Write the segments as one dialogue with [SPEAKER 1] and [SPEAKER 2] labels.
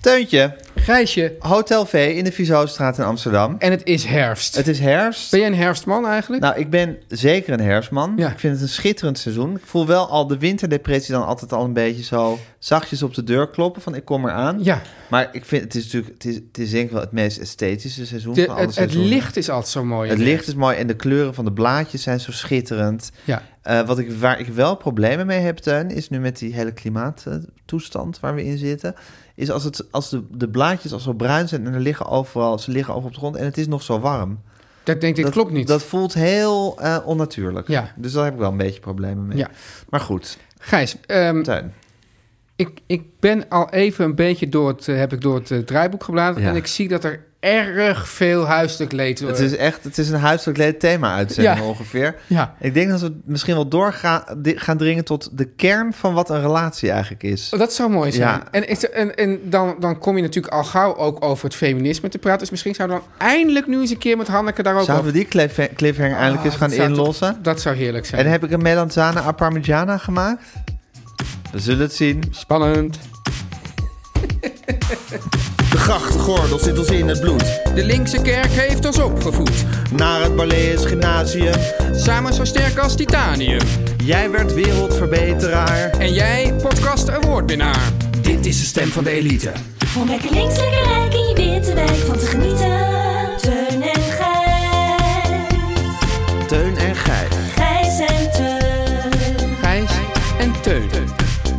[SPEAKER 1] Teuntje,
[SPEAKER 2] Gijsje,
[SPEAKER 1] Hotel V in de Vizostraat in Amsterdam.
[SPEAKER 2] en het is herfst.
[SPEAKER 1] Het is herfst.
[SPEAKER 2] Ben jij een herfstman eigenlijk?
[SPEAKER 1] Nou, ik ben zeker een herfstman.
[SPEAKER 2] Ja.
[SPEAKER 1] Ik vind het een schitterend seizoen. Ik voel wel al de winterdepressie dan altijd al een beetje zo zachtjes op de deur kloppen van ik kom eraan.
[SPEAKER 2] ja,
[SPEAKER 1] Maar ik vind het is natuurlijk, het is, het is denk ik wel het meest esthetische seizoen
[SPEAKER 2] de-
[SPEAKER 1] van alle
[SPEAKER 2] het, het
[SPEAKER 1] seizoenen.
[SPEAKER 2] licht is altijd zo mooi.
[SPEAKER 1] Het licht is mooi en de kleuren van de blaadjes zijn zo schitterend.
[SPEAKER 2] Ja.
[SPEAKER 1] Eh, wat ik, waar ik wel problemen mee heb, Teun, is nu met die hele klimaattoestand waar we in zitten. Is als, het, als de, de blaadjes al zo bruin zijn en er liggen overal, ze liggen overal op de grond en het is nog zo warm.
[SPEAKER 2] Dat denk ik,
[SPEAKER 1] dat
[SPEAKER 2] klopt niet.
[SPEAKER 1] Dat voelt heel eh, onnatuurlijk.
[SPEAKER 2] Ja.
[SPEAKER 1] Dus daar heb ik wel een beetje problemen mee.
[SPEAKER 2] Ja.
[SPEAKER 1] Maar goed,
[SPEAKER 2] Gijs, ehm,
[SPEAKER 1] Teun.
[SPEAKER 2] ik, ik ben al even een beetje door het, eh, heb ik door het eh, draaiboek gebladerd.
[SPEAKER 1] Ja.
[SPEAKER 2] En ik zie dat er erg veel huiselijk leed eh,
[SPEAKER 1] Het is echt het is een huiselijk leed thema-uitzending
[SPEAKER 2] Ja.
[SPEAKER 1] ongeveer.
[SPEAKER 2] Ja,
[SPEAKER 1] Ik denk dat we misschien wel door gaan, di- gaan dringen tot de kern van wat een relatie eigenlijk is.
[SPEAKER 2] Oh, dat zou mooi zijn.
[SPEAKER 1] Ja.
[SPEAKER 2] En, is er- en, en dan, dan kom je natuurlijk al gauw ook over het feminisme te praten. Dus misschien zouden we dan eindelijk nu eens een keer met Hanneke daar ook
[SPEAKER 1] Zouden we
[SPEAKER 2] over...
[SPEAKER 1] die cliff- cliffhanger eindelijk eens
[SPEAKER 2] Ah,
[SPEAKER 1] gaan
[SPEAKER 2] dat zou toch-
[SPEAKER 1] inlossen?
[SPEAKER 2] Dat zou heerlijk zijn.
[SPEAKER 1] En heb ik een melanzana a parmigiana gemaakt? We zullen het zien.
[SPEAKER 2] Spannend.
[SPEAKER 3] De grachtgordel zit ons in het bloed.
[SPEAKER 2] De linkse kerk heeft ons opgevoed.
[SPEAKER 3] Naar het Barlees Gymnasium.
[SPEAKER 2] Samen zo sterk als titanium.
[SPEAKER 3] Jij werd wereldverbeteraar.
[SPEAKER 2] En jij, podcast awardwinnaar.
[SPEAKER 3] Dit is de stem van de elite.
[SPEAKER 4] Om lekker links, lekker rijk in je witte wijk van te genieten. Teun en Gijs.
[SPEAKER 3] Teun en Gijs.
[SPEAKER 4] Gijs en Teun.
[SPEAKER 2] Gijs en Teun.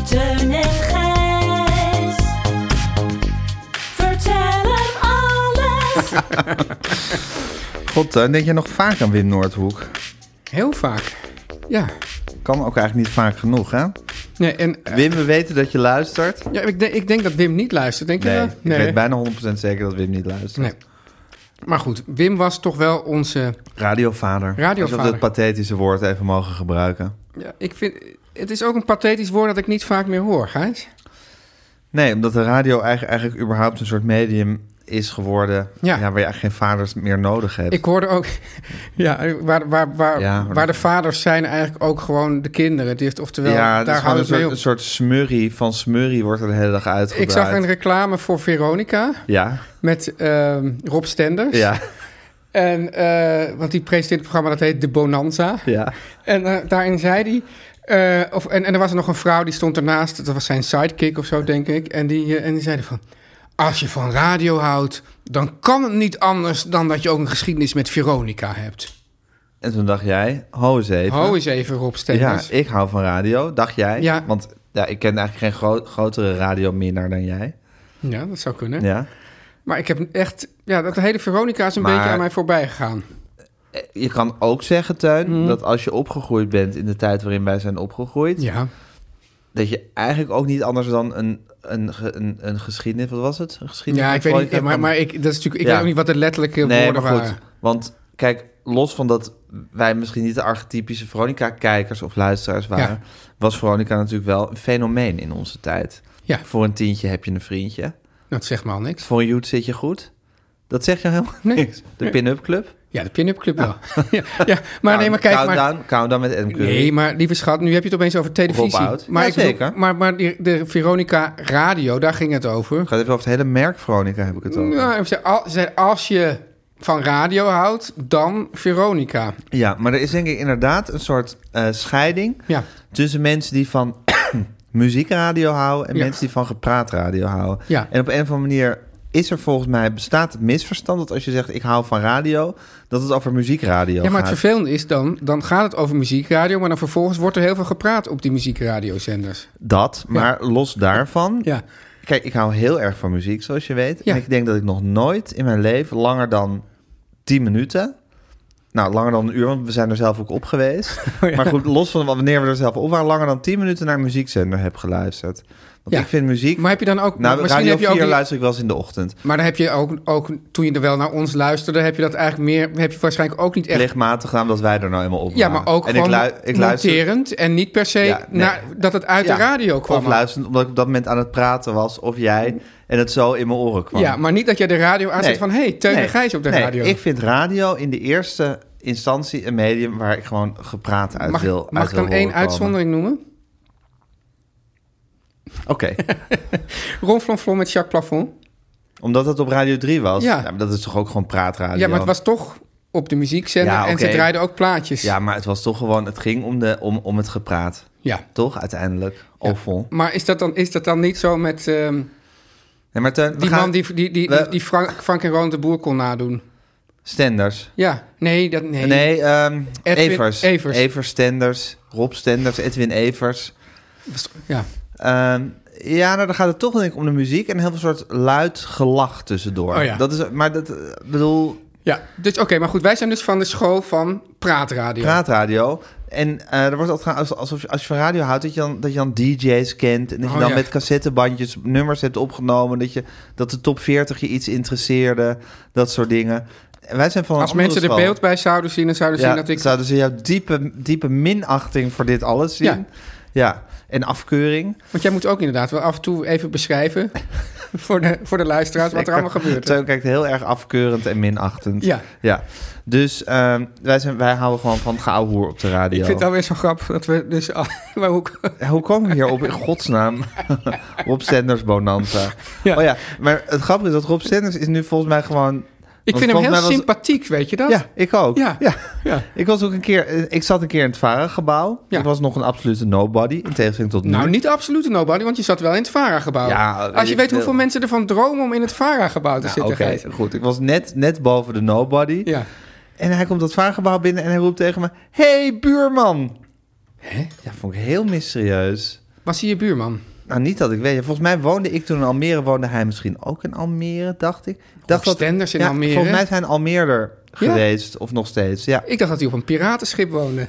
[SPEAKER 4] Teun en Gijs. Vertel hem alles.
[SPEAKER 1] God, Teun, denk jij nog vaak aan Wim Noordhoek?
[SPEAKER 2] Heel vaak. Ja.
[SPEAKER 1] Kan ook eigenlijk niet vaak genoeg, hè?
[SPEAKER 2] Nee, en eh,
[SPEAKER 1] Wim, we weten dat je luistert.
[SPEAKER 2] ja, ik, denk- ik denk dat Wim niet luistert. Denk
[SPEAKER 1] Nee,
[SPEAKER 2] je
[SPEAKER 1] ik
[SPEAKER 2] dat?
[SPEAKER 1] weet bijna 100% zeker dat Wim niet luistert.
[SPEAKER 2] nee. Maar goed, Wim was toch wel onze...
[SPEAKER 1] Radiovader.
[SPEAKER 2] Radiovader.
[SPEAKER 1] Alsof we dat pathetische woord even mogen gebruiken.
[SPEAKER 2] Ja, ik vind... Het is ook een pathetisch woord dat ik niet vaak meer hoor, Gijs.
[SPEAKER 1] Nee, omdat de radio eigenlijk, eigenlijk überhaupt een soort medium is geworden... waar
[SPEAKER 2] Ja.
[SPEAKER 1] je eigenlijk geen vaders meer nodig hebt.
[SPEAKER 2] Ik hoorde ook, ja, waar, waar, waar,
[SPEAKER 1] Ja, maar
[SPEAKER 2] waar de
[SPEAKER 1] dat-
[SPEAKER 2] vaders zijn eigenlijk ook gewoon de kinderen. Het is- Oftewel,
[SPEAKER 1] ja, dat
[SPEAKER 2] daar
[SPEAKER 1] is gewoon
[SPEAKER 2] houdt
[SPEAKER 1] een
[SPEAKER 2] het mee
[SPEAKER 1] soort,
[SPEAKER 2] op.
[SPEAKER 1] een soort smurrie van smurrie wordt er de hele dag uitgedraaid.
[SPEAKER 2] Ik zag een reclame voor Veronica
[SPEAKER 1] Ja,
[SPEAKER 2] met ehm, Rob Stenders.
[SPEAKER 1] ja,
[SPEAKER 2] En, eh, want die presenteert het programma dat heet De Bonanza.
[SPEAKER 1] ja.
[SPEAKER 2] En eh, daarin zei hij... eh, of, en, en er was er nog een vrouw die stond ernaast. Dat was zijn sidekick of zo, denk ik. En die, eh, en die zei van... Als je van radio houdt, dan kan het niet anders... dan dat je ook een geschiedenis met Veronica hebt.
[SPEAKER 1] En toen dacht jij, ho eens even.
[SPEAKER 2] Hou eens even, Rob
[SPEAKER 1] Ja,
[SPEAKER 2] Stenders.
[SPEAKER 1] ik hou van radio, dacht jij.
[SPEAKER 2] Ja.
[SPEAKER 1] Want ja, ik ken eigenlijk geen gro- grotere radiominnaar dan jij.
[SPEAKER 2] Ja, dat zou kunnen.
[SPEAKER 1] Ja.
[SPEAKER 2] Maar ik heb echt... Ja, dat hele Veronica is een
[SPEAKER 1] Maar-
[SPEAKER 2] beetje aan mij voorbij gegaan.
[SPEAKER 1] Eh, Je kan ook zeggen, Teun,
[SPEAKER 2] Mhm.
[SPEAKER 1] dat als je opgegroeid bent in de tijd waarin wij zijn opgegroeid...
[SPEAKER 2] Ja.
[SPEAKER 1] dat je eigenlijk ook niet anders dan een, een, ge- een, een geschiedenis... Wat was het? Een geschiedenis
[SPEAKER 2] Ja, ik weet
[SPEAKER 1] van-
[SPEAKER 2] niet... Maar, maar ik, dat is natuurlijk, ik
[SPEAKER 1] Ja.
[SPEAKER 2] weet ook niet wat de letterlijke
[SPEAKER 1] Nee, maar
[SPEAKER 2] woorden
[SPEAKER 1] goed.
[SPEAKER 2] waren.
[SPEAKER 1] Want kijk, los van dat wij misschien niet de archetypische Veronica-kijkers of luisteraars waren...
[SPEAKER 2] Ja.
[SPEAKER 1] was Veronica natuurlijk wel een fenomeen in onze tijd.
[SPEAKER 2] Ja.
[SPEAKER 1] Voor een tientje heb je een vriendje.
[SPEAKER 2] Nou, Dat zegt me al niks.
[SPEAKER 1] Voor een joet zit je goed. Dat zegt je helemaal
[SPEAKER 2] Nee.
[SPEAKER 1] niks. De pin-up club.
[SPEAKER 2] Ja, de pin-up club wel. ja, ja,
[SPEAKER 1] Nou,
[SPEAKER 2] maar nee, maar kijk maar.
[SPEAKER 1] Countdown, countdown met Adam Curry.
[SPEAKER 2] Nee, maar lieve schat, nu heb je het opeens over televisie.
[SPEAKER 1] Rob-out.
[SPEAKER 2] Maar
[SPEAKER 1] Ja,
[SPEAKER 2] ik bedoel-
[SPEAKER 1] zeker.
[SPEAKER 2] maar maar die- de Veronica Radio, daar ging het over.
[SPEAKER 1] Ik ga het even over het hele merk Veronica heb ik het over.
[SPEAKER 2] Nou, ze zei, al- ze zei, als je van radio houdt dan Veronica.
[SPEAKER 1] Ja, maar er is denk ik inderdaad een soort eh, scheiding
[SPEAKER 2] Ja,
[SPEAKER 1] tussen mensen die van muziekradio houden en
[SPEAKER 2] Ja.
[SPEAKER 1] mensen die van gepraatradio houden.
[SPEAKER 2] Ja.
[SPEAKER 1] En op een of andere manier is er volgens mij bestaat het misverstand dat als je zegt ik hou van radio, dat het over muziekradio
[SPEAKER 2] ja maar het
[SPEAKER 1] gaat.
[SPEAKER 2] vervelende is dan, dan gaat het over muziekradio, maar dan vervolgens wordt er heel veel gepraat op die muziekradiozenders.
[SPEAKER 1] Dat, maar los daarvan.
[SPEAKER 2] Ja.
[SPEAKER 1] Kijk, ik hou heel erg van muziek, zoals je weet.
[SPEAKER 2] Ja.
[SPEAKER 1] En ik denk dat ik nog nooit in mijn leven langer dan 10 minuten. Nou, langer dan een uur, want we zijn er zelf ook op geweest.
[SPEAKER 2] Oh,
[SPEAKER 1] Maar goed, los van wanneer we er zelf op waren, langer dan 10 minuten naar een muziekzender heb geluisterd. Want
[SPEAKER 2] Ja.
[SPEAKER 1] ik vind muziek.
[SPEAKER 2] Maar heb je dan ook,
[SPEAKER 1] nou,
[SPEAKER 2] misschien
[SPEAKER 1] Radio
[SPEAKER 2] heb je
[SPEAKER 1] 4
[SPEAKER 2] ook die-
[SPEAKER 1] luister ik wel eens in de ochtend.
[SPEAKER 2] Maar dan heb je ook, ook, toen je er wel naar ons luisterde, heb je dat eigenlijk meer, heb je waarschijnlijk ook niet echt.
[SPEAKER 1] Plichtmatig aan dat wij er nou eenmaal op
[SPEAKER 2] ja,
[SPEAKER 1] waren.
[SPEAKER 2] maar ook
[SPEAKER 1] en
[SPEAKER 2] gewoon
[SPEAKER 1] ik, lui- ik luister.
[SPEAKER 2] noterend en niet per se
[SPEAKER 1] Ja, nee.
[SPEAKER 2] naar, dat het uit
[SPEAKER 1] Ja.
[SPEAKER 2] de radio kwam.
[SPEAKER 1] Of luisterend, omdat ik op dat moment aan het praten was, of jij, en het zo in mijn oren kwam.
[SPEAKER 2] Ja, maar niet dat jij de radio aanzet
[SPEAKER 1] Nee.
[SPEAKER 2] van... hé, hey, Teun
[SPEAKER 1] Nee.
[SPEAKER 2] en Gijs op de
[SPEAKER 1] Nee,
[SPEAKER 2] radio.
[SPEAKER 1] ik vind radio in de eerste instantie een medium waar ik gewoon gepraat uit
[SPEAKER 2] mag
[SPEAKER 1] wil. uit
[SPEAKER 2] mag ik
[SPEAKER 1] wil
[SPEAKER 2] dan één
[SPEAKER 1] horen komen.
[SPEAKER 2] uitzondering noemen?
[SPEAKER 1] Oké,
[SPEAKER 2] Ron Flonflon met Jacques Plafond.
[SPEAKER 1] omdat het op Radio 3 was. Ja.
[SPEAKER 2] Ja.
[SPEAKER 1] maar dat is toch ook gewoon praatradio?
[SPEAKER 2] Ja, maar het was toch op de muziekzender
[SPEAKER 1] Ja,
[SPEAKER 2] en ze
[SPEAKER 1] oké.
[SPEAKER 2] draaiden ook plaatjes.
[SPEAKER 1] Ja, maar het was toch gewoon, het ging om, de, om, om het gepraat.
[SPEAKER 2] Ja.
[SPEAKER 1] Toch, uiteindelijk? Of vol.
[SPEAKER 2] Maar is dat dan, is dat dan niet zo met ehm,
[SPEAKER 1] Nee, maar Teun, we
[SPEAKER 2] die
[SPEAKER 1] gaan-
[SPEAKER 2] man die, die, die,
[SPEAKER 1] we-
[SPEAKER 2] die Frank, Frank en Ron de Boer kon nadoen?
[SPEAKER 1] Stenders.
[SPEAKER 2] Ja, nee, dat, nee.
[SPEAKER 1] Nee, ehm,
[SPEAKER 2] Edwin
[SPEAKER 1] Evers.
[SPEAKER 2] Evers.
[SPEAKER 1] Stenders. Rob Stenders, Edwin Evers.
[SPEAKER 2] Ja.
[SPEAKER 1] Ehm, ja, nou, dan gaat het toch denk ik om de muziek en heel veel soort luid gelach tussendoor.
[SPEAKER 2] Oh ja.
[SPEAKER 1] Dat is, maar dat, eh, bedoel,
[SPEAKER 2] Ja, dus oké, maar goed, wij zijn dus van de school van praatradio.
[SPEAKER 1] praatradio. En eh, er wordt altijd gaan, als- alsof je, als je van radio houdt, dat je dan, dat je dan DJ's kent. En dat je
[SPEAKER 2] Oh,
[SPEAKER 1] dan
[SPEAKER 2] ja.
[SPEAKER 1] met cassettebandjes nummers hebt opgenomen. Dat, je, dat de top 40 je iets interesseerde. Dat soort dingen. En wij zijn van een
[SPEAKER 2] Als
[SPEAKER 1] andere
[SPEAKER 2] mensen er
[SPEAKER 1] school.
[SPEAKER 2] beeld bij zouden zien, dan zouden ze
[SPEAKER 1] ja,
[SPEAKER 2] zien dat ik...
[SPEAKER 1] Zouden ze jouw diepe, diepe minachting voor dit alles zien?
[SPEAKER 2] Ja.
[SPEAKER 1] ja. En afkeuring.
[SPEAKER 2] Want jij moet ook inderdaad wel af en toe even beschrijven voor, de, voor de luisteraars wat er
[SPEAKER 1] Zeker.
[SPEAKER 2] allemaal gebeurt.
[SPEAKER 1] Teun kijkt heel erg afkeurend en minachtend.
[SPEAKER 2] Ja.
[SPEAKER 1] ja. Dus ehm, wij, zijn, wij houden gewoon van geouwehoer op de radio.
[SPEAKER 2] Ik vind het alweer zo grappig dat we dus... al- Maar hoe,
[SPEAKER 1] Hoe komen we hierop in godsnaam? Rob Sanders Bonanza.
[SPEAKER 2] Ja.
[SPEAKER 1] Oh ja, maar het grappige is dat Rob Sanders is nu volgens mij gewoon...
[SPEAKER 2] ik
[SPEAKER 1] Want
[SPEAKER 2] vind hem
[SPEAKER 1] volgens
[SPEAKER 2] heel
[SPEAKER 1] mij was-
[SPEAKER 2] sympathiek, weet je dat?
[SPEAKER 1] Ja, ik ook.
[SPEAKER 2] Ja. Ja.
[SPEAKER 1] Ik, was ook een keer, eh, ik zat een keer in het VARA-gebouw.
[SPEAKER 2] Ja.
[SPEAKER 1] Ik was nog een absolute nobody, in tegenstelling tot nu.
[SPEAKER 2] Nou, niet de absolute nobody, want je zat wel in het VARA-gebouw.
[SPEAKER 1] Ja,
[SPEAKER 2] Als je
[SPEAKER 1] ik-
[SPEAKER 2] weet hoeveel mensen ervan dromen om in het VARA-gebouw te
[SPEAKER 1] Nou,
[SPEAKER 2] zitten,
[SPEAKER 1] Oké,
[SPEAKER 2] Gijs.
[SPEAKER 1] goed. Ik was net, net boven de nobody.
[SPEAKER 2] Ja.
[SPEAKER 1] En hij komt dat vraaggebouw binnen en hij roept tegen me... hey, buurman! Hè? Ja, vond ik heel mysterieus.
[SPEAKER 2] Was hij je buurman?
[SPEAKER 1] Nou, niet dat ik weet. Volgens mij woonde ik toen in Almere. Woonde hij misschien ook in Almere, dacht ik. Ik dacht dat-
[SPEAKER 2] Stenders in
[SPEAKER 1] ja,
[SPEAKER 2] Almere?
[SPEAKER 1] Volgens mij zijn Almeerder
[SPEAKER 2] Ja?
[SPEAKER 1] geweest, of nog steeds. Ja,
[SPEAKER 2] Ik dacht dat hij op een piratenschip woonde.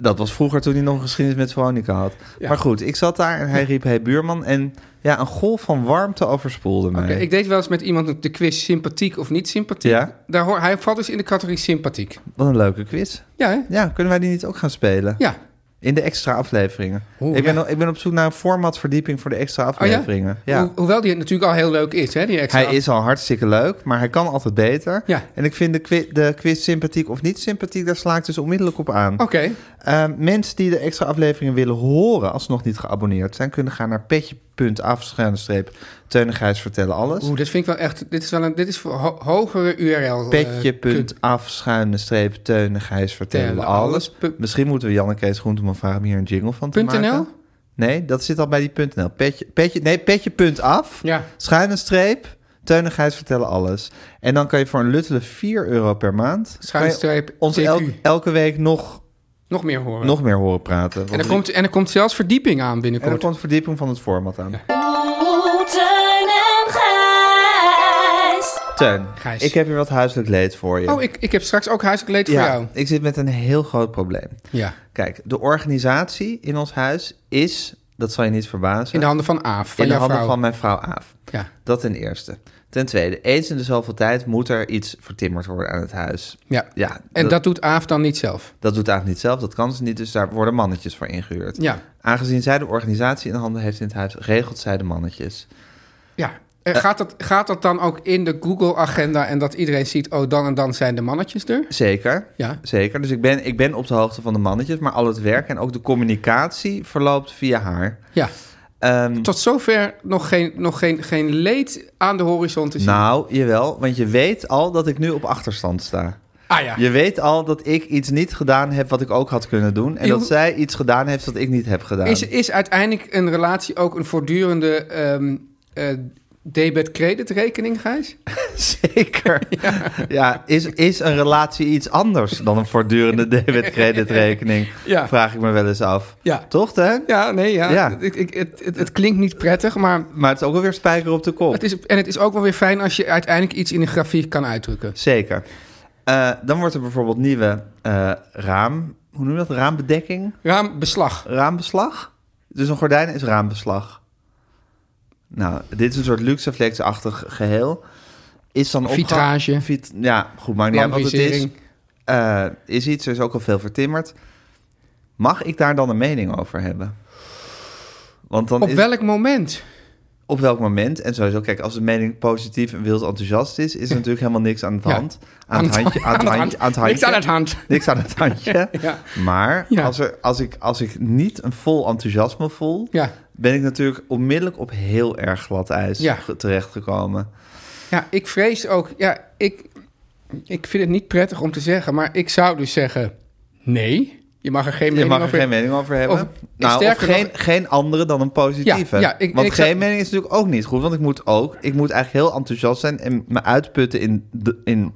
[SPEAKER 1] dat was vroeger toen hij nog een geschiedenis met Veronica had.
[SPEAKER 2] Ja.
[SPEAKER 1] Maar goed, ik zat daar en hij riep... hey, buurman! En ja, een golf van warmte overspoelde mij.
[SPEAKER 2] Oké, ik deed wel eens met iemand de quiz sympathiek of niet sympathiek.
[SPEAKER 1] Ja.
[SPEAKER 2] Daar hoor, hij valt dus in de categorie sympathiek.
[SPEAKER 1] Wat een leuke quiz.
[SPEAKER 2] Ja, hè?
[SPEAKER 1] Ja, kunnen wij die niet ook gaan spelen?
[SPEAKER 2] Ja.
[SPEAKER 1] In de extra afleveringen.
[SPEAKER 2] Oeh,
[SPEAKER 1] ik, ben,
[SPEAKER 2] ja. Oh
[SPEAKER 1] al- ik ben op zoek naar een formatverdieping voor de extra afleveringen. ja.
[SPEAKER 2] Ho- hoewel die natuurlijk al heel leuk is, hè? Die extra.
[SPEAKER 1] Hij is al hartstikke leuk, maar hij kan altijd beter.
[SPEAKER 2] Ja.
[SPEAKER 1] En ik vind de, qui- de quiz sympathiek of niet sympathiek, daar sla ik dus onmiddellijk op aan.
[SPEAKER 2] Oké.
[SPEAKER 1] Eh, mensen die de extra afleveringen willen horen als ze nog niet geabonneerd zijn, kunnen gaan naar petje.af schuinstreep Teun en Gijs vertellen alles.
[SPEAKER 2] Oeh, dat vind ik wel echt. Dit is wel een. Dit is voor ho- hogere URL. eh, kun-
[SPEAKER 1] Petje.af schuine streep Teun en Gijs vertellen
[SPEAKER 2] Vertellen
[SPEAKER 1] alles.
[SPEAKER 2] alles. Pu-
[SPEAKER 1] Misschien moeten we Jan en Kees Groenteman vragen om hier een jingle van te
[SPEAKER 2] Punt NL?
[SPEAKER 1] maken. Nee, dat zit al bij die punt .nl. Petje, petje, nee, petje.af
[SPEAKER 2] Ja.
[SPEAKER 1] schuine streep Teun en Gijs vertellen alles. En dan kan je voor een luttele 4 euro per maand...
[SPEAKER 2] Schuine
[SPEAKER 1] kan je
[SPEAKER 2] streep
[SPEAKER 1] ons
[SPEAKER 2] TQ.
[SPEAKER 1] elk- elke week nog,
[SPEAKER 2] nog meer horen.
[SPEAKER 1] nog meer horen praten. Want
[SPEAKER 2] en, er
[SPEAKER 1] die-
[SPEAKER 2] komt, en er komt zelfs verdieping aan
[SPEAKER 1] en er
[SPEAKER 2] binnenkort.
[SPEAKER 1] komt verdieping van het format aan.
[SPEAKER 4] Oeh, Oh, Teun en Gijs.
[SPEAKER 1] Teun,
[SPEAKER 2] Gijs.
[SPEAKER 1] ik heb hier wat huiselijk leed voor je.
[SPEAKER 2] Oh, ik, ik heb straks ook huiselijk leed
[SPEAKER 1] ja,
[SPEAKER 2] voor jou.
[SPEAKER 1] ik zit met een heel groot probleem.
[SPEAKER 2] Ja.
[SPEAKER 1] Kijk, de organisatie in ons huis is, dat zal je niet verbazen,
[SPEAKER 2] In de handen van Aaf. Van
[SPEAKER 1] in de
[SPEAKER 2] jouw
[SPEAKER 1] handen
[SPEAKER 2] vrouw.
[SPEAKER 1] van mijn vrouw Aaf.
[SPEAKER 2] Ja.
[SPEAKER 1] Dat ten eerste. Ten tweede, eens in de zoveel tijd moet er iets vertimmerd worden aan het huis.
[SPEAKER 2] Ja.
[SPEAKER 1] Ja,
[SPEAKER 2] En
[SPEAKER 1] dat-
[SPEAKER 2] dat, doet Aaf dan niet zelf.
[SPEAKER 1] Dat doet Aaf niet zelf, dat kan ze niet, dus daar worden mannetjes voor ingehuurd.
[SPEAKER 2] Ja.
[SPEAKER 1] Aangezien zij de organisatie in handen heeft in het huis, regelt zij de mannetjes.
[SPEAKER 2] Ja. En
[SPEAKER 1] Eh.
[SPEAKER 2] gaat, dat, gaat dat dan ook in de Google-agenda en dat iedereen ziet, oh, dan en dan zijn de mannetjes er?
[SPEAKER 1] Zeker.
[SPEAKER 2] Ja.
[SPEAKER 1] Zeker. Dus ik ben, ik ben op de hoogte van de mannetjes, maar al het werk en ook de communicatie verloopt via haar.
[SPEAKER 2] Ja.
[SPEAKER 1] Ehm,
[SPEAKER 2] Tot zover nog geen, nog geen, geen leed aan de horizon te zien.
[SPEAKER 1] nou, jawel, want je weet al dat ik nu op achterstand sta.
[SPEAKER 2] ah ja.
[SPEAKER 1] Je weet al dat ik iets niet gedaan heb wat ik ook had kunnen doen. En
[SPEAKER 2] Je
[SPEAKER 1] dat
[SPEAKER 2] hoeft-
[SPEAKER 1] zij iets gedaan heeft dat ik niet heb gedaan.
[SPEAKER 2] Is, is uiteindelijk een relatie ook een voortdurende ehm eh debet-credit rekening, Gijs?
[SPEAKER 1] Zeker. Ja, is, is een relatie iets anders dan een voortdurende debit-creditrekening?
[SPEAKER 2] Ja.
[SPEAKER 1] Vraag ik me wel eens af.
[SPEAKER 2] Ja.
[SPEAKER 1] Toch, hè?
[SPEAKER 2] Ja, nee, ja.
[SPEAKER 1] Ja.
[SPEAKER 2] Ik, ik, het, het, het klinkt niet prettig, maar
[SPEAKER 1] Maar het is ook wel weer spijker op de kop.
[SPEAKER 2] het is, en het is ook wel weer fijn als je uiteindelijk iets in een grafiek kan uitdrukken.
[SPEAKER 1] Zeker. Eh, dan wordt er bijvoorbeeld nieuwe eh, raam... Hoe noem je dat? Raambedekking?
[SPEAKER 2] Raambeslag.
[SPEAKER 1] Raambeslag? Dus een gordijn is raambeslag. Nou, dit is een soort luxeflex-achtig geheel. Is dan opge-
[SPEAKER 2] Vitrage.
[SPEAKER 1] Vit- ja, goed, maakt niet uit wat het is.
[SPEAKER 2] Lambrisering.
[SPEAKER 1] Eh, is iets, er is ook al veel vertimmerd. Mag ik daar dan een mening over hebben? Want dan
[SPEAKER 2] Op
[SPEAKER 1] is-
[SPEAKER 2] welk moment?
[SPEAKER 1] op welk moment? En sowieso, kijk, als de mening positief en wild enthousiast is, is er natuurlijk helemaal niks aan de
[SPEAKER 2] Ja.
[SPEAKER 1] hand. Aan het handje, aan het handje, aan het handje.
[SPEAKER 2] Niks aan het hand.
[SPEAKER 1] Niks aan het handje.
[SPEAKER 2] Ja.
[SPEAKER 1] Maar
[SPEAKER 2] Ja.
[SPEAKER 1] als, er, als, ik, als ik niet een vol enthousiasme voel,
[SPEAKER 2] Ja.
[SPEAKER 1] ben ik natuurlijk onmiddellijk op heel erg glad ijs
[SPEAKER 2] Ja.
[SPEAKER 1] ge- terechtgekomen.
[SPEAKER 2] Ja, ik vrees ook. Ja, ik, ik vind het niet prettig om te zeggen, maar ik zou dus zeggen: nee, je mag er geen
[SPEAKER 1] Je
[SPEAKER 2] mening
[SPEAKER 1] mag er
[SPEAKER 2] over
[SPEAKER 1] geen mening over hebben.
[SPEAKER 2] Of-
[SPEAKER 1] nou, of
[SPEAKER 2] sterker
[SPEAKER 1] geen,
[SPEAKER 2] nog-
[SPEAKER 1] geen andere dan een positieve.
[SPEAKER 2] Ja, ja, ik-
[SPEAKER 1] want
[SPEAKER 2] ik
[SPEAKER 1] geen
[SPEAKER 2] zou-
[SPEAKER 1] mening is natuurlijk ook niet goed. Want ik moet ook, ik moet eigenlijk heel enthousiast zijn en me uitputten in, de, in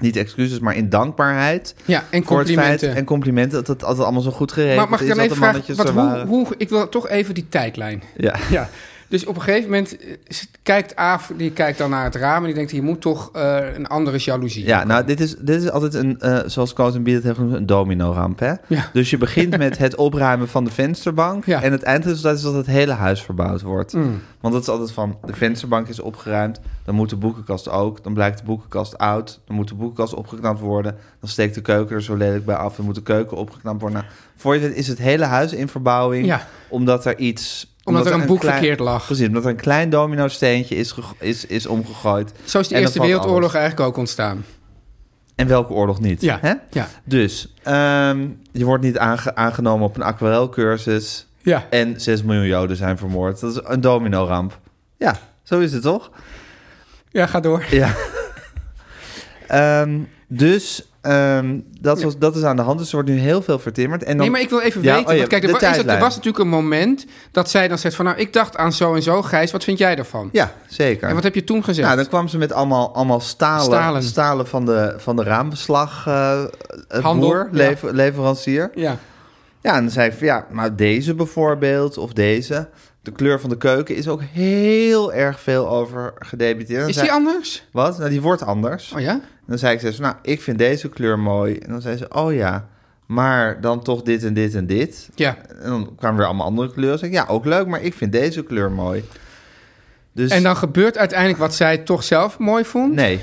[SPEAKER 1] niet excuses, maar in dankbaarheid.
[SPEAKER 2] Ja, en
[SPEAKER 1] Voor het feit
[SPEAKER 2] complimenten.
[SPEAKER 1] en complimenten dat het altijd allemaal zo goed geregeld
[SPEAKER 2] maar mag ik
[SPEAKER 1] is.
[SPEAKER 2] dan
[SPEAKER 1] dat
[SPEAKER 2] even
[SPEAKER 1] de
[SPEAKER 2] vragen,
[SPEAKER 1] mannetjes
[SPEAKER 2] wat,
[SPEAKER 1] er
[SPEAKER 2] hoe,
[SPEAKER 1] waren.
[SPEAKER 2] hoe, ik wil toch even die tijdlijn.
[SPEAKER 1] Ja.
[SPEAKER 2] Ja, dus op een gegeven moment eh, kijkt Aaf, die kijkt dan naar het raam en die denkt, hier moet toch eh, een andere jaloezie.
[SPEAKER 1] Ja, nou, dit is, dit is altijd een, eh, zoals Cozen Bied het heeft genoemd, een domino-ramp. Hè?
[SPEAKER 2] Ja.
[SPEAKER 1] Dus je begint met het opruimen van de vensterbank.
[SPEAKER 2] Ja. Mm.
[SPEAKER 1] En het eindresultaat is dat het hele huis verbouwd wordt. Want dat is altijd van, de vensterbank is opgeruimd. Dan moet de boekenkast ook. Dan blijkt de boekenkast oud. Dan moet de boekenkast opgeknapt worden. Dan steekt de keuken er zo lelijk bij af. Dan moet de keuken opgeknapt worden. Nou, voor je het weet is het hele huis in verbouwing.
[SPEAKER 2] Ja.
[SPEAKER 1] Omdat er iets...
[SPEAKER 2] Omdat, er een, boek
[SPEAKER 1] klein-
[SPEAKER 2] verkeerd lag.
[SPEAKER 1] Precies, omdat er een klein domino-steentje is, gego- is, is omgegooid.
[SPEAKER 2] Zo is de
[SPEAKER 1] En dan
[SPEAKER 2] Eerste
[SPEAKER 1] valt
[SPEAKER 2] Wereldoorlog
[SPEAKER 1] alles.
[SPEAKER 2] eigenlijk ook ontstaan.
[SPEAKER 1] En welke oorlog niet?
[SPEAKER 2] Ja,
[SPEAKER 1] Hè?
[SPEAKER 2] ja.
[SPEAKER 1] Dus ehm, je wordt niet aange- aangenomen op een aquarelcursus.
[SPEAKER 2] Ja.
[SPEAKER 1] En 6 miljoen Joden zijn vermoord. Dat is een domino-ramp. Ja, zo is het toch?
[SPEAKER 2] ja, ga door.
[SPEAKER 1] Ja. Ehm, dus ehm, dat, was, dat is aan de hand. Dus er wordt nu heel veel vertimmerd. En dan,
[SPEAKER 2] Nee, maar ik wil even
[SPEAKER 1] Ja,
[SPEAKER 2] weten,
[SPEAKER 1] oh ja,
[SPEAKER 2] want kijk,
[SPEAKER 1] de
[SPEAKER 2] er, wa- is dat- er
[SPEAKER 1] tijdlijn.
[SPEAKER 2] was natuurlijk een moment dat zij dan zegt van, nou, ik dacht aan zo en zo, Gijs, wat vind jij daarvan?
[SPEAKER 1] Ja, zeker.
[SPEAKER 2] En wat heb je toen gezegd?
[SPEAKER 1] Nou, dan kwam ze met allemaal, allemaal stalen, stalen.
[SPEAKER 2] Stalen.
[SPEAKER 1] van de, van de raambeslag eh, eh,
[SPEAKER 2] Handel,
[SPEAKER 1] boer,
[SPEAKER 2] ja.
[SPEAKER 1] lever- leverancier.
[SPEAKER 2] Ja,
[SPEAKER 1] Ja, en dan zei ik van ja, maar deze bijvoorbeeld of deze. De kleur van de keuken is ook heel erg veel over gedebiteerd. Dan
[SPEAKER 2] is
[SPEAKER 1] zei-
[SPEAKER 2] die anders?
[SPEAKER 1] Wat? Nou, die wordt anders.
[SPEAKER 2] Oh ja?
[SPEAKER 1] En dan zei ik ze, nou, ik vind deze kleur mooi. En dan zei ze, oh ja, maar dan toch dit en dit en dit.
[SPEAKER 2] Ja.
[SPEAKER 1] En dan kwamen weer allemaal andere kleuren. Zeg ik, ja, ook leuk, maar ik vind deze kleur mooi. Dus
[SPEAKER 2] En dan gebeurt uiteindelijk wat zij toch zelf mooi vond?
[SPEAKER 1] nee.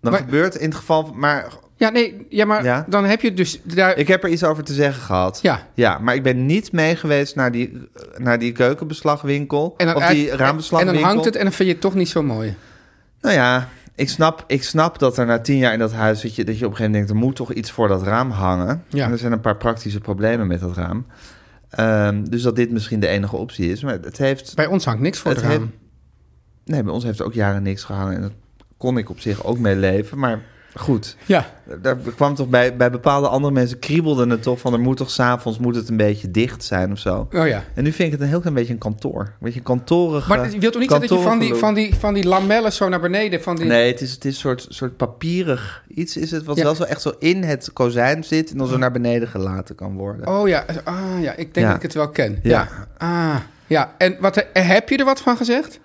[SPEAKER 1] Dan
[SPEAKER 2] Maar-
[SPEAKER 1] gebeurt in het geval, van- maar
[SPEAKER 2] Ja, nee, ja, maar
[SPEAKER 1] Ja.
[SPEAKER 2] dan heb je dus daar...
[SPEAKER 1] Ik heb er iets over te zeggen gehad.
[SPEAKER 2] Ja.
[SPEAKER 1] Ja, maar ik ben niet mee geweest naar die, naar die keukenbeslagwinkel.
[SPEAKER 2] en dan
[SPEAKER 1] of
[SPEAKER 2] uit-
[SPEAKER 1] die
[SPEAKER 2] En
[SPEAKER 1] raambeslagwinkel.
[SPEAKER 2] dan hangt het en dan vind je het toch niet zo mooi.
[SPEAKER 1] Nou ja, ik snap, ik snap dat er na tien jaar in dat huis... Dat je, dat je op een gegeven moment denkt, er moet toch iets voor dat raam hangen.
[SPEAKER 2] Ja.
[SPEAKER 1] En er zijn een paar praktische problemen met dat raam. Ehm, dus dat dit misschien de enige optie is. Maar het heeft...
[SPEAKER 2] Bij ons hangt niks voor het,
[SPEAKER 1] Het
[SPEAKER 2] raam.
[SPEAKER 1] heeft- Nee, bij ons heeft ook jaren niks gehangen. En dat kon ik op zich ook mee leven. Maar goed,
[SPEAKER 2] Ja,
[SPEAKER 1] Daar kwam toch bij, bij bepaalde andere mensen kriebelde het toch van er moet toch s'avonds moet het een beetje dicht zijn of zo.
[SPEAKER 2] oh ja.
[SPEAKER 1] En nu vind ik het een heel klein beetje een kantoor. Een beetje een kantorige.
[SPEAKER 2] Maar je wilt toch niet dat je van die,
[SPEAKER 1] kantoorgeloop.
[SPEAKER 2] van, die, van die lamellen zo naar beneden... Van die...
[SPEAKER 1] Nee, het is, het is een soort, soort papierig iets is het wat
[SPEAKER 2] Ja.
[SPEAKER 1] wel zo echt zo in het kozijn zit en dan zo naar beneden gelaten kan worden.
[SPEAKER 2] Oh ja, ah, ja, ik
[SPEAKER 1] Ja.
[SPEAKER 2] denk dat ik het wel ken.
[SPEAKER 1] Ja.
[SPEAKER 2] Ja. Ah, ja. En wat, he- heb je er wat van gezegd?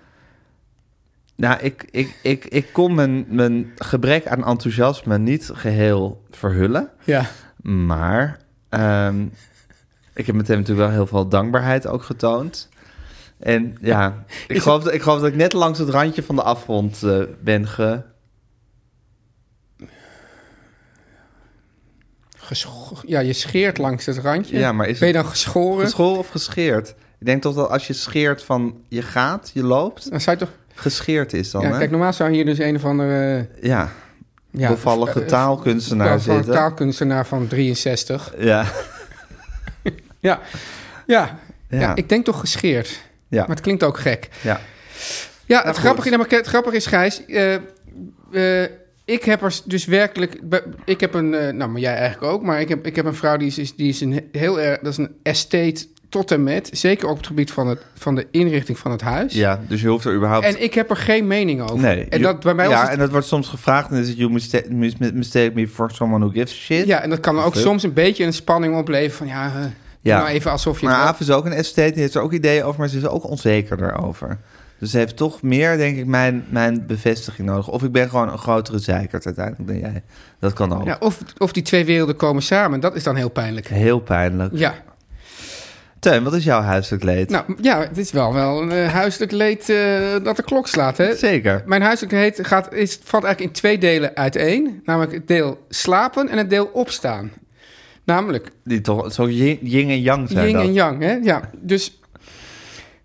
[SPEAKER 1] Nou, ik, ik, ik, ik kon mijn, mijn gebrek aan enthousiasme niet geheel verhullen.
[SPEAKER 2] Ja.
[SPEAKER 1] Maar ehm, ik heb meteen natuurlijk wel heel veel dankbaarheid ook getoond. En ja, ik geloof, dat, ik geloof dat ik net langs het randje van de afgrond eh, ben ge...
[SPEAKER 2] Gescho- ja, je scheert langs het randje.
[SPEAKER 1] Ja, maar is
[SPEAKER 2] ben je
[SPEAKER 1] het
[SPEAKER 2] dan geschoren?
[SPEAKER 1] geschoren of gescheerd? Ik denk toch dat als je scheert van je gaat, je loopt,
[SPEAKER 2] Dan zou je toch...
[SPEAKER 1] gescheerd is dan,
[SPEAKER 2] ja,
[SPEAKER 1] hè?
[SPEAKER 2] kijk, normaal zou hier dus een of andere...
[SPEAKER 1] ja,
[SPEAKER 2] eh, Ja,
[SPEAKER 1] bevallige
[SPEAKER 2] eh,
[SPEAKER 1] taalkunstenaar
[SPEAKER 2] van een
[SPEAKER 1] zitten.
[SPEAKER 2] taalkunstenaar van 63.
[SPEAKER 1] Ja,
[SPEAKER 2] Ja, ja.
[SPEAKER 1] Ja,
[SPEAKER 2] Ja, ik denk toch gescheerd.
[SPEAKER 1] Ja.
[SPEAKER 2] Maar het klinkt ook gek.
[SPEAKER 1] ja.
[SPEAKER 2] Ja,
[SPEAKER 1] Nou,
[SPEAKER 2] het,
[SPEAKER 1] goed.
[SPEAKER 2] grappige, nou, maar het grappige is, Gijs... eh, eh, ik heb er dus werkelijk... Ik heb een... eh, nou, maar jij eigenlijk ook. Maar ik heb, ik heb een vrouw die is, is- die is een heel erg... Dat is een estate tot en met. Zeker op het gebied van, het, van de inrichting van het huis.
[SPEAKER 1] Ja, dus je hoeft er überhaupt...
[SPEAKER 2] En ik heb er geen mening over.
[SPEAKER 1] nee.
[SPEAKER 2] en
[SPEAKER 1] je-
[SPEAKER 2] dat bij mij
[SPEAKER 1] ja,
[SPEAKER 2] was het-
[SPEAKER 1] en dat wordt soms gevraagd en dan is het... You mistake, mis- mistake me for someone who gives a shit.
[SPEAKER 2] Ja, en dat kan ook
[SPEAKER 1] Fuck.
[SPEAKER 2] soms een beetje een spanning opleveren van ja, eh,
[SPEAKER 1] Ja.
[SPEAKER 2] nou even alsof je
[SPEAKER 1] Maar
[SPEAKER 2] het wel-
[SPEAKER 1] Aaf is ook een estate, die heeft er ook ideeën over, maar ze is er ook onzeker daarover. Dus ze heeft toch meer, denk ik, mijn, mijn bevestiging nodig. Of ik ben gewoon een grotere zeikert uiteindelijk dan jij. Dat kan ook.
[SPEAKER 2] ja, of, of die twee werelden komen samen. Dat is dan heel pijnlijk.
[SPEAKER 1] Heel pijnlijk.
[SPEAKER 2] Ja,
[SPEAKER 1] Teun, wat is jouw huiselijk leed?
[SPEAKER 2] nou ja, het is wel wel een eh, huiselijk leed eh, dat de klok slaat. Hè?
[SPEAKER 1] Zeker.
[SPEAKER 2] Mijn huiselijk leed gaat, is, valt eigenlijk in twee delen uiteen. Namelijk het deel slapen en het deel opstaan. Namelijk
[SPEAKER 1] Die toch, zo yin yin en yang zijn
[SPEAKER 2] yin
[SPEAKER 1] dat.
[SPEAKER 2] en yang. Hè? Ja, dus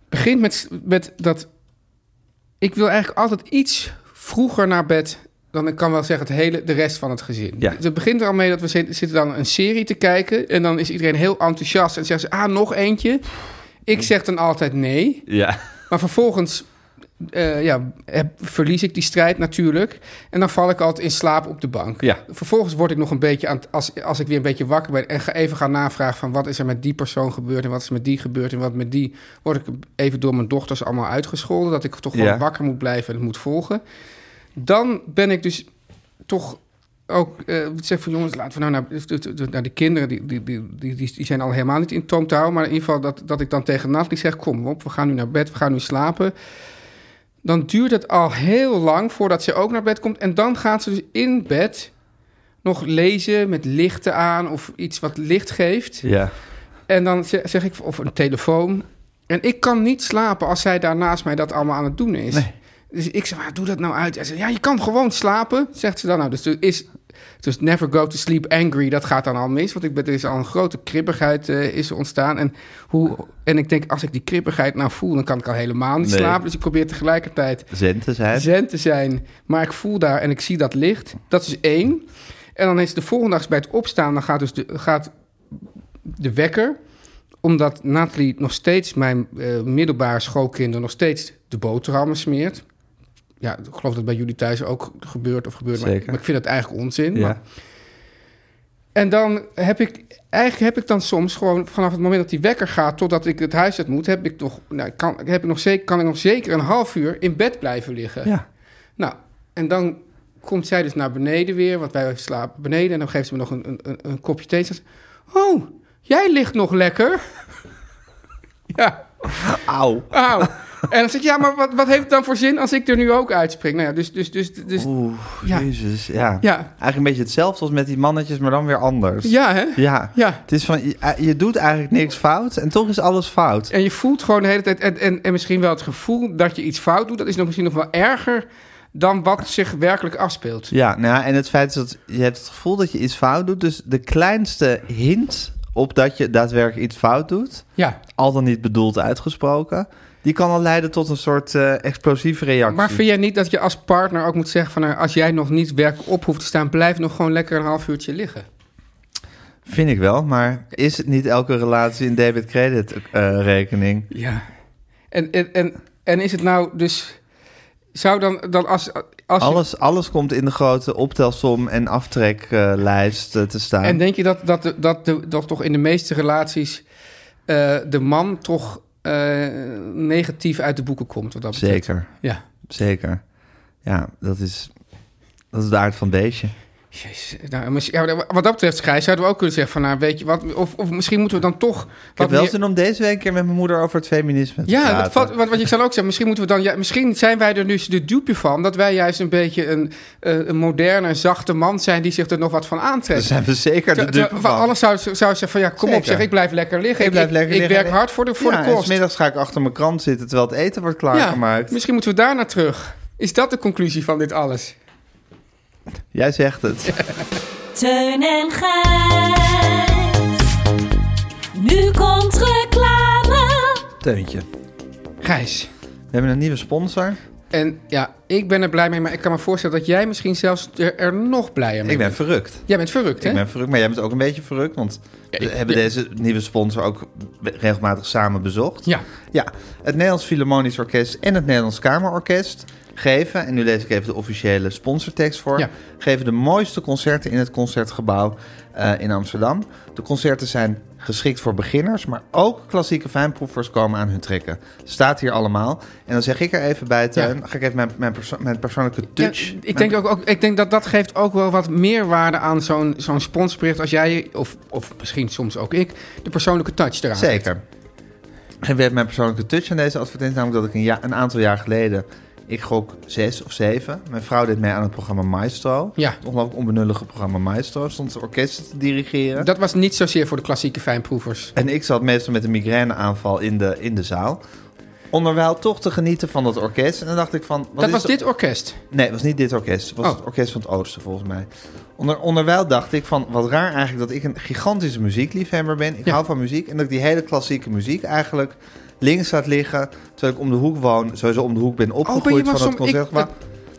[SPEAKER 2] begint met, met dat... Ik wil eigenlijk altijd iets vroeger naar bed... dan ik kan wel zeggen het hele, de rest van het gezin.
[SPEAKER 1] Ja.
[SPEAKER 2] Dus Het begint er al mee dat we zit- zitten dan een serie te kijken... en dan is iedereen heel enthousiast en zeggen ze... ah, nog eentje. Ik
[SPEAKER 1] Hm.
[SPEAKER 2] zeg dan altijd nee.
[SPEAKER 1] Ja.
[SPEAKER 2] Maar vervolgens eh, ja, heb, verlies ik die strijd natuurlijk. En dan val ik altijd in slaap op de bank.
[SPEAKER 1] Ja.
[SPEAKER 2] Vervolgens word ik nog een beetje, aan, het- als, als ik weer een beetje wakker ben... en ga even gaan navragen van wat is er met die persoon gebeurd... en wat is er met die gebeurd en wat met die... word ik even door mijn dochters allemaal uitgescholden... dat ik toch wel
[SPEAKER 1] Ja.
[SPEAKER 2] wakker moet blijven en het moet volgen. Dan ben ik dus toch ook eh zeg van jongens, laten we nou naar, naar de kinderen, die, die, die, die, die zijn al helemaal niet in toom te houden. Maar in ieder geval dat, dat ik dan tegen Nathalie zeg, kom op, we gaan nu naar bed, we gaan nu slapen. Dan duurt het al heel lang voordat ze ook naar bed komt. En dan gaat ze dus in bed nog lezen met lichten aan of iets wat licht geeft.
[SPEAKER 1] Ja.
[SPEAKER 2] En dan ze- zeg ik, of een telefoon. En ik kan niet slapen als zij daar naast mij dat allemaal aan het doen is.
[SPEAKER 1] Nee.
[SPEAKER 2] Dus ik zeg, maar doe dat nou uit. En ze, ja, je kan gewoon slapen, zegt ze dan. Nou, dus er is, dus never go to sleep angry, dat gaat dan al mis. Want ik ben, er is al een grote kribbigheid eh, is er ontstaan. En, hoe, en ik denk, als ik die kribbigheid nou voel, dan kan ik al helemaal niet
[SPEAKER 1] Nee.
[SPEAKER 2] slapen. Dus ik probeer tegelijkertijd
[SPEAKER 1] Zen te zijn.
[SPEAKER 2] zen te zijn. Maar ik voel daar en ik zie dat licht. Dat is één. En dan is de volgende dag bij het opstaan, dan gaat dus de, gaat de wekker. Omdat Nathalie nog steeds, mijn eh, middelbare schoolkinder, nog steeds de boterhammen smeert. Ja, ik geloof dat bij jullie thuis ook gebeurt of gebeurt. Maar,
[SPEAKER 1] Zeker.
[SPEAKER 2] maar ik vind dat eigenlijk onzin. Maar
[SPEAKER 1] Ja.
[SPEAKER 2] en dan heb ik, eigenlijk heb ik dan soms gewoon vanaf het moment dat die wekker gaat totdat ik het huis uit moet, heb ik nog, nou, kan, heb ik nog zeker, kan ik nog zeker een half uur in bed blijven liggen.
[SPEAKER 1] Ja.
[SPEAKER 2] Nou, en dan komt zij dus naar beneden weer, want wij slapen beneden. En dan geeft ze me nog een, een- een, een kopje thee. Ze zegt, oh, jij ligt nog lekker. ja,
[SPEAKER 1] Auw.
[SPEAKER 2] auw. En dan zeg ik, ja, maar wat, wat heeft het dan voor zin als ik er nu ook uitspring? Nou ja, dus, dus, dus, dus
[SPEAKER 1] Oeh,
[SPEAKER 2] Ja.
[SPEAKER 1] jezus. Ja.
[SPEAKER 2] Ja.
[SPEAKER 1] Eigenlijk een beetje hetzelfde als met die mannetjes, maar dan weer anders.
[SPEAKER 2] ja, hè?
[SPEAKER 1] Ja.
[SPEAKER 2] Ja.
[SPEAKER 1] Het is van, je, eh, je doet eigenlijk niks fout en toch is alles fout.
[SPEAKER 2] En je voelt gewoon de hele tijd, en, en, en misschien wel het gevoel dat je iets fout doet, dat is nog misschien nog wel erger dan wat zich werkelijk afspeelt.
[SPEAKER 1] Ja, nou ja, en het feit is dat je hebt het gevoel dat je iets fout doet. Dus de kleinste hint op dat je daadwerkelijk iets fout doet,
[SPEAKER 2] Ja,
[SPEAKER 1] al dan niet bedoeld uitgesproken, die kan al leiden tot een soort eh, explosieve reactie.
[SPEAKER 2] maar vind jij niet dat je als partner ook moet zeggen van, nou, als jij nog niet werkelijk op hoeft te staan, blijf nog gewoon lekker een half uurtje liggen?
[SPEAKER 1] Vind ik wel, maar is het niet elke relatie een eh, debit-credit-rekening?
[SPEAKER 2] Ja. En, en, en, en is het nou dus, zou dan, dan als, als je-
[SPEAKER 1] alles, alles komt in de grote optelsom en aftreklijst eh, te staan.
[SPEAKER 2] En denk je dat, dat, de- dat, de, dat toch in de meeste relaties eh, de man toch eh, negatief uit de boeken komt? Wat dat betreft?
[SPEAKER 1] Zeker,
[SPEAKER 2] Ja.
[SPEAKER 1] zeker. Ja, dat is, dat is de aard van beestje.
[SPEAKER 2] Jezus, nou, mis- ja, maar wat dat betreft, Gijs, zouden we ook kunnen zeggen van, nou, weet je wat, of, of misschien moeten we dan toch...
[SPEAKER 1] Ik heb wel zin om deze week een keer met mijn moeder over het feminisme te
[SPEAKER 2] Ja,
[SPEAKER 1] praten.
[SPEAKER 2] dat valt, want, want ik zal ook zeggen, misschien moeten we dan, ja, misschien zijn wij er nu de dupe van, dat wij juist een beetje een, eh, een moderne, zachte man zijn die zich er nog wat van
[SPEAKER 1] Daar
[SPEAKER 2] aantrekt.
[SPEAKER 1] zijn we zeker de
[SPEAKER 2] Terwijl- terwijl
[SPEAKER 1] dupe
[SPEAKER 2] van
[SPEAKER 1] van.
[SPEAKER 2] alles zou, zou zeggen van, ja, kom op
[SPEAKER 1] Zeker.
[SPEAKER 2] zeg, ik blijf lekker liggen.
[SPEAKER 1] Ik blijf lekker liggen.
[SPEAKER 2] werk hard voor de, voor
[SPEAKER 1] ja,
[SPEAKER 2] de
[SPEAKER 1] en
[SPEAKER 2] kost.
[SPEAKER 1] 's middags ga ik achter mijn krant zitten terwijl het eten wordt
[SPEAKER 2] Ja,
[SPEAKER 1] klaargemaakt.
[SPEAKER 2] misschien moeten we daar naar terug. Is dat de conclusie van dit alles?
[SPEAKER 1] Jij zegt het.
[SPEAKER 4] Teun en Gijs. Nu komt reclame.
[SPEAKER 3] Teuntje.
[SPEAKER 2] Gijs,
[SPEAKER 1] We hebben een nieuwe sponsor.
[SPEAKER 2] En ja, ik ben er blij mee, maar ik kan me voorstellen dat jij misschien zelfs er, er nog blijer mee
[SPEAKER 1] Ik ben
[SPEAKER 2] bent.
[SPEAKER 1] verrukt.
[SPEAKER 2] Jij bent verrukt, hè?
[SPEAKER 1] Ik ben verrukt, maar jij bent ook een beetje verrukt, want we
[SPEAKER 2] ik-
[SPEAKER 1] hebben
[SPEAKER 2] ja.
[SPEAKER 1] deze nieuwe sponsor ook regelmatig samen bezocht.
[SPEAKER 2] Ja.
[SPEAKER 1] Ja, het Nederlands Philharmonisch Orkest en het Nederlands Kamerorkest geven, en nu lees ik even de officiële sponsortekst voor,
[SPEAKER 2] Ja.
[SPEAKER 1] geven de mooiste concerten in het Concertgebouw eh, in Amsterdam. De concerten zijn geschikt voor beginners, maar ook klassieke fijnproevers komen aan hun trekken. Staat hier allemaal. En dan zeg ik er even bij, Teun, ga ik even mijn, mijn, perso- mijn persoonlijke touch.
[SPEAKER 2] Ja,
[SPEAKER 1] mijn
[SPEAKER 2] ik, denk ook, ook, ik denk dat dat geeft ook wel wat meerwaarde aan zo'n zo'n sponsorbericht als jij, of, of misschien soms ook ik, de persoonlijke touch eraan.
[SPEAKER 1] Zeker. En weer mijn persoonlijke touch aan deze advertentie, namelijk dat ik een, ja, een aantal jaar geleden, ik gok zes of zeven, mijn vrouw deed mee aan het programma Maestro.
[SPEAKER 2] Ja.
[SPEAKER 1] Het ongelooflijk onbenullige programma Maestro, stond ze orkesten te dirigeren.
[SPEAKER 2] Dat was niet zozeer voor de klassieke fijnproevers.
[SPEAKER 1] En ik zat meestal met een migraineaanval in de, in de zaal. Onderwijl toch te genieten van dat orkest. En dan dacht ik van... Wat
[SPEAKER 2] dat
[SPEAKER 1] is
[SPEAKER 2] was
[SPEAKER 1] de-
[SPEAKER 2] dit orkest.
[SPEAKER 1] Nee, het was niet dit orkest. Het was
[SPEAKER 2] Oh.
[SPEAKER 1] het Orkest van het Oosten, volgens mij. Onder, onderwijl dacht ik van, wat raar eigenlijk dat ik een gigantische muziekliefhebber ben. Ik
[SPEAKER 2] Ja.
[SPEAKER 1] hou van muziek en dat ik die hele klassieke muziek eigenlijk links laat liggen. Terwijl ik om de hoek woon, sowieso om de hoek
[SPEAKER 2] Oh,
[SPEAKER 1] ben opgegroeid
[SPEAKER 2] wel
[SPEAKER 1] van het
[SPEAKER 2] som- ik-
[SPEAKER 1] concert. maar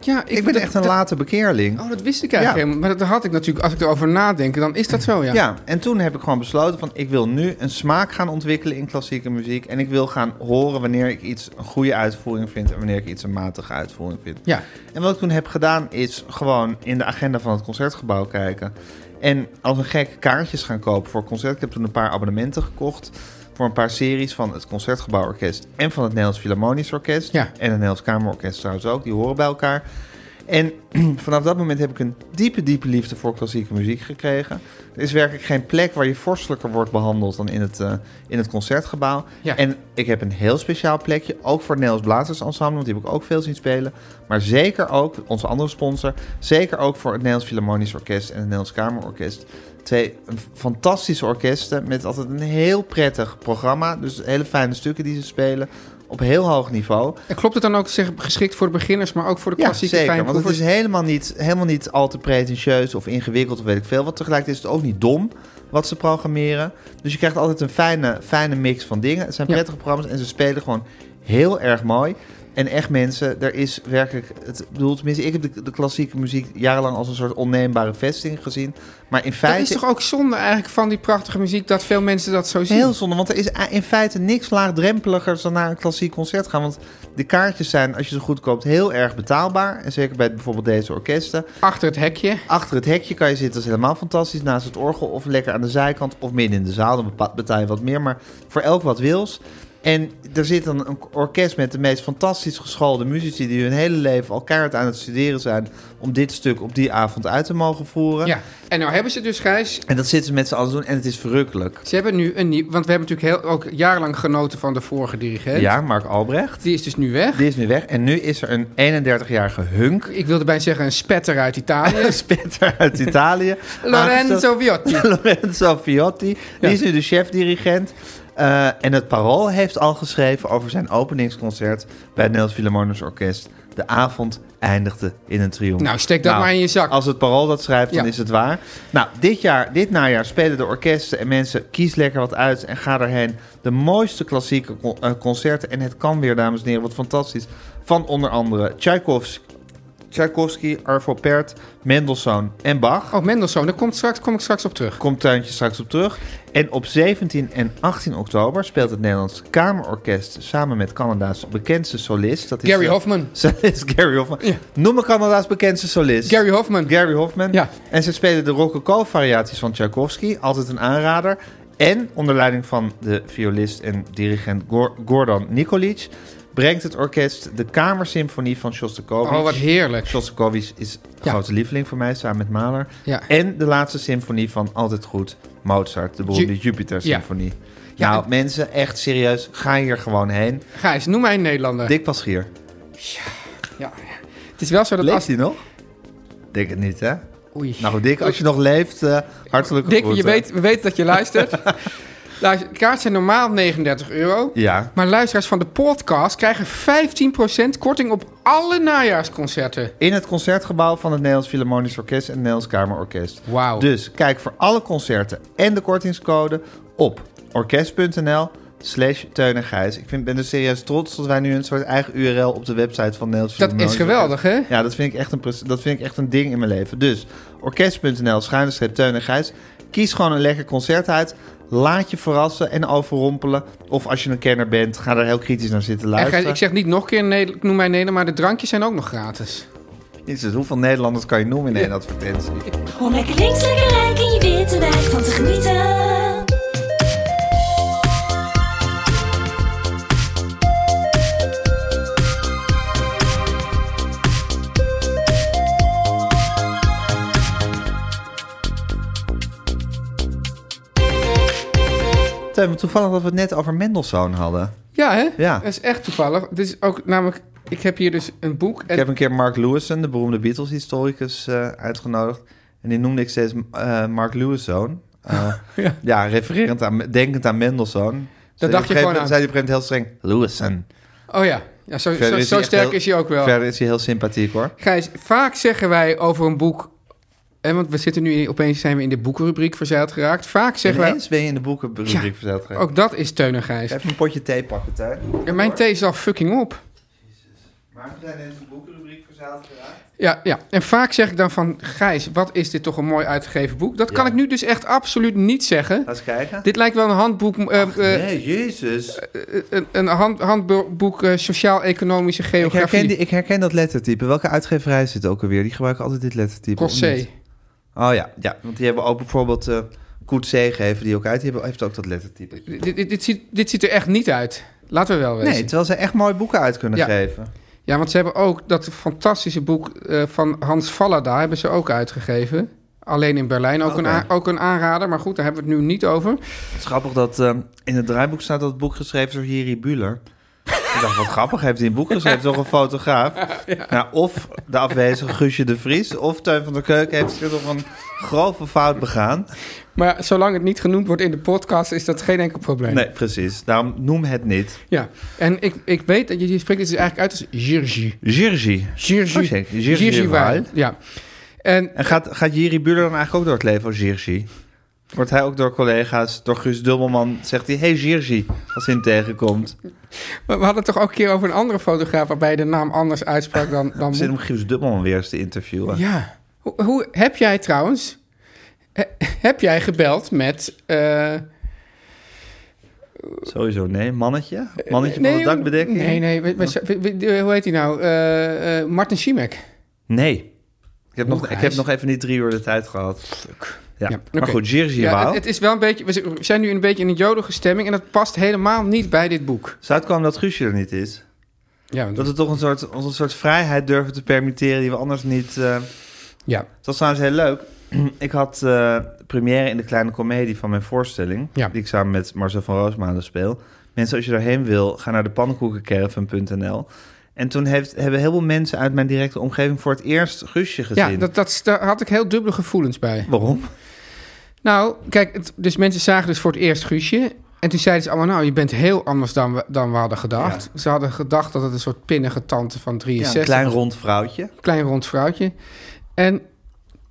[SPEAKER 2] Ja,
[SPEAKER 1] ik, ben
[SPEAKER 2] dat-
[SPEAKER 1] echt een
[SPEAKER 2] dat-
[SPEAKER 1] late bekeerling.
[SPEAKER 2] Oh, dat wist ik eigenlijk
[SPEAKER 1] Ja.
[SPEAKER 2] helemaal. Maar dat had ik natuurlijk, als ik erover nadenk, dan is dat zo, ja.
[SPEAKER 1] Ja. en toen heb ik gewoon besloten van ik wil nu een smaak gaan ontwikkelen in klassieke muziek. En ik wil gaan horen wanneer ik iets een goede uitvoering vind en wanneer ik iets een matige uitvoering vind.
[SPEAKER 2] Ja.
[SPEAKER 1] En wat ik toen heb gedaan is gewoon in de agenda van het concertgebouw kijken. En als een gek kaartjes gaan kopen voor concert. Ik heb toen een paar abonnementen gekocht voor een paar series van het Concertgebouworkest en van het Nederlands Philharmonisch Orkest.
[SPEAKER 2] Ja.
[SPEAKER 1] En het Nederlands Kamerorkest trouwens ook, die horen bij elkaar. En vanaf dat moment heb ik een diepe, diepe liefde voor klassieke muziek gekregen. Er is werkelijk geen plek waar je vorstelijker wordt behandeld dan in het, eh, in het concertgebouw.
[SPEAKER 2] Ja.
[SPEAKER 1] En ik heb een heel speciaal plekje, ook voor het Nederlands Blazers Ensemble, want die heb ik ook veel zien spelen. Maar zeker ook, onze andere sponsor, zeker ook voor het Nederlands Philharmonisch Orkest en het Nederlands Kamerorkest. Twee fantastische orkesten met altijd een heel prettig programma. Dus hele fijne stukken die ze spelen op heel hoog niveau.
[SPEAKER 2] En klopt het dan ook zeg, geschikt voor de beginners, maar ook voor de
[SPEAKER 1] Ja,
[SPEAKER 2] klassieke
[SPEAKER 1] zeker. Want het
[SPEAKER 2] fijnproevers?
[SPEAKER 1] is helemaal niet, helemaal niet al te pretentieus of ingewikkeld of weet ik veel. Want tegelijkertijd is het ook niet dom wat ze programmeren. Dus je krijgt altijd een fijne, fijne mix van dingen. Het zijn
[SPEAKER 2] Ja.
[SPEAKER 1] prettige programma's en ze spelen gewoon heel erg mooi. En echt mensen, er is werkelijk... Het, ik bedoel, tenminste, ik heb de, de klassieke muziek jarenlang als een soort onneembare vesting gezien. Maar in
[SPEAKER 2] Dat is
[SPEAKER 1] feite...
[SPEAKER 2] toch ook zonde eigenlijk van die prachtige muziek, dat veel mensen dat zo zien?
[SPEAKER 1] Heel zonde, want er is eh, in feite niks laagdrempeligers dan naar een klassiek concert gaan. Want de kaartjes zijn, als je ze goed koopt, heel erg betaalbaar. En zeker bij bijvoorbeeld deze orkesten.
[SPEAKER 2] Achter het hekje.
[SPEAKER 1] Achter het hekje kan je zitten, dat is helemaal fantastisch. Naast het orgel of lekker aan de zijkant of midden in de zaal. Dan bepa- betaal je wat meer, maar voor elk wat wils. En er zit dan een orkest met de meest fantastisch geschoolde muzici... die hun hele leven al keihard aan het studeren zijn... om dit stuk op die avond uit te mogen voeren.
[SPEAKER 2] Ja. En nou hebben ze dus, Gijs,
[SPEAKER 1] En dat zitten ze met z'n allen te doen en het is verrukkelijk.
[SPEAKER 2] Ze hebben nu een nieuw... Want we hebben natuurlijk heel, ook jarenlang genoten van de vorige dirigent.
[SPEAKER 1] Ja, Mark Albrecht.
[SPEAKER 2] Die is dus nu weg.
[SPEAKER 1] Die is nu weg en nu is er een 31-jarige hunk...
[SPEAKER 2] Ik wilde bijna zeggen een spetter uit Italië.
[SPEAKER 1] spitter uit Italië. Aangestel-
[SPEAKER 2] Lorenzo Viotti.
[SPEAKER 1] Lorenzo Fiotti. Die
[SPEAKER 2] Ja.
[SPEAKER 1] is nu de chef-dirigent. Eh, en het Parool heeft al geschreven over zijn openingsconcert bij het Nederlands Philharmonisch Orkest. De avond eindigde in een triomf.
[SPEAKER 2] Nou, steek dat maar in je zak.
[SPEAKER 1] Als het Parool dat schrijft, dan
[SPEAKER 2] Ja.
[SPEAKER 1] is het waar. Nou, dit, jaar, dit najaar spelen de orkesten en mensen, kies lekker wat uit en ga erheen. De mooiste klassieke con- eh, concerten. En het kan weer, dames en heren, wat fantastisch. Van onder andere Tchaikovsky, Tchaikovsky Arvo Pärt, Mendelssohn en Bach
[SPEAKER 2] Oh, Mendelssohn, daar komt straks, kom ik straks op terug.
[SPEAKER 1] komt Tuintje straks op terug. En op 17 en 18 oktober speelt het Nederlands Kamerorkest samen met Canada's bekendste solist. Dat is
[SPEAKER 2] Gary
[SPEAKER 1] eh,
[SPEAKER 2] Hoffman.
[SPEAKER 1] Solist Gary Hoffman.
[SPEAKER 2] Ja.
[SPEAKER 1] Noem me Canada's bekendste solist.
[SPEAKER 2] Gary Hoffman.
[SPEAKER 1] Gary Hoffman.
[SPEAKER 2] Ja.
[SPEAKER 1] En ze spelen de rococo-variaties van Tchaikovsky. Altijd een aanrader. En onder leiding van de violist en dirigent Gor- Gordon Nikolic... brengt het orkest de Kamersymfonie van Shostakovich.
[SPEAKER 2] Oh, wat heerlijk.
[SPEAKER 1] Shostakovich is een
[SPEAKER 2] Ja.
[SPEAKER 1] grote lieveling voor mij, samen met Mahler.
[SPEAKER 2] Ja.
[SPEAKER 1] En de laatste symfonie van Altijd Goed, Mozart, de beroemde
[SPEAKER 2] Ju-
[SPEAKER 1] Jupiter-symfonie.
[SPEAKER 2] Ja,
[SPEAKER 1] nou,
[SPEAKER 2] en-
[SPEAKER 1] mensen, echt serieus, ga hier gewoon heen.
[SPEAKER 2] Gijs, noem mij een Nederlander.
[SPEAKER 1] Dick Paschier.
[SPEAKER 2] Ja. Het is wel zo dat
[SPEAKER 1] Leeft
[SPEAKER 2] als...
[SPEAKER 1] hij nog? Denk het niet, hè?
[SPEAKER 2] Oei.
[SPEAKER 1] Nou, Dick, als je nog leeft, eh hartelijk
[SPEAKER 2] Dick, je weet, we weten dat je luistert. Luister, kaarten zijn normaal 39 euro.
[SPEAKER 1] Ja.
[SPEAKER 2] Maar luisteraars van de podcast krijgen 15% korting op alle najaarsconcerten.
[SPEAKER 1] In het concertgebouw van het Nederlands Philharmonisch Orkest en het Nederlands Kamerorkest.
[SPEAKER 2] Wauw.
[SPEAKER 1] Dus kijk voor alle concerten en de kortingscode op orkest.nl slash Teun en Gijs. Ik vind, ben dus serieus trots dat wij nu een soort eigen URL op de website van Nederlands
[SPEAKER 2] Dat is geweldig, hè?
[SPEAKER 1] Ja, dat vind ik echt een, pres- dat vind ik echt een ding in mijn leven. Dus orkest.nl, schuine streep Teun en Gijs. Kies gewoon een lekker concert uit. Laat je verrassen en overrompelen. Of als je een kenner bent, ga er heel kritisch naar zitten
[SPEAKER 2] En
[SPEAKER 1] luisteren.
[SPEAKER 2] Gijs, ik zeg niet nog een keer, Nederland, ik noem mij Nederland, maar de drankjes zijn ook nog gratis.
[SPEAKER 1] Jezus, hoeveel Nederlanders kan je noemen in één advertentie?
[SPEAKER 4] Om lekker links, lekker rijk in je witte wijk van te genieten.
[SPEAKER 1] Teun, maar toevallig dat we het net over Mendelssohn hadden.
[SPEAKER 2] Ja, hè?
[SPEAKER 1] Ja.
[SPEAKER 2] Dat is echt toevallig. Dit is ook namelijk, ik heb hier dus een boek. En
[SPEAKER 1] Ik heb een keer Mark Lewison, de beroemde Beatles-historicus, eh, uitgenodigd. En die noemde ik steeds eh, Mark Lewison. Eh, ja.
[SPEAKER 2] Ja.
[SPEAKER 1] refererend aan, denkend aan Mendelssohn. Zei
[SPEAKER 2] dacht
[SPEAKER 1] die
[SPEAKER 2] je
[SPEAKER 1] op een gegeven moment-
[SPEAKER 2] gewoon
[SPEAKER 1] Zei hij op een gegeven moment heel streng, Lewison.
[SPEAKER 2] Oh ja, ja zo,
[SPEAKER 1] Verder
[SPEAKER 2] zo, zo
[SPEAKER 1] hij echt
[SPEAKER 2] sterk
[SPEAKER 1] heel-
[SPEAKER 2] is hij ook wel.
[SPEAKER 1] Verder is hij heel sympathiek, hoor.
[SPEAKER 2] Gijs, vaak zeggen wij over een boek... Hè, want we zitten nu in- opeens zijn we in de boekenrubriek verzeild geraakt. Vaak zeggen wij...
[SPEAKER 1] Ineens ben je in de boekenrubriek
[SPEAKER 2] Ja,
[SPEAKER 1] verzeld geraakt.
[SPEAKER 2] Ook dat is Teun en Gijs.
[SPEAKER 1] Even een potje thee pakken, Tuin.
[SPEAKER 2] En mijn thee is al fucking op.
[SPEAKER 1] Maar we zijn in de boekenrubriek verzeld geraakt.
[SPEAKER 2] Ja, ja, en vaak zeg ik dan van... Gijs, wat is dit toch een mooi uitgegeven boek? Dat kan
[SPEAKER 1] Ja.
[SPEAKER 2] ik nu dus echt absoluut niet zeggen.
[SPEAKER 1] Laat eens kijken.
[SPEAKER 2] Dit lijkt wel een handboek... eh, eh,
[SPEAKER 1] nee, jezus.
[SPEAKER 2] een, een hand, handboek eh, sociaal-economische
[SPEAKER 1] Ik herken,
[SPEAKER 2] geografie.
[SPEAKER 1] die- ik herken dat lettertype. Welke uitgeverij zit ook alweer? Die gebruiken altijd dit lettertype. of niet?
[SPEAKER 2] Cossé.
[SPEAKER 1] Oh ja, ja, want die hebben ook bijvoorbeeld eh Koet gegeven, die ook uit. Die hebben, heeft ook dat lettertype.
[SPEAKER 2] Dit, dit, dit, ziet, dit ziet er echt niet uit. Laten we wel weten.
[SPEAKER 1] Nee, terwijl ze echt mooie boeken uit kunnen
[SPEAKER 2] Ja.
[SPEAKER 1] geven.
[SPEAKER 2] Ja, want ze hebben ook dat fantastische boek eh, van Hans Vallada hebben ze ook uitgegeven. Alleen in Berlijn ook, een,
[SPEAKER 1] Oké.
[SPEAKER 2] a- ook een aanrader, maar goed, daar hebben we het nu niet over.
[SPEAKER 1] Het is grappig dat eh, in het draaiboek staat dat het boek geschreven is door Jiri Buhler. Ik dacht, wat grappig, heeft hij een boek geschreven door een fotograaf? Nou, of de afwezige Guusje de Vries, of Teun van der Keuken heeft zich toch een grove fout begaan.
[SPEAKER 2] Maar zolang het niet genoemd wordt in de podcast, is dat geen enkel probleem.
[SPEAKER 1] Nee, precies. Daarom noem het niet.
[SPEAKER 2] Ja, en ik, ik weet dat je, je spreekt het dus eigenlijk uit als Jirgi.
[SPEAKER 1] Jirgi. Oh,
[SPEAKER 2] Jirgi.
[SPEAKER 1] zeker. Jirgi Waal.
[SPEAKER 2] Ja. En
[SPEAKER 1] En gaat, gaat Jiri Buhler dan eigenlijk ook door het leven als Jirgi? Wordt hij ook door collega's, door Guus Dubbelman, zegt hij... Hey Jirgi, als hij hem tegenkomt.
[SPEAKER 2] we we hadden het toch ook een keer over een andere fotograaf waarbij je de naam anders uitsprak dan... dan
[SPEAKER 1] Ik zit om Guus Dubbelman weer eens te interviewen.
[SPEAKER 2] Ja. Hoe, hoe- heb jij trouwens... he- heb jij gebeld met... eh,
[SPEAKER 1] Sowieso, nee. Mannetje? Mannetje van de
[SPEAKER 2] joh.
[SPEAKER 1] dakbedekking?
[SPEAKER 2] Eh, Nee, nee. we- we- we- we- hoe heet hij nou? Eh, eh, Martin Schimek.
[SPEAKER 1] Nee. Ik heb, nog,
[SPEAKER 2] Hoe,
[SPEAKER 1] ik heb
[SPEAKER 2] Gijs?
[SPEAKER 1] nog even niet drie uur de tijd gehad. Ja.
[SPEAKER 2] Ja,
[SPEAKER 1] Maar
[SPEAKER 2] oké.
[SPEAKER 1] goed, Jirgi
[SPEAKER 2] Ja,
[SPEAKER 1] Waal.
[SPEAKER 2] het, het is wel een beetje... We zi- we zijn nu een beetje in een jodige stemming... en dat past helemaal niet bij dit boek.
[SPEAKER 1] Zou het komen dat Guusje er niet is?
[SPEAKER 2] Ja, want-
[SPEAKER 1] Dat we toch een soort, ons een soort vrijheid durven te permitteren die we anders niet... eh,
[SPEAKER 2] ja,
[SPEAKER 1] Dat was trouwens heel leuk. Ik had eh première in de kleine komedie van mijn voorstelling.
[SPEAKER 2] Ja.
[SPEAKER 1] Die ik samen met Marcel van Roosmalen speel. Mensen, als je daarheen wil, ga naar de pannenkoekencaravan.nl. En toen heeft, hebben heel veel mensen uit mijn directe omgeving voor het eerst Guusje gezien.
[SPEAKER 2] ja dat, dat, daar had ik heel dubbele gevoelens bij.
[SPEAKER 1] Waarom?
[SPEAKER 2] Nou, kijk, het- dus mensen zagen dus voor het eerst Guusje... En toen zeiden ze allemaal, nou, je bent heel anders dan we, dan we hadden gedacht. Ze hadden gedacht dat het een soort pinnige tante van
[SPEAKER 1] Ja,
[SPEAKER 2] 63
[SPEAKER 1] een klein rond vrouwtje.
[SPEAKER 2] klein rond vrouwtje. En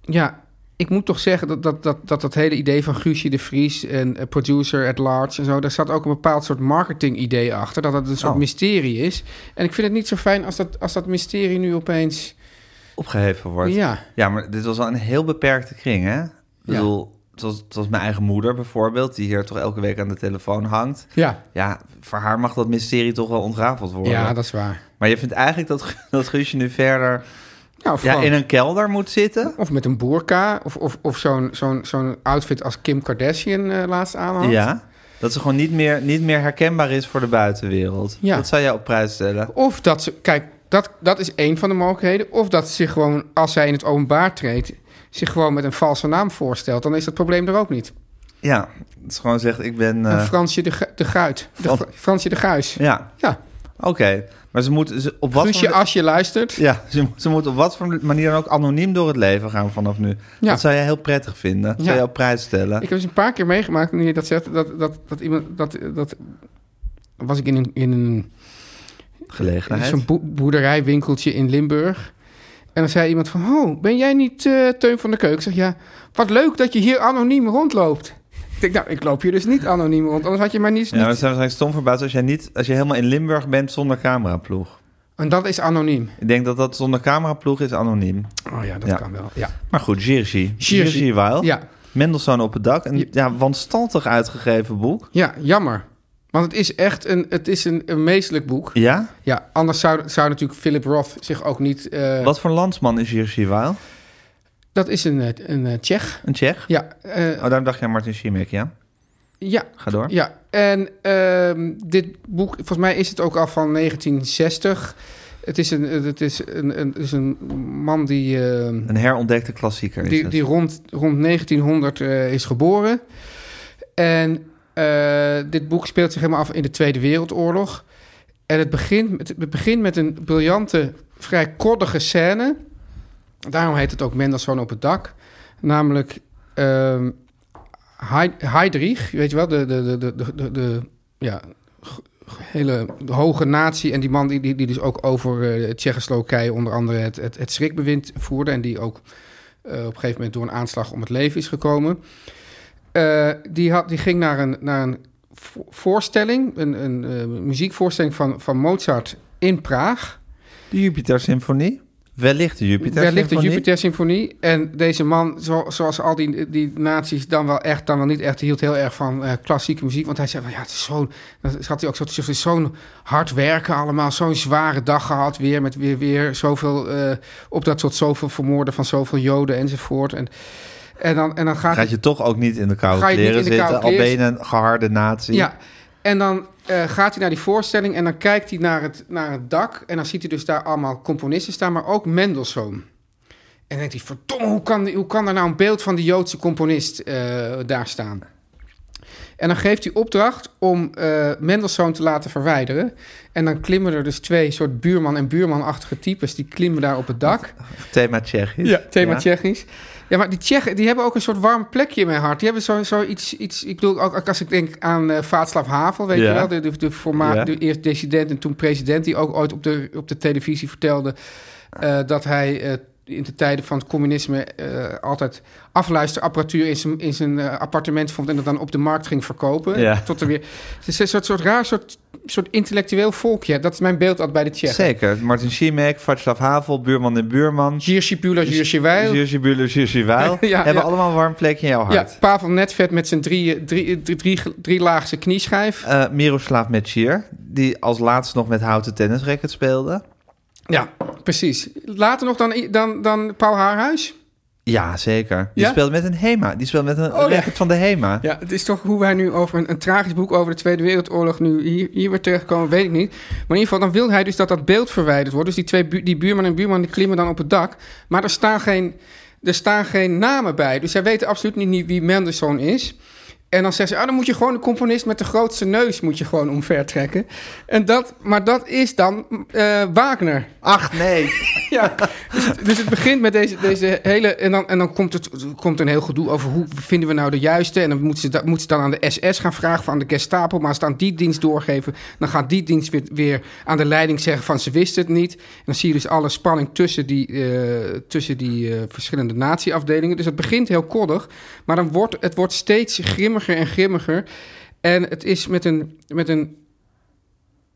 [SPEAKER 2] ja, ik moet toch zeggen dat dat, dat, dat, dat hele idee van Guusje de Vries en eh, producer at large en zo, daar zat ook een bepaald soort marketing idee achter. Dat het een soort
[SPEAKER 1] Oh.
[SPEAKER 2] mysterie is. En ik vind het niet zo fijn als dat, als dat mysterie nu opeens.
[SPEAKER 1] Opgeheven wordt.
[SPEAKER 2] Ja,
[SPEAKER 1] Ja, maar dit was al een heel beperkte kring, hè? Ik bedoel, het was, het was mijn eigen moeder bijvoorbeeld, die hier toch elke week aan de telefoon hangt.
[SPEAKER 2] ja,
[SPEAKER 1] Ja, voor haar mag dat mysterie toch wel ontrafeld worden.
[SPEAKER 2] ja, dat is waar.
[SPEAKER 1] Maar je vindt eigenlijk dat, Gu- dat Guusje nu verder...
[SPEAKER 2] Ja, of,
[SPEAKER 1] Ja,
[SPEAKER 2] gewoon-
[SPEAKER 1] in een kelder moet zitten.
[SPEAKER 2] of met een boerka, of, of, of zo'n zo'n zo'n outfit als Kim Kardashian eh, laatst aan had.
[SPEAKER 1] Ja. Dat ze gewoon niet meer, niet meer herkenbaar is voor de buitenwereld.
[SPEAKER 2] Ja.
[SPEAKER 1] Dat zou jij op prijs stellen.
[SPEAKER 2] Of dat ze, kijk, dat, dat is één van de mogelijkheden. Of dat ze zich gewoon, als zij in het openbaar treedt, zich gewoon met een valse naam voorstelt. Dan is dat probleem er ook niet.
[SPEAKER 1] Ja, dat is gewoon zegt, ik ben...
[SPEAKER 2] Een
[SPEAKER 1] eh,
[SPEAKER 2] Fransje de, Gu- de Guit. De
[SPEAKER 1] Fran-
[SPEAKER 2] Fra- Fransje de Guis.
[SPEAKER 1] ja,
[SPEAKER 2] Ja,
[SPEAKER 1] oké. Maar ze moet ze, op wat
[SPEAKER 2] Guusje,
[SPEAKER 1] voor...
[SPEAKER 2] als je luistert.
[SPEAKER 1] Ja, ze, moet- ze moet op wat voor manier dan ook anoniem door het leven gaan vanaf nu.
[SPEAKER 2] Ja.
[SPEAKER 1] Dat zou jij heel prettig vinden. Dat zou
[SPEAKER 2] Ja.
[SPEAKER 1] jij op prijs stellen.
[SPEAKER 2] Ik heb eens een paar keer meegemaakt, nu je dat zegt, dat, dat, dat iemand, dat, dat was ik in een, in een
[SPEAKER 1] Gelegenheid.
[SPEAKER 2] zo'n boe- boerderijwinkeltje in Limburg. En dan zei iemand van, oh, ben jij niet eh, Teun van de Keuk? Ik zeg, ja, wat leuk dat je hier anoniem rondloopt. denk, nou, ik loop hier dus niet anoniem rond, anders had je mij niets
[SPEAKER 1] Ja, maar ze
[SPEAKER 2] niet.
[SPEAKER 1] zijn waarschijnlijk stom verbaasd als, jij niet, als je helemaal in Limburg bent zonder cameraploeg.
[SPEAKER 2] En dat is anoniem.
[SPEAKER 1] Ik denk dat dat zonder cameraploeg is anoniem.
[SPEAKER 2] Oh ja, dat
[SPEAKER 1] Ja. Oh.
[SPEAKER 2] kan wel. Ja.
[SPEAKER 1] Maar goed, Jirgi.
[SPEAKER 2] Jirzy.
[SPEAKER 1] Jirgi Weil.
[SPEAKER 2] ja,
[SPEAKER 1] Mendelssohn op het dak. Een
[SPEAKER 2] Ja.
[SPEAKER 1] ja. wanstaltig uitgegeven boek.
[SPEAKER 2] ja, jammer. Want het is echt een, het is een, een meestelijk boek.
[SPEAKER 1] Ja?
[SPEAKER 2] Ja, anders zou, zou natuurlijk Philip Roth zich ook niet... eh,
[SPEAKER 1] Wat voor landsman is Jirgi Weil?
[SPEAKER 2] Dat is een, eh, een eh, Tsjech.
[SPEAKER 1] Een Tsjech?
[SPEAKER 2] Ja, eh,
[SPEAKER 1] Oh, daarom dacht jij Martin Schimek, ja?
[SPEAKER 2] ja,
[SPEAKER 1] Ga door.
[SPEAKER 2] ja. En ehm, dit boek, volgens mij is het ook al van 1960. Het is een, het is een, een, het is een man die... ehm,
[SPEAKER 1] Een herontdekte klassieker is
[SPEAKER 2] die,
[SPEAKER 1] het.
[SPEAKER 2] die rond, rond 1900 eh, is geboren. En eh, dit boek speelt zich helemaal af in de Tweede Wereldoorlog. En het begint met, het begint met een briljante, vrij koddige scène. Daarom heet het ook Mendelssohn op het dak. Namelijk ehm Heid- Heydrich, weet je wel, de, de, de, de, de, de, de- ja, g- g- hele hoge natie. En die man die, die, die dus ook over eh Tsjechoslowakije onder andere het, het, het schrikbewind voerde. En die ook eh, op een gegeven moment door een aanslag om het leven is gekomen. Eh, die, had, die ging naar een, naar een vo- voorstelling, een, een eh, muziekvoorstelling van, van Mozart in Praag.
[SPEAKER 1] De Jupiter Symfonie? Wellicht de Jupiter
[SPEAKER 2] Daar ligt de
[SPEAKER 1] Symfonie.
[SPEAKER 2] Jupiter Symfonie. En deze man, zo, zoals al die, die naties dan wel echt, dan wel niet echt, hield heel erg van eh, klassieke muziek. Want hij zei, van, ja, het is zo'n, dat had hij ook zo, te zeggen, het is zo'n hard werken allemaal, zo'n zware dag gehad weer, met weer, weer zoveel eh opdracht tot zoveel vermoorden van zoveel joden enzovoort. En, en, dan, en dan gaat hij-
[SPEAKER 1] Gaat je toch ook niet in de koude
[SPEAKER 2] Ga je niet
[SPEAKER 1] kleren
[SPEAKER 2] in de
[SPEAKER 1] zitten,
[SPEAKER 2] koude
[SPEAKER 1] al ben
[SPEAKER 2] kleren
[SPEAKER 1] je een geharde natie.
[SPEAKER 2] Ja, en dan eh, gaat hij naar die voorstelling en dan kijkt hij naar het, naar het dak. En dan ziet hij dus daar allemaal componisten staan, maar ook Mendelssohn. En dan denkt hij, verdomme, hoe kan, hoe kan er nou een beeld van die Joodse componist eh, daar staan? En dan geeft hij opdracht om eh Mendelssohn te laten verwijderen. En dan klimmen er dus twee soort buurman- en buurmanachtige types. Die klimmen daar op het dak.
[SPEAKER 1] Thema Tsjechisch.
[SPEAKER 2] Ja, thema Tsjechisch. Ja, maar die Tsjechen die hebben ook een soort warm plekje in mijn hart. Die hebben zo- zoiets, iets, iets, ik bedoel, ook, ook als ik denk aan eh Vaatslav Havel, weet
[SPEAKER 1] Ja.
[SPEAKER 2] je wel, de, de, de voormalig,
[SPEAKER 1] Ja.
[SPEAKER 2] de eerst dissident en toen president, die ook ooit op de, op de televisie vertelde eh, dat hij eh, in de tijden van het communisme eh, altijd afluisterapparatuur in zijn, in zijn eh, appartement vond en dat dan op de markt ging verkopen.
[SPEAKER 1] Ja.
[SPEAKER 2] Tot er weer, het is een soort, soort raar, soort, soort intellectueel volkje. Dat is mijn beeld altijd bij de Tsjechen.
[SPEAKER 1] Zeker. Martin Schimek, Václav Havel, Buurman en Buurman.
[SPEAKER 2] Jirsje Pula, Jirsje Weil.
[SPEAKER 1] Jirsi Buller, Jirsi Weil.
[SPEAKER 2] Ja,
[SPEAKER 1] hebben
[SPEAKER 2] ja.
[SPEAKER 1] allemaal een warm plekje in jouw hart.
[SPEAKER 2] Ja, Pavel Netvet met zijn drie, drie, drie, drie, drielaagse knieschijf.
[SPEAKER 1] Eh, Miroslav Metjier, die als laatst nog met houten tennisracket speelde.
[SPEAKER 2] Ja, precies. Later nog dan, dan, dan Paul Haarhuis.
[SPEAKER 1] Ja, zeker. Die
[SPEAKER 2] Ja?
[SPEAKER 1] speelde met een HEMA. Die speelde met een
[SPEAKER 2] Oh, ja.
[SPEAKER 1] racket van de HEMA.
[SPEAKER 2] Ja, het is toch hoe wij nu over een, een tragisch boek over de Tweede Wereldoorlog nu hier, hier weer terechtkomen, weet ik niet. Maar in ieder geval, dan wil hij dus dat dat beeld verwijderd wordt. Dus die twee bu- die buurman en buurman die klimmen dan op het dak. Maar er staan geen, er staan geen namen bij. Dus zij weten absoluut niet, niet wie Mendelssohn is. En dan zeggen ze, ah, dan moet je gewoon de componist met de grootste neus moet je gewoon omver trekken. En dat, maar dat is dan eh, Wagner.
[SPEAKER 1] Ach, nee.
[SPEAKER 2] Ja, dus het, dus het begint met deze, deze hele... En dan, en dan komt, het, komt een heel gedoe over hoe vinden we nou de juiste. En dan moeten ze, da- moeten ze dan aan de SS gaan vragen, van de Gestapo. Maar als ze het aan die dienst doorgeven... dan gaat die dienst weer, weer aan de leiding zeggen van ze wist het niet. En dan zie je dus alle spanning tussen die, eh, tussen die eh, verschillende natieafdelingen. Dus het begint heel koddig. Maar dan wordt, het wordt steeds grimmiger en grimmiger. En het is met een... Met een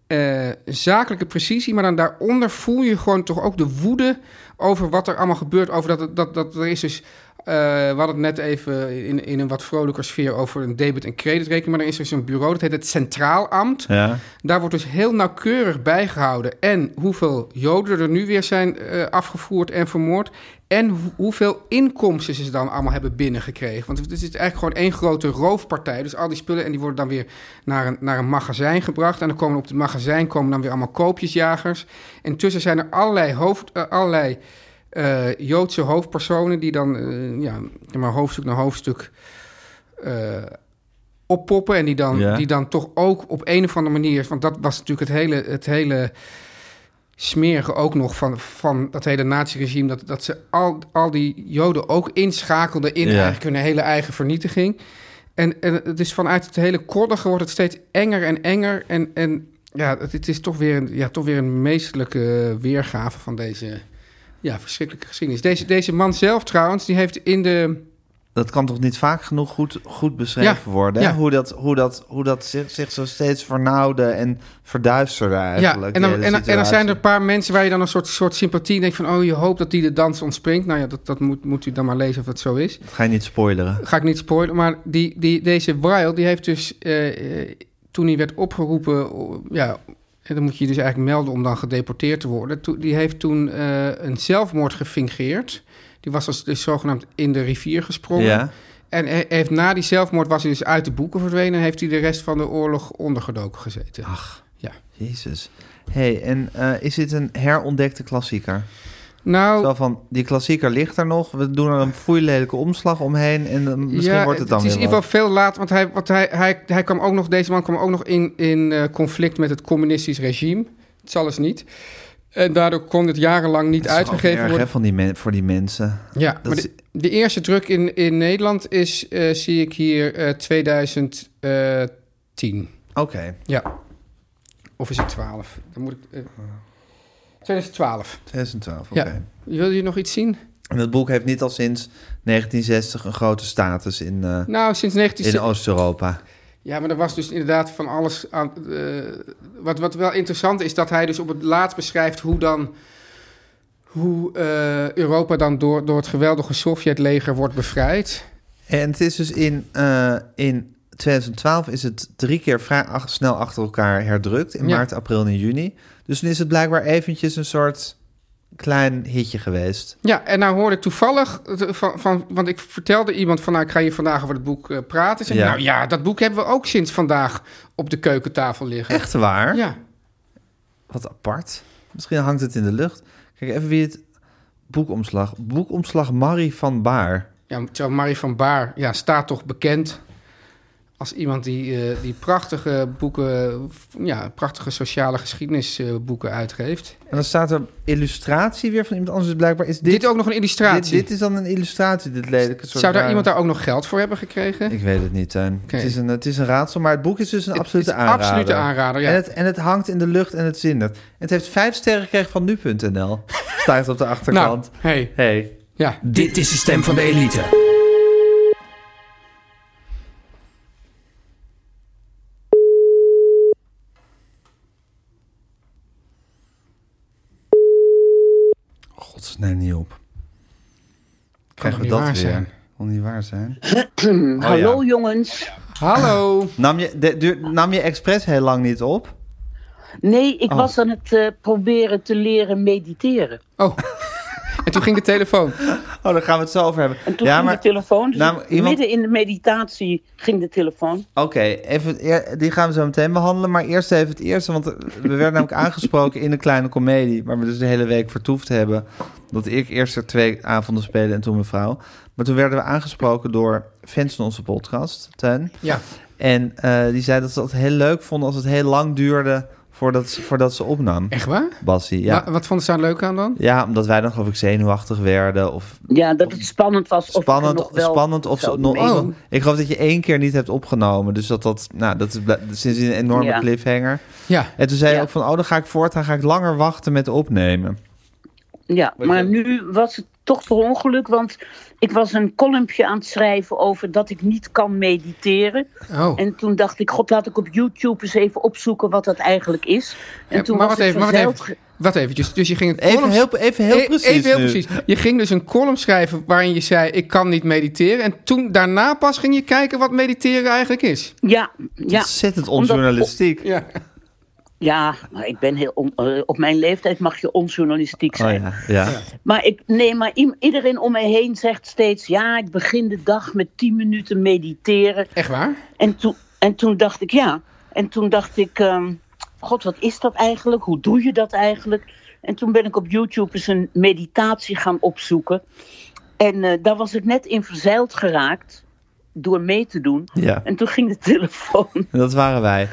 [SPEAKER 2] eh, zakelijke precisie, maar dan daaronder voel je gewoon toch ook de woede over wat er allemaal gebeurt. Over dat, dat, dat er is dus. eh, we hadden het net even in, in een wat vrolijker sfeer over een debit- en creditrekening. Maar er is dus een bureau, dat heet het Centraal Ambt.
[SPEAKER 1] Ja.
[SPEAKER 2] Daar wordt dus heel nauwkeurig bijgehouden. En hoeveel Joden er nu weer zijn eh, afgevoerd en vermoord. En ho- hoeveel inkomsten ze dan allemaal hebben binnengekregen. Want het is eigenlijk gewoon één grote roofpartij. Dus al die spullen en die worden dan weer naar een, naar een magazijn gebracht. En dan komen op het magazijn komen dan weer allemaal koopjesjagers. En tussen zijn er allerlei, hoofd, eh, allerlei eh, Joodse hoofdpersonen die dan eh, ja, zeg maar hoofdstuk naar hoofdstuk eh, oppoppen. En die dan,
[SPEAKER 1] Ja.
[SPEAKER 2] die dan toch ook op een of andere manier. Want dat was natuurlijk het hele, het hele smerige ook nog van, van dat hele naziregime. Dat, dat ze al, al die Joden ook inschakelden in
[SPEAKER 1] Ja.
[SPEAKER 2] eigenlijk hun hele eigen vernietiging. En, en het is vanuit het hele koddige wordt het steeds enger en enger. En, en ja, het, het is toch weer, een, ja, toch weer een meestelijke weergave van deze ja, verschrikkelijke geschiedenis. Deze, deze man zelf trouwens, die heeft in de
[SPEAKER 1] dat kan toch niet vaak genoeg goed, goed beschreven
[SPEAKER 2] Ja,
[SPEAKER 1] worden? hè?
[SPEAKER 2] ja.
[SPEAKER 1] Hoe dat, hoe dat, hoe dat zich, zich zo steeds vernauwde en verduisterde
[SPEAKER 2] Ja,
[SPEAKER 1] eigenlijk.
[SPEAKER 2] en
[SPEAKER 1] die
[SPEAKER 2] dan,
[SPEAKER 1] hele
[SPEAKER 2] en, dan- en dan zijn er
[SPEAKER 1] situatie.
[SPEAKER 2] een paar mensen waar je dan een soort, soort sympathie denkt van... oh, je hoopt dat die de dans ontspringt. Nou ja, dat, dat moet, moet u dan maar lezen of dat zo is.
[SPEAKER 1] Dat ga je niet spoileren.
[SPEAKER 2] Ga ik niet spoilen, maar die, die, deze Wilde, die heeft dus... eh, eh, toen hij werd opgeroepen, o- ja, en dan moet je je dus eigenlijk melden om dan gedeporteerd te worden. Toen- die heeft toen eh, een zelfmoord gefingeerd. Die was dus, dus zogenaamd in de rivier gesprongen.
[SPEAKER 1] Ja.
[SPEAKER 2] En hij heeft na die zelfmoord was hij dus uit de boeken verdwenen... en heeft hij de rest van de oorlog ondergedoken gezeten. Ach. Ja.
[SPEAKER 1] Jezus. hey, en eh, is dit een herontdekte klassieker?
[SPEAKER 2] Nou,
[SPEAKER 1] Zo van, die klassieker ligt er nog. We doen er een foeilelijke omslag omheen. En dan- misschien wordt het dan
[SPEAKER 2] is
[SPEAKER 1] weer
[SPEAKER 2] in ieder
[SPEAKER 1] wat.
[SPEAKER 2] geval veel later, want, hij, want hij, hij, hij kwam ook nog, deze man kwam ook nog in, in eh, conflict met het communistisch regime. Het zal eens niet. En daardoor kon het jarenlang niet
[SPEAKER 1] Het is toch ook
[SPEAKER 2] uitgegeven
[SPEAKER 1] erg,
[SPEAKER 2] worden.
[SPEAKER 1] hè, van die men- voor die mensen.
[SPEAKER 2] Ja, maar
[SPEAKER 1] is-
[SPEAKER 2] de, de eerste druk in, in Nederland is, eh, zie ik hier, eh 2010.
[SPEAKER 1] Oké.
[SPEAKER 2] Ja. Of is het 12? Dan moet ik... eh, 2012.
[SPEAKER 1] 2012, Ah. oké.
[SPEAKER 2] Ja. Wil je nog iets zien?
[SPEAKER 1] En het boek heeft niet al sinds 1960 een grote status in, eh,
[SPEAKER 2] Nou, sinds 19...
[SPEAKER 1] in Oost-Europa.
[SPEAKER 2] Ja, maar er was dus inderdaad van alles aan. eh, wat, wat wel interessant is, dat hij dus op het laatst beschrijft hoe dan. Hoe eh, Europa dan door, door het geweldige Sovjetleger wordt bevrijd.
[SPEAKER 1] En het is dus in, eh, in 2012 is het drie keer vrij ach- snel achter elkaar herdrukt. In
[SPEAKER 2] Ja.
[SPEAKER 1] maart, april en juni. Dus dan is het blijkbaar eventjes een soort klein hitje geweest.
[SPEAKER 2] Ja, en nou hoorde ik toevallig eh, van, van want ik vertelde iemand van, nou, ik ga hier vandaag over het boek eh, praten. Zeg,
[SPEAKER 1] Ja.
[SPEAKER 2] Nou ja, dat boek hebben we ook sinds vandaag op de keukentafel liggen.
[SPEAKER 1] Echt waar?
[SPEAKER 2] Ja,
[SPEAKER 1] Wat apart. Misschien hangt het in de lucht. Kijk even wie het boekomslag. Boekomslag Marie van Baar.
[SPEAKER 2] ja terwijl Marie van Baar ja, staat toch bekend als iemand die, eh, die prachtige boeken, ja, prachtige sociale geschiedenisboeken uitgeeft.
[SPEAKER 1] En dan staat er illustratie weer van iemand anders. Dus blijkbaar is dit...
[SPEAKER 2] Dit, ook nog een
[SPEAKER 1] dit,
[SPEAKER 2] illustratie.
[SPEAKER 1] dit is dan een illustratie, dit lelijke soort
[SPEAKER 2] Zou daar
[SPEAKER 1] rare-
[SPEAKER 2] iemand daar ook nog geld voor hebben gekregen?
[SPEAKER 1] Ik weet het niet, Tuin.
[SPEAKER 2] Oké.
[SPEAKER 1] Het, is een, het is een raadsel, maar het boek is dus een absolute
[SPEAKER 2] Het is
[SPEAKER 1] aanrader.
[SPEAKER 2] Absolute aanrader, ja.
[SPEAKER 1] En, het, en het hangt in de lucht en het zindert. Het heeft vijf sterren gekregen van nu.nl. Staat op de
[SPEAKER 2] nou,
[SPEAKER 1] achterkant.
[SPEAKER 2] hey,
[SPEAKER 1] Hey.
[SPEAKER 2] ja.
[SPEAKER 3] Dit is de stem van de elite.
[SPEAKER 1] God, neem niet op. Krijgen we
[SPEAKER 2] toch
[SPEAKER 1] dat
[SPEAKER 2] niet
[SPEAKER 1] weer?
[SPEAKER 2] waar zijn?
[SPEAKER 1] Kon niet waar zijn. Oh, ja.
[SPEAKER 5] Hallo jongens.
[SPEAKER 2] Hallo.
[SPEAKER 1] Nam je, de, duur- nam je expres heel lang niet op?
[SPEAKER 5] Nee, ik
[SPEAKER 1] Oh.
[SPEAKER 5] was aan het eh, proberen te leren mediteren.
[SPEAKER 2] Oh, en toen ging de telefoon.
[SPEAKER 1] Oh, daar gaan we het zo over hebben.
[SPEAKER 5] En toen
[SPEAKER 1] ja,
[SPEAKER 5] ging
[SPEAKER 1] maar...
[SPEAKER 5] de telefoon. Dus
[SPEAKER 1] Nou,
[SPEAKER 5] ik-
[SPEAKER 1] iemand-
[SPEAKER 5] Midden in de meditatie ging de telefoon.
[SPEAKER 1] Oké, even eer- die gaan we zo meteen behandelen. Maar eerst even het eerste, want we werden namelijk aangesproken in de kleine komedie. Waar we dus de hele week vertoefd hebben. Dat ik eerst er twee avonden spelen en toen mijn vrouw. Maar toen werden we aangesproken door fans van onze podcast, Tuin.
[SPEAKER 2] Ja.
[SPEAKER 1] En eh, die zei dat ze dat heel leuk vonden als het heel lang duurde voordat ze, voordat ze opnam.
[SPEAKER 2] Echt waar?
[SPEAKER 1] Bassie, ja.
[SPEAKER 2] Wa- wat vonden ze daar leuk aan dan?
[SPEAKER 1] Ja, omdat wij dan geloof ik zenuwachtig werden of
[SPEAKER 5] Ja, dat het spannend was. Of
[SPEAKER 1] Spannend,
[SPEAKER 5] ik er nog wel
[SPEAKER 1] spannend of zo.
[SPEAKER 5] zou
[SPEAKER 1] nog-
[SPEAKER 5] mee-
[SPEAKER 2] Oh.
[SPEAKER 1] Ik geloof dat je één keer niet hebt opgenomen. Dus dat, dat, nou, dat is bla- sindsdien een enorme
[SPEAKER 5] Ja.
[SPEAKER 1] cliffhanger.
[SPEAKER 2] Ja.
[SPEAKER 1] En toen zei je
[SPEAKER 5] Ja.
[SPEAKER 1] ook van, oh, dan ga ik voortaan ga ik langer wachten met opnemen.
[SPEAKER 5] Ja, maar nu was het toch per ongeluk. Want ik was een kolompje aan het schrijven over dat ik niet kan mediteren.
[SPEAKER 2] Oh.
[SPEAKER 5] En toen dacht ik, god, laat ik op YouTube eens even opzoeken wat dat eigenlijk is. En
[SPEAKER 2] Ja,
[SPEAKER 5] toen
[SPEAKER 2] maar
[SPEAKER 5] was
[SPEAKER 2] wat
[SPEAKER 5] ik
[SPEAKER 2] even, maar wat
[SPEAKER 5] verzeild
[SPEAKER 2] even.
[SPEAKER 5] ge-
[SPEAKER 2] Wat eventjes. Dus je ging een
[SPEAKER 1] Even
[SPEAKER 2] column-
[SPEAKER 1] heel, even heel
[SPEAKER 2] E-
[SPEAKER 1] precies
[SPEAKER 2] Even heel
[SPEAKER 1] nu.
[SPEAKER 2] precies. Je ging dus een column schrijven waarin je zei: Ik kan niet mediteren. En toen daarna pas ging je kijken wat mediteren eigenlijk is.
[SPEAKER 5] Ja, ja.
[SPEAKER 1] Ontzettend
[SPEAKER 5] Omdat-
[SPEAKER 1] onjournalistiek.
[SPEAKER 2] Ja.
[SPEAKER 5] Ja, maar ik ben heel on- eh, op mijn leeftijd mag je onjournalistiek
[SPEAKER 1] Oh
[SPEAKER 5] zijn.
[SPEAKER 1] ja, ja.
[SPEAKER 5] Maar, ik, nee, maar i- iedereen om me heen zegt steeds: ja, ik begin de dag met 10 minuten mediteren.
[SPEAKER 2] Echt waar?
[SPEAKER 5] En, toen en toen dacht ik: ja. En toen dacht ik: ehm, God, wat is dat eigenlijk? Hoe doe je dat eigenlijk? En toen ben ik op YouTube eens een meditatie gaan opzoeken. En eh, daar was ik net in verzeild geraakt door mee te doen.
[SPEAKER 1] ja.
[SPEAKER 5] En toen ging de telefoon.
[SPEAKER 1] Dat waren wij.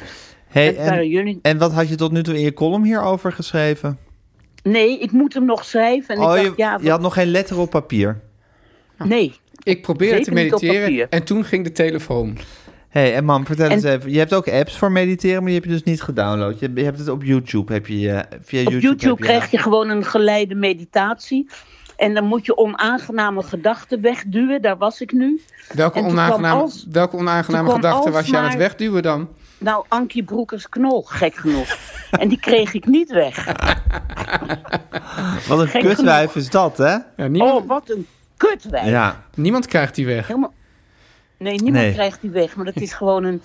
[SPEAKER 1] Hey,
[SPEAKER 5] Dat waren
[SPEAKER 1] en,
[SPEAKER 5] jullie.
[SPEAKER 1] en wat had je tot nu toe in je column hierover geschreven?
[SPEAKER 5] Nee, ik moet hem nog schrijven. En
[SPEAKER 1] oh,
[SPEAKER 5] ik
[SPEAKER 1] je,
[SPEAKER 5] dacht, ja,
[SPEAKER 1] je had nog geen letter op papier.
[SPEAKER 5] nee.
[SPEAKER 2] Ik probeerde
[SPEAKER 5] Zeker
[SPEAKER 2] te
[SPEAKER 5] niet op papier.
[SPEAKER 2] mediteren. En toen ging de telefoon.
[SPEAKER 1] hey, en mam, vertel
[SPEAKER 5] En-
[SPEAKER 1] eens even. Je hebt ook apps voor mediteren, maar die heb je dus niet gedownload. Je, je hebt het op YouTube. Heb je, eh, via
[SPEAKER 5] Op YouTube
[SPEAKER 1] heb je-
[SPEAKER 5] krijg je gewoon een geleide meditatie. En dan moet je onaangename gedachten wegduwen. Daar was ik nu.
[SPEAKER 2] Welke
[SPEAKER 5] En toen
[SPEAKER 2] onaangename,
[SPEAKER 5] kwam als-
[SPEAKER 2] welke onaangename
[SPEAKER 5] toen kwam
[SPEAKER 2] gedachte was je aan het
[SPEAKER 5] alsmaar-
[SPEAKER 2] wegduwen dan?
[SPEAKER 5] Nou, Ankie Broekers knol, gek genoeg. en die kreeg ik niet weg.
[SPEAKER 1] Wat een
[SPEAKER 5] Gek
[SPEAKER 1] kutwijf is dat, hè?
[SPEAKER 2] Ja, niemand,
[SPEAKER 5] Oh, wat een kutwijk.
[SPEAKER 1] Ja.
[SPEAKER 2] niemand krijgt die weg.
[SPEAKER 5] Helemaal... Nee, niemand
[SPEAKER 1] Nee.
[SPEAKER 5] krijgt die weg. Maar dat is gewoon een,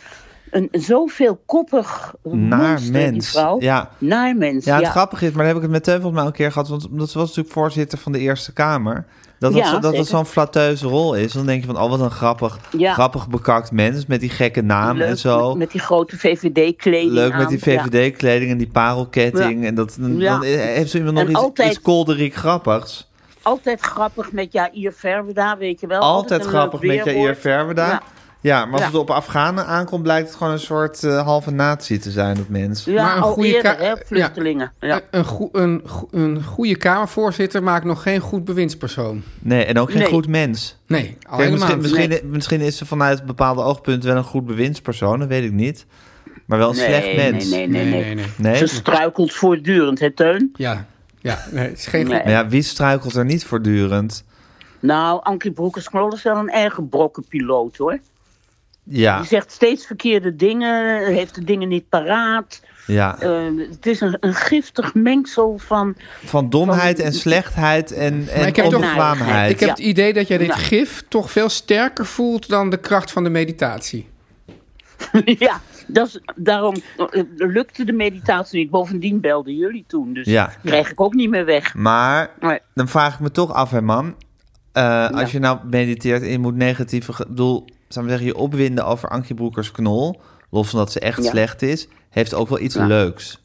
[SPEAKER 5] een zoveel koppig
[SPEAKER 1] Naar
[SPEAKER 5] monster, die
[SPEAKER 1] mens.
[SPEAKER 5] vrouw.
[SPEAKER 1] Ja.
[SPEAKER 5] Naar mens,
[SPEAKER 1] Ja,
[SPEAKER 5] ja.
[SPEAKER 1] het grappige is, maar daar heb ik het met Teun volgens mij al een keer gehad. Want dat was natuurlijk voorzitter van de Eerste Kamer. Dat dat,
[SPEAKER 5] Ja,
[SPEAKER 1] zo- dat, dat
[SPEAKER 5] zeker.
[SPEAKER 1] zo'n flatteuze rol is. Dan denk je van, oh wat een grappig,
[SPEAKER 5] Ja.
[SPEAKER 1] grappig bekakt mens met die gekke naam
[SPEAKER 5] Leuk
[SPEAKER 1] en zo.
[SPEAKER 5] met- Met die grote VVD-kleding
[SPEAKER 1] Leuk met die
[SPEAKER 5] aan. Ja.
[SPEAKER 1] VVD-kleding en die parelketting. En dat, dan,
[SPEAKER 5] Ja.
[SPEAKER 1] dan heeft zo iemand nog
[SPEAKER 5] En
[SPEAKER 1] iets,
[SPEAKER 5] altijd-
[SPEAKER 1] iets kolderiek grappigs.
[SPEAKER 5] Altijd grappig met Jair Verweda, weet je wel.
[SPEAKER 1] Altijd
[SPEAKER 5] een
[SPEAKER 1] grappig
[SPEAKER 5] leuk
[SPEAKER 1] met Jair
[SPEAKER 5] weerwoord.
[SPEAKER 1] Verweda. Ja.
[SPEAKER 5] Ja.
[SPEAKER 1] maar als
[SPEAKER 5] Ja.
[SPEAKER 1] het op Afghanen aankomt, blijkt het gewoon een soort eh, halve natie te zijn, dat mens.
[SPEAKER 5] Ja,
[SPEAKER 2] Maar een
[SPEAKER 5] al
[SPEAKER 2] goede
[SPEAKER 5] eerder,
[SPEAKER 2] ka-
[SPEAKER 5] hè, vluchtelingen. Ja.
[SPEAKER 2] Eh, Een, een, goe- een, goe- een goede Kamervoorzitter maakt nog geen goed bewindspersoon.
[SPEAKER 1] Nee, en ook geen
[SPEAKER 5] Nee.
[SPEAKER 1] goed mens.
[SPEAKER 2] Nee, al
[SPEAKER 1] Kijk,
[SPEAKER 2] helemaal
[SPEAKER 1] misschien,
[SPEAKER 2] niet.
[SPEAKER 1] misschien, misschien is ze vanuit bepaalde oogpunten wel een goed bewindspersoon, dat weet ik niet. Maar wel een slecht mens.
[SPEAKER 5] Nee, nee, nee. nee,
[SPEAKER 1] Nee?
[SPEAKER 5] Ze struikelt voortdurend, hè, Teun?
[SPEAKER 2] Ja, ja nee, het is geen
[SPEAKER 5] Nee.
[SPEAKER 2] goed-
[SPEAKER 1] Maar ja, wie struikelt er niet voortdurend?
[SPEAKER 5] Nou, Ankie Broekers-Knol is wel een erge brokkenpiloot, hoor.
[SPEAKER 1] Ja,
[SPEAKER 5] Die zegt steeds verkeerde dingen, heeft de dingen niet paraat.
[SPEAKER 1] ja.
[SPEAKER 5] Eh, het is een, een giftig mengsel van...
[SPEAKER 1] Van domheid en slechtheid en,
[SPEAKER 2] ik
[SPEAKER 1] en
[SPEAKER 2] heb toch-
[SPEAKER 1] onbekwaamheid.
[SPEAKER 2] Ik heb het idee dat jij dit
[SPEAKER 5] Ja.
[SPEAKER 2] gif toch veel sterker voelt dan de kracht van de meditatie.
[SPEAKER 5] ja, dat is, daarom eh, lukte de meditatie niet. Bovendien belden jullie toen, dus
[SPEAKER 1] Ja.
[SPEAKER 5] kreeg ik ook niet meer weg.
[SPEAKER 1] Maar
[SPEAKER 5] Nee.
[SPEAKER 1] dan vraag ik me toch af, hè, man. Eh, Als je nou mediteert en je moet negatieve... ge- Ik bedoel, zou ik zeggen, je opwinden over Ankie Broekers knol... los van dat ze echt
[SPEAKER 5] Ja.
[SPEAKER 1] slecht is... heeft ook wel iets
[SPEAKER 5] Ja.
[SPEAKER 1] leuks.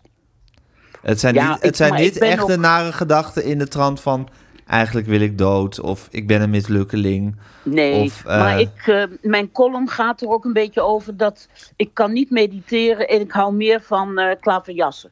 [SPEAKER 1] Het zijn
[SPEAKER 5] Ja,
[SPEAKER 1] niet,
[SPEAKER 5] ik-
[SPEAKER 1] het zijn
[SPEAKER 5] maar ik
[SPEAKER 1] niet
[SPEAKER 5] ben
[SPEAKER 1] echt de
[SPEAKER 5] ook-
[SPEAKER 1] nare gedachten in de trant van... eigenlijk wil ik dood of ik ben een mislukkeling.
[SPEAKER 5] Nee,
[SPEAKER 1] Of, eh,
[SPEAKER 5] maar ik, eh, mijn column gaat er ook een beetje over dat ik kan niet mediteren en ik hou meer van eh klaverjassen.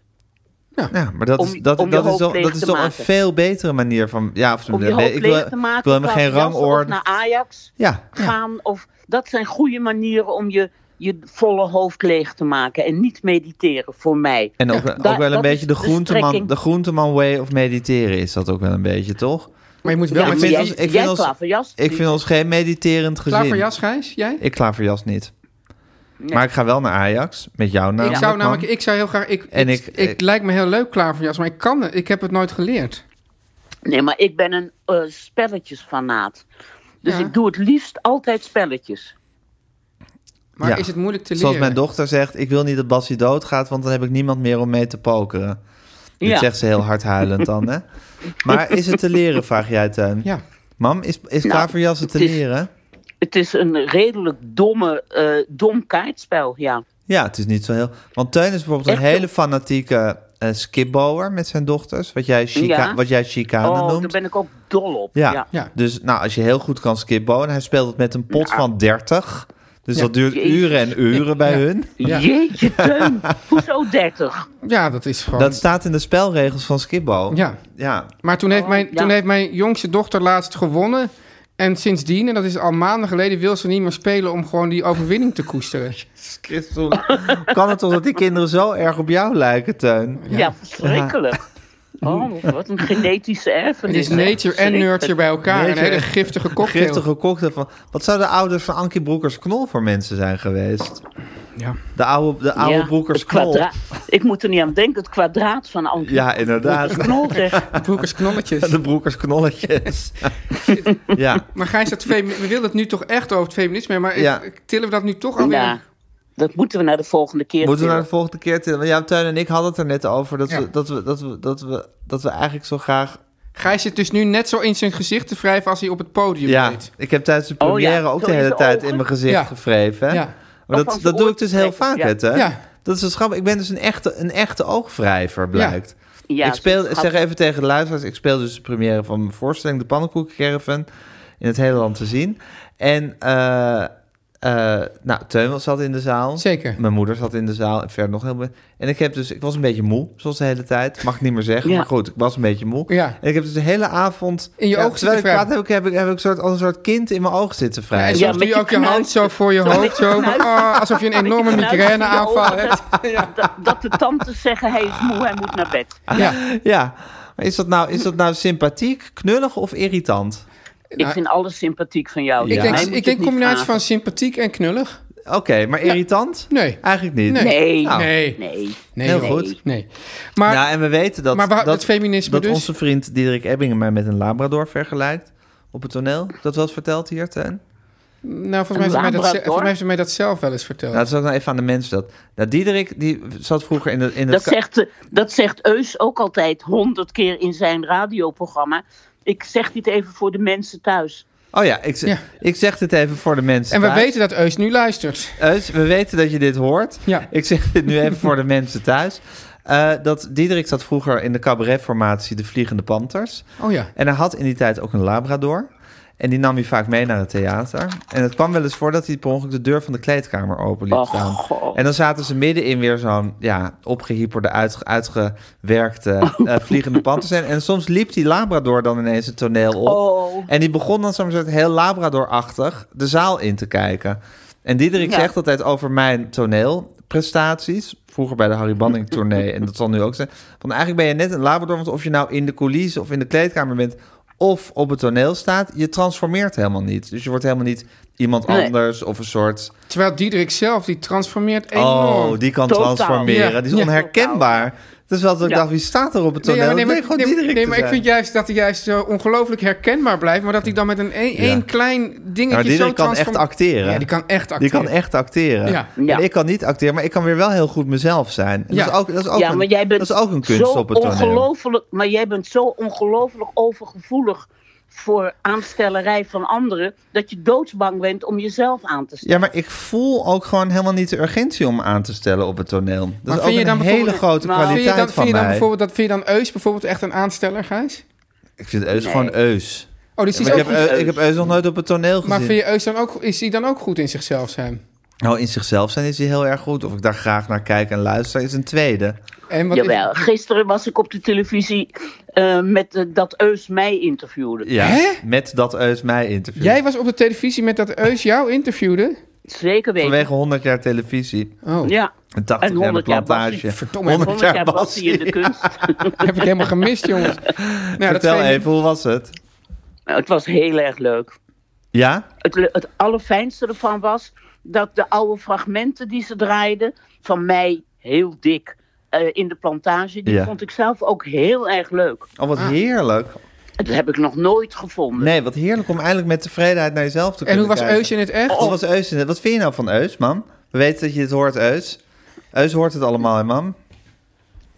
[SPEAKER 1] Ja, maar dat
[SPEAKER 5] Om-
[SPEAKER 1] is, dat,
[SPEAKER 5] om je
[SPEAKER 1] dat is
[SPEAKER 5] hoofd
[SPEAKER 1] toch,
[SPEAKER 5] leeg
[SPEAKER 1] dat is
[SPEAKER 5] te
[SPEAKER 1] toch een
[SPEAKER 5] maken.
[SPEAKER 1] veel betere manier van... Ja, of,
[SPEAKER 5] Om je
[SPEAKER 1] ik
[SPEAKER 5] hoofd
[SPEAKER 1] wil-
[SPEAKER 5] leeg te maken,
[SPEAKER 1] Ik wil helemaal geen
[SPEAKER 5] klaverjassen of
[SPEAKER 1] rangorde.
[SPEAKER 5] naar Ajax
[SPEAKER 1] Ja,
[SPEAKER 5] gaan. Of, dat zijn goede manieren om je, je volle hoofd leeg te maken en niet mediteren voor mij.
[SPEAKER 1] En ook,
[SPEAKER 5] da-
[SPEAKER 1] ook wel een
[SPEAKER 5] dat
[SPEAKER 1] beetje de
[SPEAKER 5] is de
[SPEAKER 1] groenteman,
[SPEAKER 5] strekking.
[SPEAKER 1] de groenteman way of mediteren is dat ook wel een beetje, toch?
[SPEAKER 2] Maar je moet wel
[SPEAKER 5] Ja,
[SPEAKER 1] ik
[SPEAKER 5] maar
[SPEAKER 2] met
[SPEAKER 1] vind
[SPEAKER 5] jij,
[SPEAKER 1] ons- ik vind
[SPEAKER 5] jij
[SPEAKER 1] ons-
[SPEAKER 5] klaverjast
[SPEAKER 1] Ik
[SPEAKER 5] niet.
[SPEAKER 1] vind ons geen mediterend gezin.
[SPEAKER 2] klaar voor jas, Gijs? Jij?
[SPEAKER 1] Ik klaverjas niet. Maar ik ga wel naar Ajax, met jou namelijk.
[SPEAKER 2] Ik zou
[SPEAKER 1] man.
[SPEAKER 2] namelijk, ik zou heel graag, ik,
[SPEAKER 1] En
[SPEAKER 2] ik,
[SPEAKER 1] ik-
[SPEAKER 2] ik,
[SPEAKER 1] ik-
[SPEAKER 2] lijkt me heel leuk klaar voor jas, maar ik kan het, ik heb het nooit geleerd.
[SPEAKER 5] Nee, maar ik ben een eh, spelletjesfanaat. Dus
[SPEAKER 2] Ja.
[SPEAKER 5] ik doe het liefst altijd spelletjes.
[SPEAKER 2] Maar
[SPEAKER 1] Ja.
[SPEAKER 2] is het moeilijk te leren?
[SPEAKER 1] Zoals mijn dochter zegt, ik wil niet dat Bassie doodgaat, want dan heb ik niemand meer om mee te pokeren. Dit
[SPEAKER 5] Ja.
[SPEAKER 1] zegt ze heel hard huilend dan, hè? Maar is het te leren, vraag jij, Teun?
[SPEAKER 2] Ja.
[SPEAKER 1] Mam, is, is klaverjassen te
[SPEAKER 5] Nou, het is-
[SPEAKER 1] leren?
[SPEAKER 5] Het is een redelijk domme, eh, dom kaartspel, ja.
[SPEAKER 1] Ja, het is niet zo heel... Want Teun is bijvoorbeeld een
[SPEAKER 5] Echt
[SPEAKER 1] hele
[SPEAKER 5] heel-
[SPEAKER 1] fanatieke eh skipbouwer met zijn dochters. Wat jij, chica,
[SPEAKER 5] Ja.
[SPEAKER 1] wat jij chicane
[SPEAKER 5] Oh,
[SPEAKER 1] noemt.
[SPEAKER 5] daar ben ik ook dol op.
[SPEAKER 1] Ja.
[SPEAKER 5] ja.
[SPEAKER 2] Ja.
[SPEAKER 1] Dus nou, als je heel goed kan skipbonen, hij speelt het met een pot van 30. Dus
[SPEAKER 2] Ja.
[SPEAKER 1] dat duurt
[SPEAKER 5] Jezus.
[SPEAKER 1] uren en uren bij
[SPEAKER 2] Ja.
[SPEAKER 1] hun.
[SPEAKER 2] Ja.
[SPEAKER 5] Jeetje, Teun. Hoezo 30?
[SPEAKER 2] Ja, dat is gewoon.
[SPEAKER 1] Dat staat in de spelregels van skipbo.
[SPEAKER 2] Ja.
[SPEAKER 1] ja.
[SPEAKER 2] Maar toen heeft, mijn,
[SPEAKER 5] Oh, ja.
[SPEAKER 2] toen heeft mijn jongste dochter laatst gewonnen. En sindsdien, en dat is al maanden geleden, wil ze niet meer spelen om gewoon die overwinning te koesteren.
[SPEAKER 1] Christel, kan het toch dat die kinderen zo erg op jou lijken, Teun?
[SPEAKER 5] Ja, verschrikkelijk. Oh, wat een genetische
[SPEAKER 2] Het
[SPEAKER 5] erfenis.
[SPEAKER 2] is nature en nurture bij elkaar.
[SPEAKER 1] Nature-
[SPEAKER 2] Een hele giftige cocktail.
[SPEAKER 1] Giftige cocktail van... Wat zouden de ouders van Ankie Broekers Knol voor mensen zijn geweest?
[SPEAKER 2] Ja.
[SPEAKER 1] De oude, de oude
[SPEAKER 5] Ja,
[SPEAKER 1] Broekers
[SPEAKER 5] het
[SPEAKER 1] Knol.
[SPEAKER 5] kwadraat. Ik moet er niet aan denken, het kwadraat van Ankie.
[SPEAKER 1] Ja, inderdaad.
[SPEAKER 5] Knol zeg.
[SPEAKER 2] Broekers knolletjes.
[SPEAKER 1] De Broekers Knolletjes. ja.
[SPEAKER 2] Maar Gijs, dat femi- we wilden het nu toch echt over het feminisme, maar
[SPEAKER 1] Ja.
[SPEAKER 2] ik- tillen we dat nu toch alweer?
[SPEAKER 5] Ja, nou, dat moeten we naar de volgende keer.
[SPEAKER 1] Moeten we naar
[SPEAKER 5] tillen.
[SPEAKER 1] de volgende keer tillen? Want Ja, Tuin en ik hadden het er net over dat,
[SPEAKER 2] Ja.
[SPEAKER 1] we, dat, we, dat, we, dat, we, dat we eigenlijk zo graag.
[SPEAKER 2] Gijs zit dus nu net zo in zijn gezicht te wrijven als hij op het podium
[SPEAKER 1] Ja,
[SPEAKER 2] deed.
[SPEAKER 1] ik heb tijdens de
[SPEAKER 5] Oh, ja.
[SPEAKER 1] première ook
[SPEAKER 5] Zo
[SPEAKER 1] de
[SPEAKER 5] in
[SPEAKER 1] hele
[SPEAKER 5] de
[SPEAKER 1] tijd
[SPEAKER 5] ogen.
[SPEAKER 1] in mijn gezicht
[SPEAKER 2] Ja.
[SPEAKER 1] gevreven. hè?
[SPEAKER 2] Ja.
[SPEAKER 1] Maar
[SPEAKER 5] Of
[SPEAKER 1] dat,
[SPEAKER 5] aan
[SPEAKER 1] dat
[SPEAKER 5] zijn
[SPEAKER 1] doe ik
[SPEAKER 5] oor
[SPEAKER 1] dus heel
[SPEAKER 5] trekken,
[SPEAKER 1] vaak,
[SPEAKER 5] ja.
[SPEAKER 1] hè? Teun?
[SPEAKER 2] Ja.
[SPEAKER 1] Dat is dus grappig. Ik ben dus een echte, een echte oogwrijver, blijkt.
[SPEAKER 5] Ja, dus
[SPEAKER 1] ik speel,
[SPEAKER 5] schat.
[SPEAKER 1] zeg even tegen de luisteraars, ik speel dus de première van mijn voorstelling, de Pannenkoekencaravan, in het hele land te zien. En, eh, eh, nou, Teun zat in de zaal.
[SPEAKER 2] Zeker.
[SPEAKER 1] Mijn moeder zat in de zaal en verder nog heel veel. En ik heb dus, ik was een beetje moe, zoals de hele tijd. Mag ik niet meer zeggen,
[SPEAKER 5] Ja.
[SPEAKER 1] maar goed, ik was een beetje moe.
[SPEAKER 2] Ja.
[SPEAKER 1] En ik heb dus de hele avond,
[SPEAKER 2] In je
[SPEAKER 1] ja,
[SPEAKER 2] ogen
[SPEAKER 1] terwijl ik
[SPEAKER 2] zitten
[SPEAKER 1] praat,
[SPEAKER 2] wrijven.
[SPEAKER 1] heb ik, heb ik, heb ik een soort, als een soort kind in mijn ogen zitten
[SPEAKER 2] En
[SPEAKER 1] vrij.
[SPEAKER 2] soms
[SPEAKER 5] Ja,
[SPEAKER 2] doe
[SPEAKER 5] met
[SPEAKER 2] je
[SPEAKER 5] je
[SPEAKER 2] ook je hand
[SPEAKER 5] knuitjes.
[SPEAKER 2] zo voor je
[SPEAKER 5] Zo
[SPEAKER 2] hoofd,
[SPEAKER 5] met je
[SPEAKER 2] zo van,
[SPEAKER 5] knuitjes.
[SPEAKER 2] ah, alsof je een
[SPEAKER 5] Met je
[SPEAKER 2] enorme
[SPEAKER 5] knuitjes in je
[SPEAKER 2] migraineaanval
[SPEAKER 5] ogen.
[SPEAKER 2] hebt.
[SPEAKER 5] Dat, dat de tantes zeggen, hij is moe, hij moet naar bed.
[SPEAKER 2] Ja.
[SPEAKER 1] Ja, Maar is dat nou, is dat nou sympathiek, knullig of irritant?
[SPEAKER 5] Ik vind alles sympathiek van jou.
[SPEAKER 1] Ik
[SPEAKER 2] Ik
[SPEAKER 5] Mij
[SPEAKER 2] denk,
[SPEAKER 5] moet je
[SPEAKER 2] ik
[SPEAKER 5] het
[SPEAKER 2] denk
[SPEAKER 5] niet
[SPEAKER 2] combinatie van
[SPEAKER 5] vragen.
[SPEAKER 2] sympathiek en knullig.
[SPEAKER 1] Oké, maar irritant?
[SPEAKER 2] Nee.
[SPEAKER 1] Eigenlijk niet.
[SPEAKER 2] Nee.
[SPEAKER 5] Nee,
[SPEAKER 1] Nou,
[SPEAKER 2] nee. nee.
[SPEAKER 5] nee.
[SPEAKER 1] Heel
[SPEAKER 2] joh.
[SPEAKER 1] goed.
[SPEAKER 2] Nee. Maar
[SPEAKER 1] nou, en we weten dat,
[SPEAKER 2] maar waar-
[SPEAKER 1] dat,
[SPEAKER 2] het feminisme
[SPEAKER 1] dat
[SPEAKER 2] dus?
[SPEAKER 1] onze vriend Diederik Ebbingen mij met een labrador vergelijkt op het toneel. Dat wel eens verteld hier, Teun?
[SPEAKER 2] nou, volgens mij, heeft hij mij dat,
[SPEAKER 5] labrador?
[SPEAKER 2] ze- volgens mij heeft hij mij dat zelf wel eens verteld.
[SPEAKER 1] Nou, dat is ook nou even aan de mensen dat. Nou, Diederik, die zat vroeger in, de, in
[SPEAKER 5] Dat
[SPEAKER 1] het...
[SPEAKER 5] zegt, eh, dat zegt Eus ook altijd honderd keer in zijn radioprogramma. Ik zeg dit even voor de mensen thuis.
[SPEAKER 1] Oh ja ik, z-
[SPEAKER 2] Ja.
[SPEAKER 1] ik zeg dit even voor de mensen
[SPEAKER 2] en we
[SPEAKER 1] thuis.
[SPEAKER 2] weten dat Eus nu luistert.
[SPEAKER 1] Eus, we weten dat je dit hoort.
[SPEAKER 2] Ja.
[SPEAKER 1] Ik zeg dit nu even voor de mensen thuis. Eh, dat Diederik zat vroeger in de cabaretformatie De Vliegende Panthers.
[SPEAKER 2] Oh ja.
[SPEAKER 1] En hij had in die tijd ook een labrador. En die nam hij vaak mee naar het theater. En het kwam wel eens voor dat hij per ongeluk de deur van de kleedkamer open liet
[SPEAKER 5] Oh,
[SPEAKER 1] staan.
[SPEAKER 5] God.
[SPEAKER 1] En dan zaten ze middenin weer zo'n ja, opgehyperde, uitge- uitgewerkte eh, vliegende panter zijn. En soms liep die labrador dan ineens het toneel op.
[SPEAKER 5] Oh.
[SPEAKER 1] En die begon dan zo'n soort heel labradorachtig de zaal in te kijken. En Diederik
[SPEAKER 5] Ja.
[SPEAKER 1] zegt altijd over mijn toneelprestaties. Vroeger bij de Harry Banning tournee. en dat zal nu ook zijn. Want eigenlijk ben je net een labrador. Want of je nou in de coulissen of in de kleedkamer bent... of op het toneel staat, je transformeert helemaal niet. Dus je wordt helemaal niet iemand
[SPEAKER 5] Nee.
[SPEAKER 1] anders of een soort...
[SPEAKER 2] Terwijl Diederik zelf, die transformeert enorm.
[SPEAKER 1] Oh, die kan
[SPEAKER 5] Totaal.
[SPEAKER 1] transformeren.
[SPEAKER 2] Ja.
[SPEAKER 1] Die is
[SPEAKER 2] Ja.
[SPEAKER 1] onherkenbaar. Dat is wel dat ik
[SPEAKER 5] Ja.
[SPEAKER 1] dacht, wie staat er op het
[SPEAKER 2] Nee, ja,
[SPEAKER 1] toneel? nou,
[SPEAKER 2] maar nee, maar,
[SPEAKER 1] Nee, gewoon
[SPEAKER 2] nee,
[SPEAKER 1] Diederik
[SPEAKER 2] nee,
[SPEAKER 1] te
[SPEAKER 2] maar ik
[SPEAKER 1] zijn.
[SPEAKER 2] vind juist dat hij juist zo ongelooflijk herkenbaar blijft... maar dat hij dan met een, een,
[SPEAKER 1] Ja.
[SPEAKER 2] één klein dingetje
[SPEAKER 1] Ja, maar
[SPEAKER 2] zo
[SPEAKER 1] Nou, Diederik kan echt
[SPEAKER 2] transform-
[SPEAKER 1] acteren.
[SPEAKER 2] Ja, die kan echt
[SPEAKER 1] Die
[SPEAKER 2] acteren.
[SPEAKER 1] kan echt acteren.
[SPEAKER 2] Ja.
[SPEAKER 5] Ja.
[SPEAKER 1] En ik kan niet acteren, maar ik kan weer wel heel goed mezelf zijn. En
[SPEAKER 2] Ja.
[SPEAKER 1] Dat is ook, dat is ook,
[SPEAKER 5] Ja,
[SPEAKER 1] een,
[SPEAKER 5] maar jij bent
[SPEAKER 1] dat is ook een kunst
[SPEAKER 5] zo
[SPEAKER 1] op het toneel.
[SPEAKER 5] ongelooflijk, maar jij bent zo ongelooflijk overgevoelig voor aanstellerij van anderen dat je doodsbang bent om jezelf aan te stellen.
[SPEAKER 1] Ja, maar ik voel ook gewoon helemaal niet de urgentie om me aan te stellen op het toneel. Dat
[SPEAKER 2] Maar
[SPEAKER 1] is
[SPEAKER 2] vind
[SPEAKER 1] ook
[SPEAKER 2] je dan
[SPEAKER 1] een hele
[SPEAKER 2] bijvoorbeeld-
[SPEAKER 1] grote
[SPEAKER 5] Maar-
[SPEAKER 1] kwaliteit
[SPEAKER 2] Vind je dan,
[SPEAKER 1] van
[SPEAKER 2] vind je dan,
[SPEAKER 1] mij.
[SPEAKER 2] bijvoorbeeld, dat, vind je dan Eus bijvoorbeeld echt een aansteller, Gijs?
[SPEAKER 1] Ik vind Eus gewoon Eus.
[SPEAKER 2] Oh, dus die
[SPEAKER 1] Maar eh,
[SPEAKER 2] is
[SPEAKER 1] ik,
[SPEAKER 2] ook
[SPEAKER 1] heb,
[SPEAKER 2] goed.
[SPEAKER 1] Eus- ik heb Eus nog nooit op het toneel gezien.
[SPEAKER 2] Maar vind je Eus dan ook, is hij dan ook goed in zichzelf zijn?
[SPEAKER 1] Nou, in zichzelf zijn is hij heel erg goed. Of ik daar graag naar kijk en luister is een tweede.
[SPEAKER 2] En wat
[SPEAKER 5] Jawel, gisteren was ik op de televisie eh, met eh, dat Eus mij interviewde.
[SPEAKER 1] Ja,
[SPEAKER 2] Hè?
[SPEAKER 1] met dat Eus mij interview.
[SPEAKER 2] Jij was op de televisie met dat Eus jou interviewde?
[SPEAKER 5] Zeker weten.
[SPEAKER 1] Vanwege 100 jaar televisie.
[SPEAKER 2] Oh,
[SPEAKER 5] Ja,
[SPEAKER 1] En 80
[SPEAKER 5] En
[SPEAKER 1] jaar de
[SPEAKER 5] 100 jaar
[SPEAKER 1] plantage.
[SPEAKER 5] Bassie.
[SPEAKER 2] Verdomme,
[SPEAKER 5] 100 jaar was hij in de kunst.
[SPEAKER 2] heb ik helemaal gemist, jongens. Nou, dat
[SPEAKER 1] Vertel
[SPEAKER 2] vind ik-
[SPEAKER 1] even, hoe was het?
[SPEAKER 5] Nou, het was heel erg leuk.
[SPEAKER 1] Ja?
[SPEAKER 5] Het, le- het allerfijnste ervan was dat de oude fragmenten die ze draaiden, van mij heel dik eh, in de plantage, die
[SPEAKER 1] Ja.
[SPEAKER 5] vond ik zelf ook heel erg leuk.
[SPEAKER 1] Oh,
[SPEAKER 2] Ah.
[SPEAKER 1] wat heerlijk.
[SPEAKER 5] Dat heb ik nog nooit gevonden.
[SPEAKER 1] Nee, wat heerlijk om eindelijk met tevredenheid naar jezelf te
[SPEAKER 2] En
[SPEAKER 1] kunnen
[SPEAKER 2] hoe was
[SPEAKER 1] kijken. Oh,
[SPEAKER 2] Eus in het echt?
[SPEAKER 1] Hoe was Eus in het- Wat vind je nou van Eus, mam? We weten dat je dit hoort, Eus. Eus hoort het allemaal, hè, mam?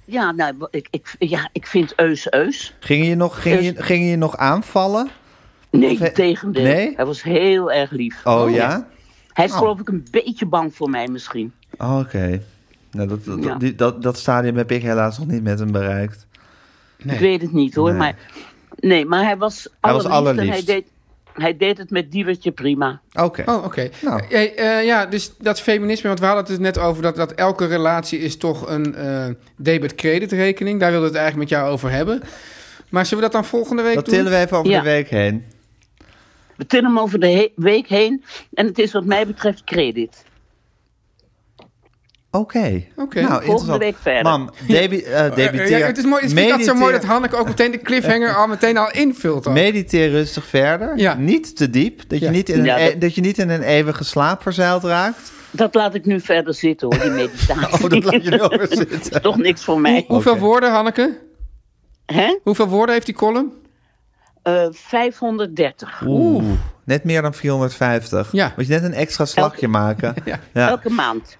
[SPEAKER 5] Ja, nou, ik, ik, ja, ik vind Eus Eus.
[SPEAKER 1] Ging je nog, ging je, ging je nog aanvallen?
[SPEAKER 5] Nee,
[SPEAKER 1] Of-
[SPEAKER 5] tegendeel.
[SPEAKER 1] Nee?
[SPEAKER 5] Hij was heel erg lief.
[SPEAKER 1] Oh, ja?
[SPEAKER 5] Hij is
[SPEAKER 1] Oh.
[SPEAKER 5] geloof ik een beetje bang voor mij misschien.
[SPEAKER 1] Oh, Oké. Nou, dat, dat,
[SPEAKER 5] Ja.
[SPEAKER 1] die- dat, dat stadium heb ik helaas nog niet met hem bereikt.
[SPEAKER 2] Nee.
[SPEAKER 5] Ik weet het niet hoor,
[SPEAKER 1] Nee.
[SPEAKER 5] maar... Nee, maar hij was
[SPEAKER 1] Hij
[SPEAKER 5] allerliefst.
[SPEAKER 1] was
[SPEAKER 5] en
[SPEAKER 1] allerliefst.
[SPEAKER 5] hij deed, hij deed het met diewertje prima.
[SPEAKER 1] Oké.
[SPEAKER 2] Oh, oké.
[SPEAKER 1] Nou.
[SPEAKER 2] Hey, eh, ja, dus dat feminisme, want we hadden het dus net over dat, dat elke relatie is toch een eh debit-credit rekening. Daar wilden we het eigenlijk met jou over hebben. Maar zullen we dat dan volgende week
[SPEAKER 1] Dat
[SPEAKER 2] doen?
[SPEAKER 1] tillen we even over
[SPEAKER 5] Ja.
[SPEAKER 1] de week heen.
[SPEAKER 5] We tillen hem over de he- week heen. En het is wat mij betreft credit.
[SPEAKER 1] Oké.
[SPEAKER 2] Oké.
[SPEAKER 1] Nou,
[SPEAKER 2] Volgende
[SPEAKER 1] interessant.
[SPEAKER 5] week verder.
[SPEAKER 1] Mam, debi eh, debiteer.
[SPEAKER 2] Ja, het is mooi, ik vind dat zo
[SPEAKER 1] mediteer-
[SPEAKER 2] mooi dat Hanneke ook meteen de cliffhanger al meteen al invult. al.
[SPEAKER 1] Mediteer rustig verder.
[SPEAKER 2] Ja.
[SPEAKER 1] Niet te diep. Dat je,
[SPEAKER 2] Ja.
[SPEAKER 1] niet in een,
[SPEAKER 5] Ja,
[SPEAKER 1] e-
[SPEAKER 5] dat-
[SPEAKER 1] dat je niet in een eeuwige slaap verzeild raakt.
[SPEAKER 5] Dat laat ik nu verder zitten hoor, die meditatie.
[SPEAKER 1] Oh, dat laat je nu over zitten.
[SPEAKER 5] Toch niks voor mij.
[SPEAKER 2] Hoeveel
[SPEAKER 1] Oké.
[SPEAKER 2] woorden, Hanneke?
[SPEAKER 5] Hè?
[SPEAKER 2] Hoeveel woorden heeft die column?
[SPEAKER 5] Eh, 530.
[SPEAKER 1] Oeh. Net meer dan 450.
[SPEAKER 2] Ja.
[SPEAKER 1] Moet je net een extra slagje maken.
[SPEAKER 2] Ja.
[SPEAKER 1] ja.
[SPEAKER 5] Elke maand.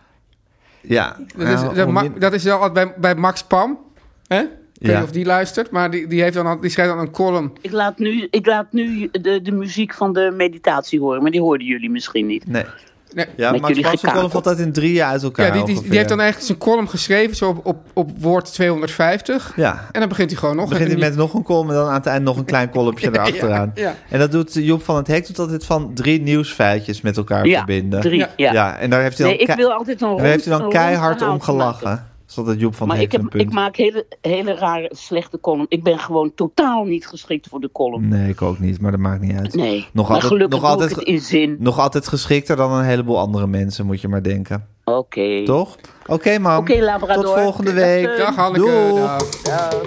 [SPEAKER 1] Ja.
[SPEAKER 2] Dat is,
[SPEAKER 1] Nou,
[SPEAKER 2] dat,
[SPEAKER 1] om
[SPEAKER 2] ma-
[SPEAKER 1] min-
[SPEAKER 2] dat is wel wat bij, bij Max Pam. Hè? Ik weet
[SPEAKER 1] Ja.
[SPEAKER 2] niet of die luistert, maar die, die, heeft dan al, die schrijft dan een column.
[SPEAKER 5] Ik laat nu, ik laat nu de, de muziek van de meditatie horen, maar die hoorden jullie misschien niet.
[SPEAKER 1] Nee.
[SPEAKER 2] Nee.
[SPEAKER 1] Ja,
[SPEAKER 5] Met
[SPEAKER 1] Max
[SPEAKER 5] jullie
[SPEAKER 1] Passen
[SPEAKER 5] gekakeld.
[SPEAKER 1] kolom valt dat in drieën uit elkaar
[SPEAKER 2] Ja, die, die, die
[SPEAKER 1] ongeveer.
[SPEAKER 2] heeft dan eigenlijk zijn column geschreven, zo op, op, op woord 250.
[SPEAKER 1] Ja.
[SPEAKER 2] En dan begint hij gewoon nog.
[SPEAKER 1] begint hij
[SPEAKER 2] een-
[SPEAKER 1] met nog een kolom en dan aan het eind nog een klein kolomje erachteraan.
[SPEAKER 2] ja, ja.
[SPEAKER 1] En dat doet Job van het Hek doet altijd van drie nieuwsfeitjes met elkaar
[SPEAKER 5] Ja,
[SPEAKER 1] verbinden.
[SPEAKER 5] drie.
[SPEAKER 2] Ja.
[SPEAKER 5] Ja.
[SPEAKER 1] en daar heeft hij
[SPEAKER 5] Nee,
[SPEAKER 1] dan,
[SPEAKER 5] ik
[SPEAKER 1] kei-
[SPEAKER 5] wil altijd een rond,
[SPEAKER 1] daar heeft hij dan
[SPEAKER 5] een rond
[SPEAKER 1] keihard
[SPEAKER 5] verhaal
[SPEAKER 1] om
[SPEAKER 5] te maken.
[SPEAKER 1] gelachen. Zodat Job van
[SPEAKER 5] Maar
[SPEAKER 1] het
[SPEAKER 5] ik,
[SPEAKER 1] Hek een
[SPEAKER 5] heb, ik
[SPEAKER 1] punt.
[SPEAKER 5] maak hele, hele rare, slechte column. Ik ben gewoon totaal niet geschikt voor de column.
[SPEAKER 1] Nee, ik ook niet, maar dat maakt niet uit.
[SPEAKER 5] Nee,
[SPEAKER 1] Mm. Nog
[SPEAKER 5] maar
[SPEAKER 1] altijd-
[SPEAKER 5] gelukkig
[SPEAKER 1] nog
[SPEAKER 5] doe
[SPEAKER 1] altijd
[SPEAKER 5] ik het
[SPEAKER 1] ge-
[SPEAKER 5] in zin.
[SPEAKER 1] Nog altijd geschikter dan een heleboel andere mensen, moet je maar denken.
[SPEAKER 5] Oké.
[SPEAKER 1] Toch? Oké, mam.
[SPEAKER 5] Oké, Labrador.
[SPEAKER 1] Tot volgende
[SPEAKER 5] Dag,
[SPEAKER 1] week.
[SPEAKER 5] eh.
[SPEAKER 2] Dag Hanneke.
[SPEAKER 1] Doeg.
[SPEAKER 2] dag.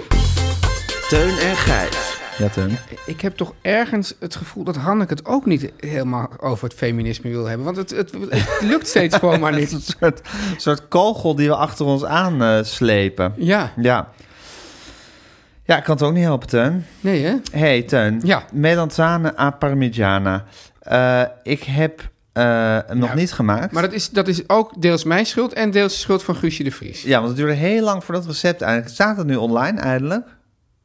[SPEAKER 1] Teun en Gijs. Ja, Teun.
[SPEAKER 2] Ik heb toch ergens het gevoel dat Hanneke het ook niet helemaal over het feminisme wil hebben. Want het, het, het lukt steeds gewoon maar
[SPEAKER 1] Een
[SPEAKER 2] niet.
[SPEAKER 1] soort, soort kogel die we achter ons aan eh, slepen.
[SPEAKER 2] Ja,
[SPEAKER 1] Ja. Ja, ik kan het ook niet helpen, Teun.
[SPEAKER 2] nee hè?
[SPEAKER 1] hey, Teun.
[SPEAKER 2] Ja.
[SPEAKER 1] Melanzane a parmigiana. Eh, ik heb eh, hem nog
[SPEAKER 2] Ja.
[SPEAKER 1] niet gemaakt.
[SPEAKER 2] Maar dat is, dat is ook deels mijn schuld en deels de schuld van Guusje de Vries.
[SPEAKER 1] Ja, want het duurde heel lang voor dat recept eigenlijk. Staat het nu online eindelijk?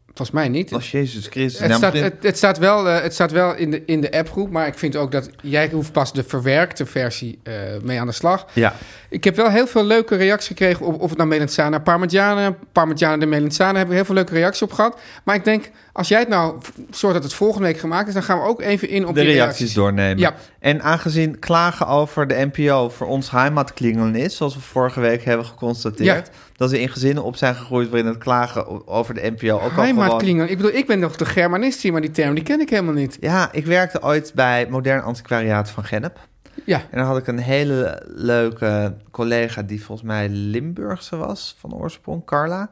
[SPEAKER 2] Volgens mij niet.
[SPEAKER 1] Oh, Jezus Christus.
[SPEAKER 2] Het
[SPEAKER 1] Nou,
[SPEAKER 2] staat,
[SPEAKER 1] begin-
[SPEAKER 2] het, het staat wel, eh, het staat wel in, de, in de appgroep, maar ik vind ook dat jij hoeft pas de verwerkte versie eh, mee aan de slag.
[SPEAKER 1] Ja.
[SPEAKER 2] Ik heb wel heel veel leuke reacties gekregen op of het nou Melanzana Parmigiana, Parmigiana de Melanzana, hebben we heel veel leuke reacties op gehad. Maar ik denk, als jij het nou v- zorgt dat het volgende week gemaakt is, dan gaan we ook even in op
[SPEAKER 1] de
[SPEAKER 2] die
[SPEAKER 1] reacties, doornemen.
[SPEAKER 2] Ja.
[SPEAKER 1] En aangezien klagen over de NPO voor ons heimatklingelen is, zoals we vorige week hebben geconstateerd,
[SPEAKER 2] Ja.
[SPEAKER 1] dat we in gezinnen op zijn gegroeid waarin het klagen o- over de NPO ook al
[SPEAKER 2] Heimat
[SPEAKER 1] gewoon...
[SPEAKER 2] klingen. Ik bedoel, ik ben nog de Germanist hier, maar die term die ken ik helemaal niet.
[SPEAKER 1] Ja, ik werkte ooit bij Modern Antiquariaat van Gennep.
[SPEAKER 2] Ja,
[SPEAKER 1] En dan had ik een hele leuke collega die volgens mij Limburgse was van oorsprong, Carla.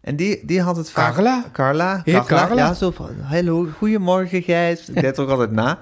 [SPEAKER 1] En die, die had het vaak...
[SPEAKER 2] Carla?
[SPEAKER 1] Carla.
[SPEAKER 2] Heer Carla?
[SPEAKER 1] Ja, zo van, hallo, goedemorgen Gijs. Ik deed het ook altijd na.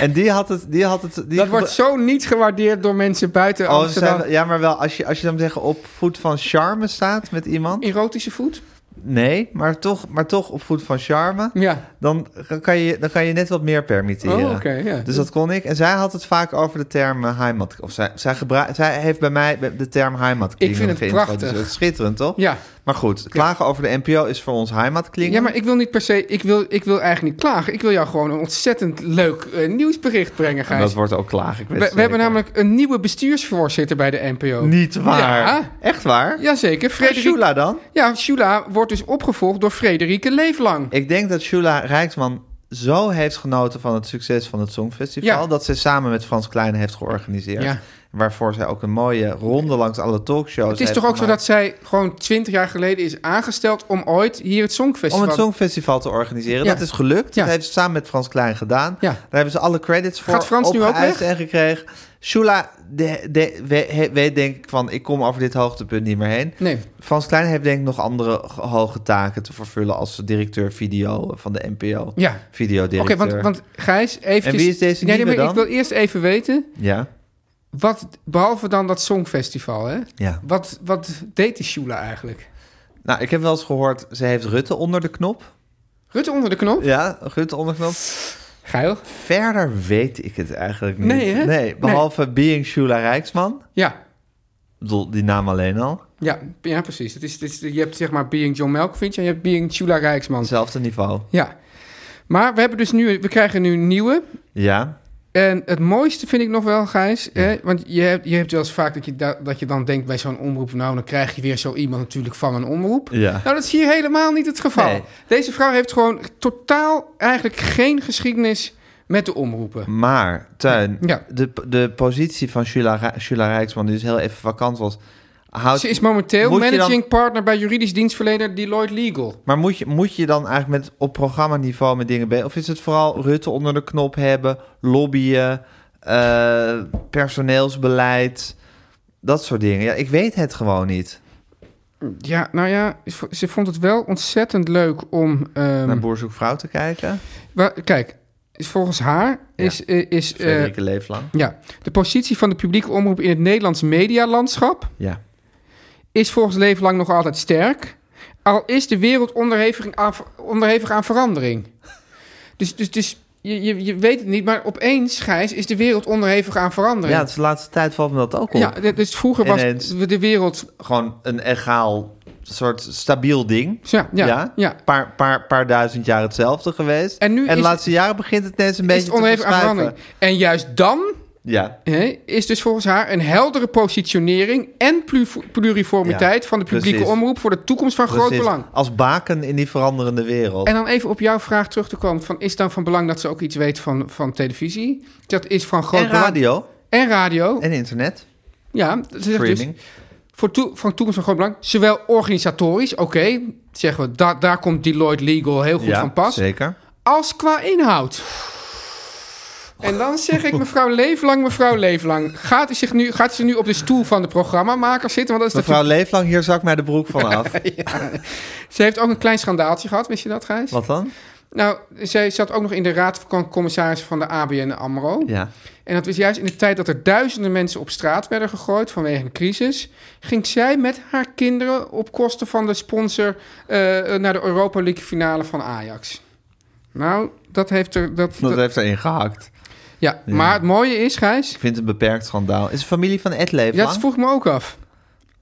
[SPEAKER 1] En die had het... Die had het die
[SPEAKER 2] dat wordt zo niet gewaardeerd door mensen buiten
[SPEAKER 1] Oh, ze
[SPEAKER 2] Amsterdam.
[SPEAKER 1] zijn- ja, maar wel als je, als je dan zeggen op voet van charme staat met iemand.
[SPEAKER 2] Erotische voet?
[SPEAKER 1] Nee, maar toch, maar toch op voet van charme.
[SPEAKER 2] Ja.
[SPEAKER 1] Dan kan je, dan kan je net wat meer permitteren.
[SPEAKER 2] Oh, oké, ja.
[SPEAKER 1] Dus dat kon ik. En zij had het vaak over de term eh, heimat. Of zij, zij, gebruik, zij heeft bij mij de term heimat
[SPEAKER 2] Ik vind het prachtig.
[SPEAKER 1] Schitterend, toch?
[SPEAKER 2] Ja.
[SPEAKER 1] Maar goed, klagen over de NPO is voor ons heimat
[SPEAKER 2] Ja, maar ik wil niet per se, ik wil, ik wil eigenlijk niet klagen. Ik wil jou gewoon een ontzettend leuk eh, nieuwsbericht brengen, Gijs.
[SPEAKER 1] Dat wordt ook klagen. ik weet
[SPEAKER 2] we,
[SPEAKER 1] het
[SPEAKER 2] we hebben
[SPEAKER 1] zeker.
[SPEAKER 2] namelijk een nieuwe bestuursvoorzitter bij de NPO.
[SPEAKER 1] Niet waar.
[SPEAKER 2] Ja.
[SPEAKER 1] Echt waar?
[SPEAKER 2] Jazeker, Frederik.
[SPEAKER 1] Shula dan?
[SPEAKER 2] Ja, Shula wordt dus opgevolgd door Frederike Leeflang.
[SPEAKER 1] Ik denk dat Shula Rijksman zo heeft genoten van het succes van het Songfestival...
[SPEAKER 2] Ja.
[SPEAKER 1] dat ze samen met Frans Kleine heeft georganiseerd.
[SPEAKER 2] Ja.
[SPEAKER 1] Waarvoor zij ook een mooie ronde langs alle talkshows
[SPEAKER 2] Het is
[SPEAKER 1] heeft
[SPEAKER 2] toch ook zo
[SPEAKER 1] gemaakt
[SPEAKER 2] dat zij gewoon twintig jaar geleden is aangesteld om ooit hier het Songfestival...
[SPEAKER 1] Om het Songfestival te organiseren.
[SPEAKER 2] Ja.
[SPEAKER 1] Dat is gelukt.
[SPEAKER 2] Ja.
[SPEAKER 1] Dat heeft ze samen met Frans Klein gedaan.
[SPEAKER 2] Ja.
[SPEAKER 1] Daar hebben ze alle credits voor
[SPEAKER 2] Gaat Frans nu ook
[SPEAKER 1] opgeëist
[SPEAKER 2] weg?
[SPEAKER 1] en gekregen. Shula de, de- we- he- weet denk ik van... ik kom over dit hoogtepunt niet meer heen.
[SPEAKER 2] Nee.
[SPEAKER 1] Frans Klein heeft denk ik nog andere ge- hoge taken te vervullen... als directeur video van de NPO.
[SPEAKER 2] Ja. Oké,
[SPEAKER 1] Videodirecteur.
[SPEAKER 2] want, want Gijs, eventjes...
[SPEAKER 1] En wie is deze
[SPEAKER 2] nee, nee,
[SPEAKER 1] nieuwe
[SPEAKER 2] maar
[SPEAKER 1] dan?
[SPEAKER 2] Ik wil eerst even weten,
[SPEAKER 1] Ja,
[SPEAKER 2] wat, behalve dan dat Songfestival, hè?
[SPEAKER 1] ja.
[SPEAKER 2] Wat, wat deed die Shula eigenlijk?
[SPEAKER 1] Nou, ik heb wel eens gehoord, ze heeft Rutte onder de knop.
[SPEAKER 2] Rutte onder de knop?
[SPEAKER 1] Ja, Rutte onder de knop.
[SPEAKER 2] Geil.
[SPEAKER 1] Verder weet ik het eigenlijk niet.
[SPEAKER 2] Nee, hè?
[SPEAKER 1] Nee, behalve Being Shula Rijksman.
[SPEAKER 2] Ja,
[SPEAKER 1] Ik bedoel, die naam alleen al.
[SPEAKER 2] Ja, ja precies. Het is, het is, je hebt zeg maar Being John Malkovich en je hebt Being Chula Rijksman.
[SPEAKER 1] Hetzelfde niveau.
[SPEAKER 2] Ja. Maar we, hebben dus nu, we krijgen nu een nieuwe.
[SPEAKER 1] Ja.
[SPEAKER 2] En het mooiste vind ik nog wel, Gijs. Hè? Want je hebt, je hebt wel eens vaak dat je, da- dat je dan denkt bij zo'n omroep... nou, dan krijg je weer zo iemand natuurlijk van een omroep.
[SPEAKER 1] Ja.
[SPEAKER 2] Nou, dat is hier helemaal niet het geval.
[SPEAKER 1] Nee.
[SPEAKER 2] Deze vrouw heeft gewoon totaal eigenlijk geen geschiedenis met de omroepen.
[SPEAKER 1] Maar, Tuin,
[SPEAKER 2] Ja.
[SPEAKER 1] de, de positie van Shula, Rij- Shula Rijksman, die dus heel even vakant was... Houdt,
[SPEAKER 2] Ze is momenteel
[SPEAKER 1] Moet je dan-
[SPEAKER 2] managing partner bij juridisch dienstverlener Deloitte Legal.
[SPEAKER 1] Maar moet je, moet je dan eigenlijk met, op programmaniveau met dingen bezig? Of is het vooral Rutte onder de knop hebben, lobbyen, eh, personeelsbeleid, dat soort dingen? Ja, ik weet het gewoon niet.
[SPEAKER 2] Ja, nou ja, ze vond het wel ontzettend leuk om... ehm,
[SPEAKER 1] Naar Boer zoekt vrouw te kijken.
[SPEAKER 2] Wa- Kijk, is volgens haar
[SPEAKER 1] Ja.
[SPEAKER 2] is, eh, is eh,
[SPEAKER 1] Frederike Leeflang.
[SPEAKER 2] ja, de positie van de publieke omroep in het Nederlands medialandschap
[SPEAKER 1] Ja.
[SPEAKER 2] is volgens Leeflang nog altijd sterk. Al is de wereld onderhevig aan, ver- onderhevig aan verandering. Dus, dus, dus je, je, je weet het niet, maar opeens, Gijs, is de wereld onderhevig aan verandering.
[SPEAKER 1] ja, dus de laatste tijd valt me dat ook op.
[SPEAKER 2] Ja, d- dus vroeger was
[SPEAKER 1] Ineens.
[SPEAKER 2] de wereld...
[SPEAKER 1] Gewoon een egaal soort stabiel ding.
[SPEAKER 2] Ja, ja, ja.
[SPEAKER 1] Paar, paar, paar duizend jaar hetzelfde geweest.
[SPEAKER 2] En nu
[SPEAKER 1] de
[SPEAKER 2] is-
[SPEAKER 1] laatste jaren begint het ineens een
[SPEAKER 2] Is
[SPEAKER 1] beetje
[SPEAKER 2] het
[SPEAKER 1] te
[SPEAKER 2] onderhevig aan
[SPEAKER 1] verschuiven.
[SPEAKER 2] verandering. En juist dan
[SPEAKER 1] Ja.
[SPEAKER 2] Hè, is dus volgens haar een heldere positionering en plu- pluriformiteit
[SPEAKER 1] Ja,
[SPEAKER 2] van de publieke
[SPEAKER 1] precies.
[SPEAKER 2] omroep voor de toekomst van groot
[SPEAKER 1] Precies.
[SPEAKER 2] belang.
[SPEAKER 1] Als baken in die veranderende wereld.
[SPEAKER 2] En dan even op jouw vraag terug te komen: van, is dan van belang dat ze ook iets weet van, van televisie? Dat is van groot
[SPEAKER 1] En radio.
[SPEAKER 2] belang. En radio.
[SPEAKER 1] En internet.
[SPEAKER 2] ja, ze zegt dus
[SPEAKER 1] Streaming.
[SPEAKER 2] voor toe- van toekomst van groot belang. Zowel organisatorisch, oké, zeggen we, da- daar komt Deloitte Legal heel goed
[SPEAKER 1] ja,
[SPEAKER 2] van pas.
[SPEAKER 1] zeker.
[SPEAKER 2] Als qua inhoud. En dan zeg ik, mevrouw Leeflang, mevrouw Leeflang. Gaat u, zich nu, gaat u zich nu op de stoel van de programmamaker zitten? Want dat is
[SPEAKER 1] Mevrouw
[SPEAKER 2] natuurlijk-
[SPEAKER 1] Leeflang, hier zak mij de broek van af.
[SPEAKER 2] Ze heeft ook een klein schandaaltje gehad, wist je dat, Gijs?
[SPEAKER 1] Wat dan?
[SPEAKER 2] Nou, zij zat ook nog in de raad van commissarissen van de ABN AMRO.
[SPEAKER 1] Ja.
[SPEAKER 2] En dat was juist in de tijd dat er duizenden mensen op straat werden gegooid vanwege een crisis. Ging zij met haar kinderen op kosten van de sponsor eh, naar de Europa League finale van Ajax. Nou, dat heeft er... Dat,
[SPEAKER 1] Dat
[SPEAKER 2] dat-
[SPEAKER 1] heeft erin gehakt.
[SPEAKER 2] ja. maar het mooie is, Gijs...
[SPEAKER 1] Ik vind het een beperkt schandaal. Is de familie van Ed Leeflang?
[SPEAKER 2] Ja, dat vroeg ik me ook af.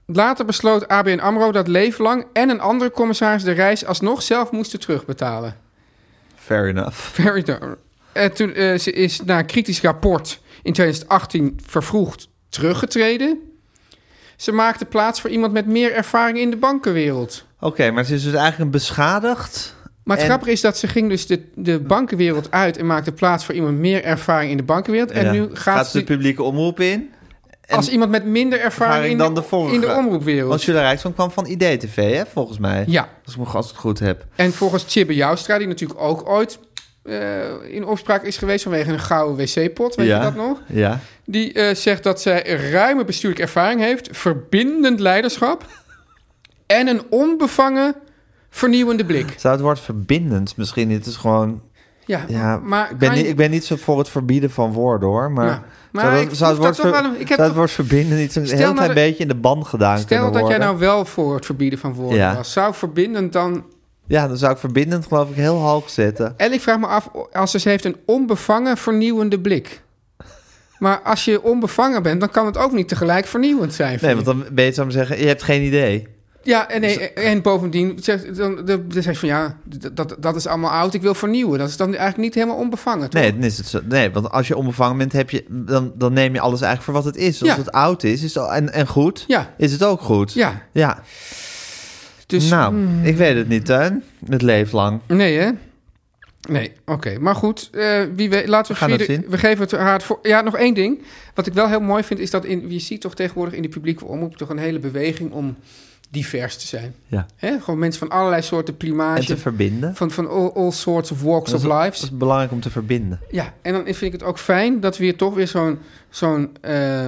[SPEAKER 2] Later besloot ABN AMRO dat Leeflang en een andere commissaris de reis alsnog zelf moesten terugbetalen.
[SPEAKER 1] Fair enough.
[SPEAKER 2] Very dark. En toen eh, ze is na een kritisch rapport in 2018 vervroegd teruggetreden. Ze maakte plaats voor iemand met meer ervaring in de bankenwereld.
[SPEAKER 1] Oké, maar ze is dus eigenlijk een beschadigd.
[SPEAKER 2] Maar het
[SPEAKER 1] En-
[SPEAKER 2] grappige is dat ze ging dus de, de bankenwereld uit... en maakte plaats voor iemand met meer ervaring in de bankenwereld. En
[SPEAKER 1] Ja.
[SPEAKER 2] nu gaat,
[SPEAKER 1] ze de
[SPEAKER 2] ze
[SPEAKER 1] publieke omroep in.
[SPEAKER 2] als iemand met minder ervaring in,
[SPEAKER 1] dan de
[SPEAKER 2] de,
[SPEAKER 1] vorige.
[SPEAKER 2] in de omroepwereld.
[SPEAKER 1] Want Julia Rijksman kwam van IDTV, hè, volgens mij.
[SPEAKER 2] Ja,
[SPEAKER 1] Als ik me als ik het goed heb.
[SPEAKER 2] en volgens Chibbe Joustra, die natuurlijk ook ooit eh, in opspraak is geweest... vanwege een gouden wc-pot, weet
[SPEAKER 1] ja.
[SPEAKER 2] je dat nog?
[SPEAKER 1] Ja.
[SPEAKER 2] Die eh, zegt dat zij ruime bestuurlijke ervaring heeft, verbindend leiderschap en een onbevangen vernieuwende blik.
[SPEAKER 1] Zou het woord verbindend misschien? Het is gewoon.
[SPEAKER 2] Ja,
[SPEAKER 1] Ja,
[SPEAKER 2] maar
[SPEAKER 1] ik, ben
[SPEAKER 2] kan
[SPEAKER 1] niet,
[SPEAKER 2] je-
[SPEAKER 1] ik ben niet zo voor het verbieden van woorden hoor. Maar,
[SPEAKER 2] Ja. Maar
[SPEAKER 1] zou,
[SPEAKER 2] ik
[SPEAKER 1] dat, zou, het
[SPEAKER 2] proef
[SPEAKER 1] woord
[SPEAKER 2] dat toch
[SPEAKER 1] ver-
[SPEAKER 2] wel een- ik heb
[SPEAKER 1] zou het
[SPEAKER 2] toch-
[SPEAKER 1] woord verbinden niet zo'n
[SPEAKER 2] Stel
[SPEAKER 1] heel
[SPEAKER 2] nou
[SPEAKER 1] klein
[SPEAKER 2] dat-
[SPEAKER 1] beetje in de ban gedaan
[SPEAKER 2] stel
[SPEAKER 1] kunnen
[SPEAKER 2] dat jij
[SPEAKER 1] worden?
[SPEAKER 2] nou wel voor het verbieden van woorden
[SPEAKER 1] Ja.
[SPEAKER 2] was. Zou verbindend dan...
[SPEAKER 1] Ja, dan zou ik verbindend geloof ik heel hoog zetten.
[SPEAKER 2] En ik vraag me af, als ze ze heeft een onbevangen vernieuwende blik. Maar als je onbevangen bent, dan kan het ook niet tegelijk vernieuwend zijn.
[SPEAKER 1] Nee,
[SPEAKER 2] vind
[SPEAKER 1] want
[SPEAKER 2] ik.
[SPEAKER 1] dan ben je zou maar zeggen, je hebt geen idee.
[SPEAKER 2] Ja, en, nee, en bovendien zegt dan, dan zegt ze van ja, dat, dat- dat is allemaal oud, ik wil vernieuwen. Dat is dan eigenlijk niet helemaal onbevangen. toch?
[SPEAKER 1] Nee, dan is het zo. nee, want als je onbevangen bent, heb je, dan, dan neem je alles eigenlijk voor wat het is. Als
[SPEAKER 2] Ja.
[SPEAKER 1] het oud is, is het, al- en, en goed,
[SPEAKER 2] Ja.
[SPEAKER 1] is het ook goed.
[SPEAKER 2] Ja,
[SPEAKER 1] Ja.
[SPEAKER 2] dus
[SPEAKER 1] nou, ik weet het niet, Tuin. Het leeft lang.
[SPEAKER 2] Nee, hè? Nee, oké. Maar goed, eh, wie weet, laten we,
[SPEAKER 1] We gaan het
[SPEAKER 2] vierde-
[SPEAKER 1] zien.
[SPEAKER 2] we geven het haar het voor. Ja, nog één ding. Wat ik wel heel mooi vind, is dat in, je ziet toch tegenwoordig in de publieke omroep toch een hele beweging om divers te zijn.
[SPEAKER 1] Ja.
[SPEAKER 2] Hè? Gewoon mensen van allerlei soorten
[SPEAKER 1] En te
[SPEAKER 2] plumage,
[SPEAKER 1] verbinden.
[SPEAKER 2] van, van all, all sorts of walks of
[SPEAKER 1] Dat
[SPEAKER 2] lives.
[SPEAKER 1] is belangrijk om te verbinden.
[SPEAKER 2] Ja, en dan vind ik het ook fijn dat we hier toch weer zo'n, zo'n eh,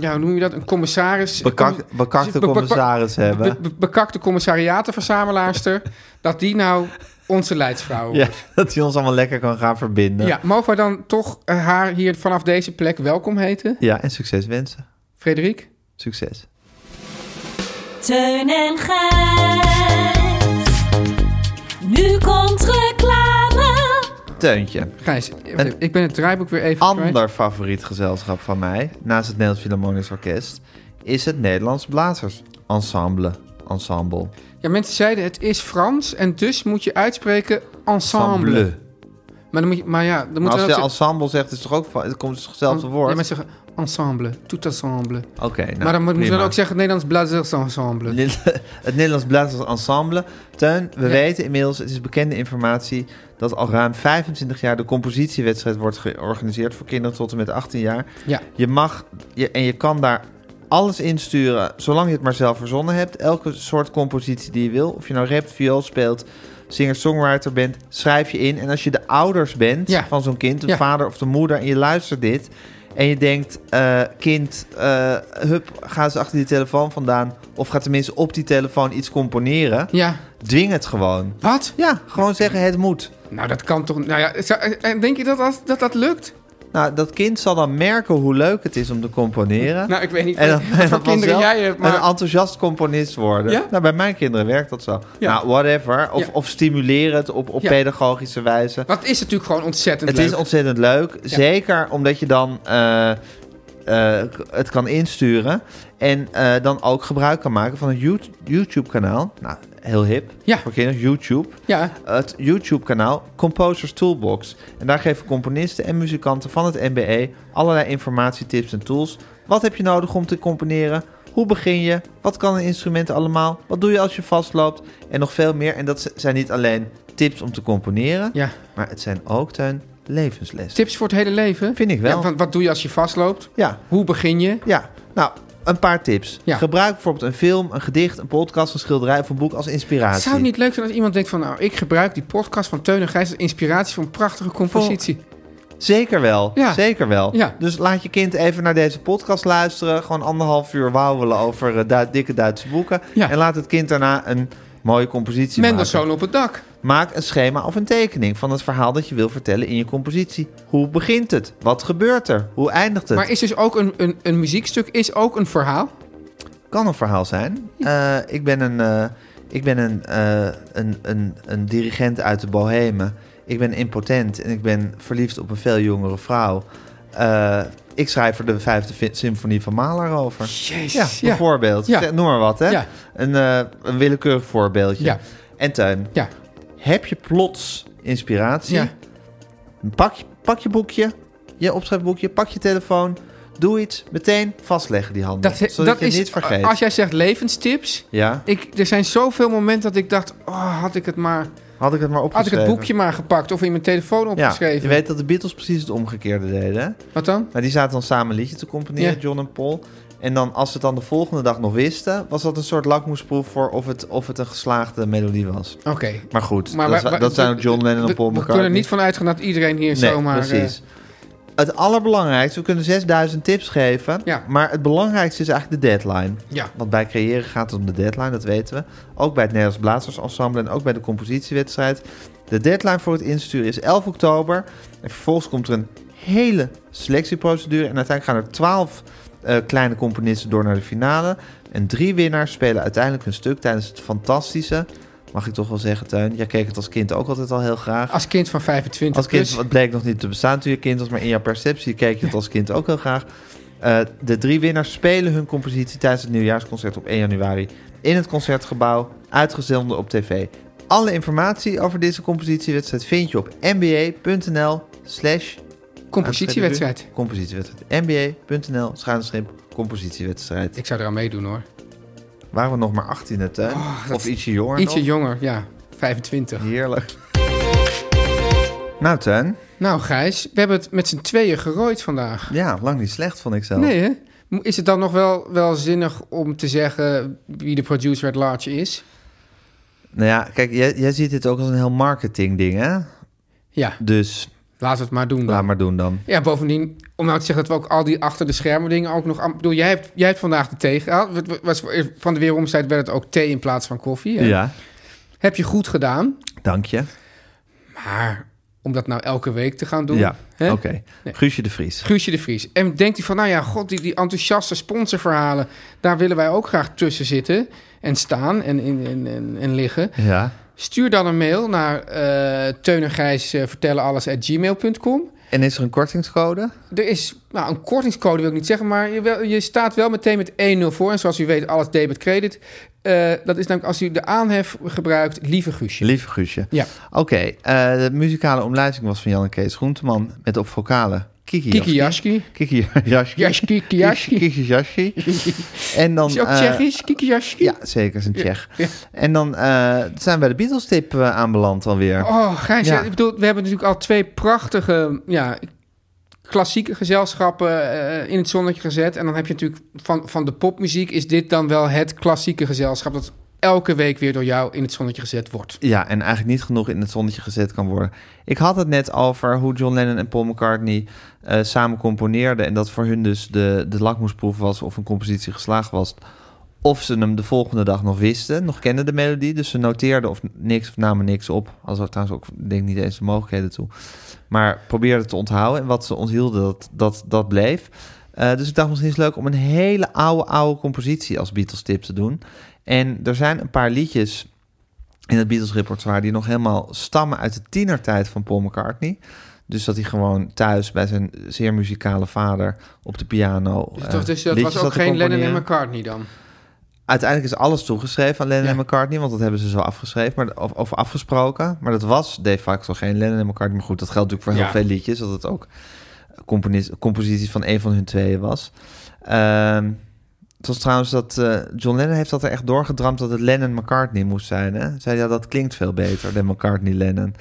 [SPEAKER 2] ja, hoe noem je dat, een commissaris...
[SPEAKER 1] Bekak, bekakte
[SPEAKER 2] be- be- be-
[SPEAKER 1] commissaris
[SPEAKER 2] be-
[SPEAKER 1] hebben.
[SPEAKER 2] be- bekakte commissariatenverzamelaarster, dat die nou onze leidsvrouw wordt.
[SPEAKER 1] Ja, dat hij ons allemaal lekker kan gaan verbinden.
[SPEAKER 2] Ja, mogen we dan toch eh, haar hier vanaf deze plek welkom heten?
[SPEAKER 1] ja en succes wensen.
[SPEAKER 2] Frederik?
[SPEAKER 1] Succes.
[SPEAKER 4] Teun en Gijs. Nu komt reclame.
[SPEAKER 1] Teuntje.
[SPEAKER 2] Gijs, eh, ik ben het draaiboek weer even kwijt.
[SPEAKER 1] ander favoriet gezelschap van mij, naast het Nederlands Philharmonisch Orkest, is het Nederlands Blazers Ensemble. Ensemble.
[SPEAKER 2] Ja, mensen zeiden het is Frans en dus moet je uitspreken ensemble. Maar, dan moet je, maar ja, dan
[SPEAKER 1] Maar
[SPEAKER 2] moet
[SPEAKER 1] als
[SPEAKER 2] je
[SPEAKER 1] je
[SPEAKER 2] wel
[SPEAKER 1] ensemble zegt, is het toch ook van, het komt het
[SPEAKER 2] zeggen-
[SPEAKER 1] hetzelfde woord.
[SPEAKER 2] Ja, mensen zeggen ensemble, tout ensemble.
[SPEAKER 1] Oké, nou,
[SPEAKER 2] maar dan moet je
[SPEAKER 1] prima.
[SPEAKER 2] dan ook zeggen het Nederlands Blazers ensemble.
[SPEAKER 1] Het Nederlands Blazers Ensemble. Teun, we
[SPEAKER 2] Ja.
[SPEAKER 1] weten inmiddels, het is bekende informatie, dat al ruim 25 jaar de compositiewedstrijd wordt georganiseerd voor kinderen tot en met 18 jaar.
[SPEAKER 2] Ja.
[SPEAKER 1] Je mag je, en je kan daar alles insturen, zolang je het maar zelf verzonnen hebt. Elke soort compositie die je wil. Of je nou rapt, viool speelt, singer-songwriter bent, schrijf je in. En als je de ouders bent
[SPEAKER 2] Ja.
[SPEAKER 1] van zo'n kind, de
[SPEAKER 2] Ja.
[SPEAKER 1] vader of de moeder, en je luistert dit. En je denkt, eh, kind, eh, hup, ga eens achter die telefoon vandaan. Of ga tenminste op die telefoon iets componeren.
[SPEAKER 2] Ja,
[SPEAKER 1] Dwing het gewoon.
[SPEAKER 2] wat?
[SPEAKER 1] Ja, gewoon zeggen het moet.
[SPEAKER 2] Nou, dat kan toch... Nou ja, het zou- en denk je dat dat, dat, dat lukt?
[SPEAKER 1] Nou, dat kind zal dan merken hoe leuk het is om te componeren.
[SPEAKER 2] Nou, ik weet niet
[SPEAKER 1] En dan
[SPEAKER 2] wat
[SPEAKER 1] ben je
[SPEAKER 2] voor kinderen
[SPEAKER 1] vanzelf
[SPEAKER 2] jij hebt, maar...
[SPEAKER 1] een enthousiast componist worden.
[SPEAKER 2] Ja?
[SPEAKER 1] Nou, bij mijn kinderen werkt dat zo.
[SPEAKER 2] Ja.
[SPEAKER 1] Nou, whatever. Of,
[SPEAKER 2] Ja.
[SPEAKER 1] of stimuleer het op, op
[SPEAKER 2] Ja.
[SPEAKER 1] pedagogische wijze.
[SPEAKER 2] Dat is natuurlijk gewoon ontzettend
[SPEAKER 1] Het
[SPEAKER 2] leuk.
[SPEAKER 1] is ontzettend leuk. Zeker omdat je dan eh, eh, k- het kan insturen. En eh, dan ook gebruik kan maken van het You- YouTube-kanaal. Nou, heel hip
[SPEAKER 2] Ja.
[SPEAKER 1] voor kinderen. YouTube.
[SPEAKER 2] Ja,
[SPEAKER 1] Het YouTube-kanaal Composers Toolbox. En daar geven componisten en muzikanten van het MBE allerlei informatietips en tools. Wat heb je nodig om te componeren? Hoe begin je? Wat kan een instrument allemaal? Wat doe je als je vastloopt? En nog veel meer. En dat z- zijn niet alleen tips om te componeren,
[SPEAKER 2] ja.
[SPEAKER 1] maar het zijn ook ten levenslessen.
[SPEAKER 2] Tips voor het hele leven?
[SPEAKER 1] Vind ik wel.
[SPEAKER 2] Ja, want wat doe je als je vastloopt?
[SPEAKER 1] Ja,
[SPEAKER 2] Hoe begin je?
[SPEAKER 1] ja. Nou, een paar tips.
[SPEAKER 2] Ja.
[SPEAKER 1] Gebruik bijvoorbeeld een film, een gedicht, een podcast, een schilderij of een boek als inspiratie.
[SPEAKER 2] Zou het niet leuk zijn als iemand denkt van... nou, ik gebruik die podcast van Teun en Gijs als inspiratie voor een prachtige compositie.
[SPEAKER 1] Zeker wel,
[SPEAKER 2] Ja.
[SPEAKER 1] zeker wel.
[SPEAKER 2] Ja.
[SPEAKER 1] Dus laat je kind even naar deze podcast luisteren. Gewoon anderhalf uur wauwelen over eh, Du- dikke Duitse boeken.
[SPEAKER 2] Ja.
[SPEAKER 1] En laat het kind daarna een mooie compositie
[SPEAKER 2] Mendelssohn op het dak.
[SPEAKER 1] maken. Maak een schema of een tekening van het verhaal dat je wil vertellen in je compositie. Hoe begint het? Wat gebeurt er? Hoe eindigt het?
[SPEAKER 2] Maar is dus ook een, een, een muziekstuk is ook een verhaal.
[SPEAKER 1] kan een verhaal zijn. Eh, ik ben, een, eh, ik ben een, eh, een, een, een dirigent uit de Bohemen. Ik ben impotent en ik ben verliefd op een veel jongere vrouw. Eh, ik schrijf er de vijfde fi- symfonie van Mahler over.
[SPEAKER 2] Jezus.
[SPEAKER 1] Ja,
[SPEAKER 2] Ja.
[SPEAKER 1] bijvoorbeeld.
[SPEAKER 2] Ja.
[SPEAKER 1] Zeg, Noem maar wat, hè?
[SPEAKER 2] Ja.
[SPEAKER 1] Een, eh, een willekeurig voorbeeldje.
[SPEAKER 2] Ja.
[SPEAKER 1] En tuin.
[SPEAKER 2] Ja.
[SPEAKER 1] Heb je plots inspiratie?
[SPEAKER 2] Ja.
[SPEAKER 1] Pak, je- pak je boekje, je opschrijfboekje, pak je telefoon. Doe iets, meteen vastleggen die handen.
[SPEAKER 2] Dat,
[SPEAKER 1] zodat
[SPEAKER 2] dat
[SPEAKER 1] je
[SPEAKER 2] is,
[SPEAKER 1] het niet vergeet.
[SPEAKER 2] Als jij zegt levenstips.
[SPEAKER 1] Ja,
[SPEAKER 2] Ik, er zijn zoveel momenten dat ik dacht, oh, had ik het maar,
[SPEAKER 1] had ik het maar
[SPEAKER 2] had ik
[SPEAKER 1] opgeschreven.
[SPEAKER 2] het boekje maar gepakt of in mijn telefoon
[SPEAKER 1] ja,
[SPEAKER 2] opgeschreven.
[SPEAKER 1] Je weet dat de Beatles precies het omgekeerde deden. Hè?
[SPEAKER 2] Wat dan?
[SPEAKER 1] Maar die zaten dan samen een liedje te componeren,
[SPEAKER 2] Ja.
[SPEAKER 1] John en Paul. En dan, als ze het dan de volgende dag nog wisten, was dat een soort lakmoesproef voor of het, of het een geslaagde melodie was.
[SPEAKER 2] Oké.
[SPEAKER 1] Maar goed,
[SPEAKER 2] Maar
[SPEAKER 1] dat,
[SPEAKER 2] wij- wij-
[SPEAKER 1] dat zijn ook
[SPEAKER 2] we-
[SPEAKER 1] John Lennon
[SPEAKER 2] we-
[SPEAKER 1] en Paul
[SPEAKER 2] We
[SPEAKER 1] McCartney.
[SPEAKER 2] kunnen er niet van uitgaan dat iedereen hier
[SPEAKER 1] nee,
[SPEAKER 2] zomaar... eh,
[SPEAKER 1] precies. Het allerbelangrijkste, we kunnen 6000 tips geven,
[SPEAKER 2] Ja.
[SPEAKER 1] maar het belangrijkste is eigenlijk de deadline.
[SPEAKER 2] ja.
[SPEAKER 1] Want bij creëren gaat het om de deadline, dat weten we. Ook bij het Nederlands Blazersensemble en ook bij de compositiewedstrijd. De deadline voor het insturen is 11 oktober. En vervolgens komt er een hele selectieprocedure. En uiteindelijk gaan er 12 eh, kleine componisten door naar de finale. En drie winnaars spelen uiteindelijk hun stuk tijdens het fantastische. Mag ik toch wel zeggen, Tuin? Jij keek het als kind ook altijd al heel graag.
[SPEAKER 2] eh, Als kind van 25
[SPEAKER 1] Als kind,
[SPEAKER 2] plus.
[SPEAKER 1] het bleek nog niet te bestaan toen je kind was, maar in jouw perceptie keek je het als kind ook heel graag. Eh, de drie winnaars spelen hun compositie tijdens het nieuwjaarsconcert op 1 januari in het concertgebouw, uitgezonden op tv. Alle informatie over deze compositiewedstrijd vind je op nba.nl slash
[SPEAKER 2] Compositiewedstrijd.
[SPEAKER 1] compositiewedstrijd. nba.nl schuinschip compositiewedstrijd.
[SPEAKER 2] Ik zou eraan meedoen hoor.
[SPEAKER 1] Waren we nog maar 18 het, hè?
[SPEAKER 2] Oh, dat-
[SPEAKER 1] of ietsje jonger
[SPEAKER 2] Ietsje
[SPEAKER 1] nog?
[SPEAKER 2] jonger, ja. 25.
[SPEAKER 1] Heerlijk. Nou, Tuin.
[SPEAKER 2] Nou Gijs, we hebben het met z'n tweeën gerooid vandaag.
[SPEAKER 1] Ja, lang niet slecht, vond ik zelf.
[SPEAKER 2] Nee hè? Mo- Is het dan nog wel, wel zinnig om te zeggen wie de producer at large is?
[SPEAKER 1] Nou ja, kijk, jij, jij ziet dit ook als een heel marketingding, hè?
[SPEAKER 2] Ja,
[SPEAKER 1] Dus
[SPEAKER 2] laten we het maar doen dan.
[SPEAKER 1] laat maar doen dan.
[SPEAKER 2] Ja, bovendien, om nou te zeggen dat we ook al die achter de schermen dingen ook nog... aan- Ik bedoel, jij hebt, jij hebt vandaag de thee gehaald. Het wa- was, eh, van de weeromstijd werd het ook thee in plaats van koffie. hè? Heb je goed gedaan,
[SPEAKER 1] dank je.
[SPEAKER 2] maar om dat nou elke week te gaan doen...
[SPEAKER 1] Ja,
[SPEAKER 2] hè?
[SPEAKER 1] oké. Guusje de Vries.
[SPEAKER 2] Guusje de Vries. En denkt hij van, nou ja, god, die, die enthousiaste sponsorverhalen... daar willen wij ook graag tussen zitten en staan en, en, en, en, en liggen.
[SPEAKER 1] Ja.
[SPEAKER 2] Stuur dan een mail naar eh Teun en Gijs eh, vertellen alles at gmail.com.
[SPEAKER 1] En is er een kortingscode?
[SPEAKER 2] Er is nou, een kortingscode, wil ik niet zeggen, maar je, wel- je staat wel meteen met 1-0 voor. En zoals u weet, alles debit credit. Eh, dat is namelijk als u de aanhef gebruikt, lieve Guusje.
[SPEAKER 1] Lieve Guusje.
[SPEAKER 2] Ja.
[SPEAKER 1] Oké, eh, de muzikale omlijsting was van Jan en Kees Groenteman... met op vocalen Kiki
[SPEAKER 2] Kiki
[SPEAKER 1] Jaski.
[SPEAKER 2] Jaski.
[SPEAKER 1] Kiki Jaski.
[SPEAKER 2] Jaski, Kiki Jaski.
[SPEAKER 1] Kiki Jaski. En dan...
[SPEAKER 2] Is hij ook
[SPEAKER 1] eh,
[SPEAKER 2] Tsjechisch? Kiki Jaski?
[SPEAKER 1] Ja, zeker, is een Tsjech.
[SPEAKER 2] ja.
[SPEAKER 1] En dan eh, zijn we bij de Beatles-tip eh, aanbeland alweer.
[SPEAKER 2] Oh, Gijs,
[SPEAKER 1] Ja.
[SPEAKER 2] ja, ik bedoel, we hebben natuurlijk al twee prachtige ja, klassieke gezelschappen eh, in het zonnetje gezet. En dan heb je natuurlijk van, van de popmuziek is dit dan wel het klassieke gezelschap dat elke week weer door jou in het zonnetje gezet wordt.
[SPEAKER 1] Ja, en eigenlijk niet genoeg in het zonnetje gezet kan worden. Ik had het net over hoe John Lennon en Paul McCartney eh, samen componeerden. En dat voor hun dus de, de lakmoesproef was of een compositie geslaagd was. Of ze hem de volgende dag nog wisten, nog kenden de melodie. Dus ze noteerden of niks of namen niks op. Als er trouwens ook, denk ik, niet eens de mogelijkheden toe. Maar probeerden te onthouden. En wat ze onthielden, dat, dat, dat bleef. Eh, dus ik dacht misschien is het leuk om een hele oude, oude compositie als Beatles tip te doen. En er zijn een paar liedjes in het Beatles repertoire die nog helemaal stammen uit de tienertijd van Paul McCartney. Dus dat hij gewoon thuis bij zijn zeer muzikale vader op de piano.
[SPEAKER 2] Dus,
[SPEAKER 1] eh,
[SPEAKER 2] dat- dus dat
[SPEAKER 1] liedjes
[SPEAKER 2] was
[SPEAKER 1] zat
[SPEAKER 2] ook
[SPEAKER 1] te
[SPEAKER 2] geen Lennon en
[SPEAKER 1] componeren.
[SPEAKER 2] McCartney dan.
[SPEAKER 1] Uiteindelijk is alles toegeschreven aan Lennon
[SPEAKER 2] Ja.
[SPEAKER 1] en McCartney, want dat hebben ze zo afgeschreven maar, of, of afgesproken. Maar dat was de facto geen Lennon en McCartney. Maar goed, dat geldt natuurlijk voor heel
[SPEAKER 2] Ja.
[SPEAKER 1] veel liedjes, dat het ook componist, compositie van een van hun tweeën was. Ehm het was trouwens dat eh, John Lennon heeft dat er echt doorgedramd dat het Lennon-McCartney moest zijn. Hè? Zei hij, ja, dat klinkt veel beter dan McCartney-Lennon.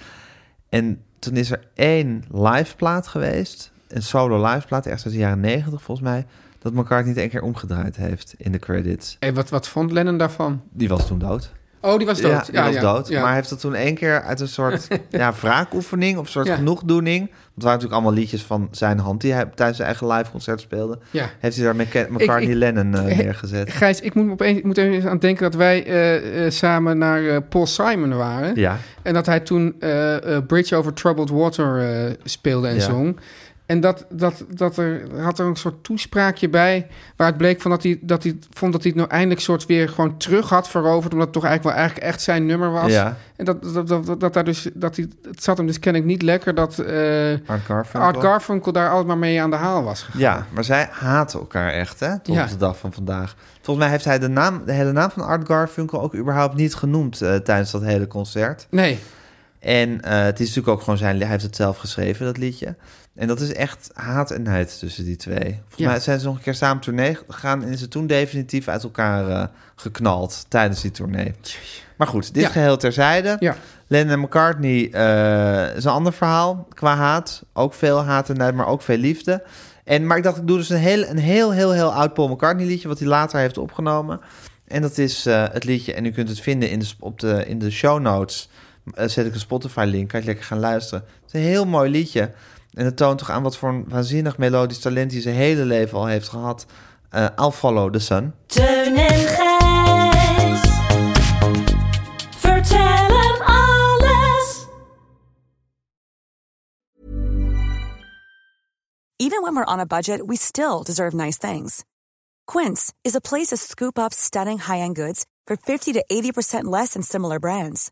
[SPEAKER 1] En toen is er één live plaat geweest, een solo live plaat, echt uit de jaren negentig volgens mij, dat McCartney het één keer omgedraaid heeft in de credits.
[SPEAKER 2] En wat, wat Eh, vond Lennon daarvan?
[SPEAKER 1] Die was toen dood.
[SPEAKER 2] Oh, die was dood.
[SPEAKER 1] Ja, die was dood.
[SPEAKER 2] ja.
[SPEAKER 1] Maar hij heeft dat toen één keer uit een soort ja, wraakoefening of een soort
[SPEAKER 2] Ja.
[SPEAKER 1] genoegdoening. Want het waren natuurlijk allemaal liedjes van zijn hand die hij tijdens zijn eigen live concert speelde.
[SPEAKER 2] Ja.
[SPEAKER 1] Heeft hij daar Mc- McCartney
[SPEAKER 2] ik-
[SPEAKER 1] Lennon eh,
[SPEAKER 2] Eh,
[SPEAKER 1] neergezet.
[SPEAKER 2] Gijs, ik moet, opeens, ik moet even aan denken dat wij eh, eh, samen naar eh, Paul Simon waren.
[SPEAKER 1] Ja.
[SPEAKER 2] En dat hij toen eh, eh, Bridge Over Troubled Water eh, speelde en
[SPEAKER 1] Ja.
[SPEAKER 2] zong. En dat, dat, dat er had er een soort toespraakje bij. Waar het bleek van dat hij, dat hij vond dat hij het nou eindelijk soort weer gewoon terug had veroverd. Omdat het toch eigenlijk wel eigenlijk echt zijn nummer was.
[SPEAKER 1] Ja,
[SPEAKER 2] En dat, dat, dat, dat, dat daar dus, dat hij, het zat hem dus kennelijk niet lekker dat eh,
[SPEAKER 1] Art Garfunkel.
[SPEAKER 2] Art Garfunkel daar altijd maar mee aan de haal was gegaan.
[SPEAKER 1] Ja, maar zij haten elkaar echt, hè? Tot
[SPEAKER 2] Ja.
[SPEAKER 1] op de dag van vandaag. Volgens mij heeft hij de, naam, de hele naam van Art Garfunkel ook überhaupt niet genoemd eh, tijdens dat hele concert.
[SPEAKER 2] Nee,
[SPEAKER 1] En eh, het is natuurlijk ook gewoon zijn... Hij heeft het zelf geschreven, dat liedje. En dat is echt haat en nijd tussen die twee. Volgens
[SPEAKER 2] Ja.
[SPEAKER 1] mij zijn ze nog een keer samen tournee gegaan... en is ze toen definitief uit elkaar eh, geknald tijdens die tournee. Maar goed, dit
[SPEAKER 2] Ja.
[SPEAKER 1] geheel terzijde.
[SPEAKER 2] Ja.
[SPEAKER 1] Lennon en McCartney eh, is een ander verhaal qua haat. Ook veel haat en nijd, maar ook veel liefde. En, maar ik dacht, ik doe dus een heel, een heel, heel, heel oud Paul McCartney liedje... wat hij later heeft opgenomen. En dat is eh, het liedje, en u kunt het vinden in de, sp- op de, in de show notes... eh, zet ik een Spotify-link, kan je lekker gaan luisteren. Het is een heel mooi liedje. En het toont toch aan wat voor een waanzinnig melodisch talent... hij zijn hele leven al heeft gehad. Eh I'll Follow the Sun.
[SPEAKER 4] Teun en Gijs. Vertel hem alles.
[SPEAKER 6] Even when we're on a budget, we still deserve nice things. Quince is a place to scoop up stunning high end goods for 50 to 80% less than similar brands.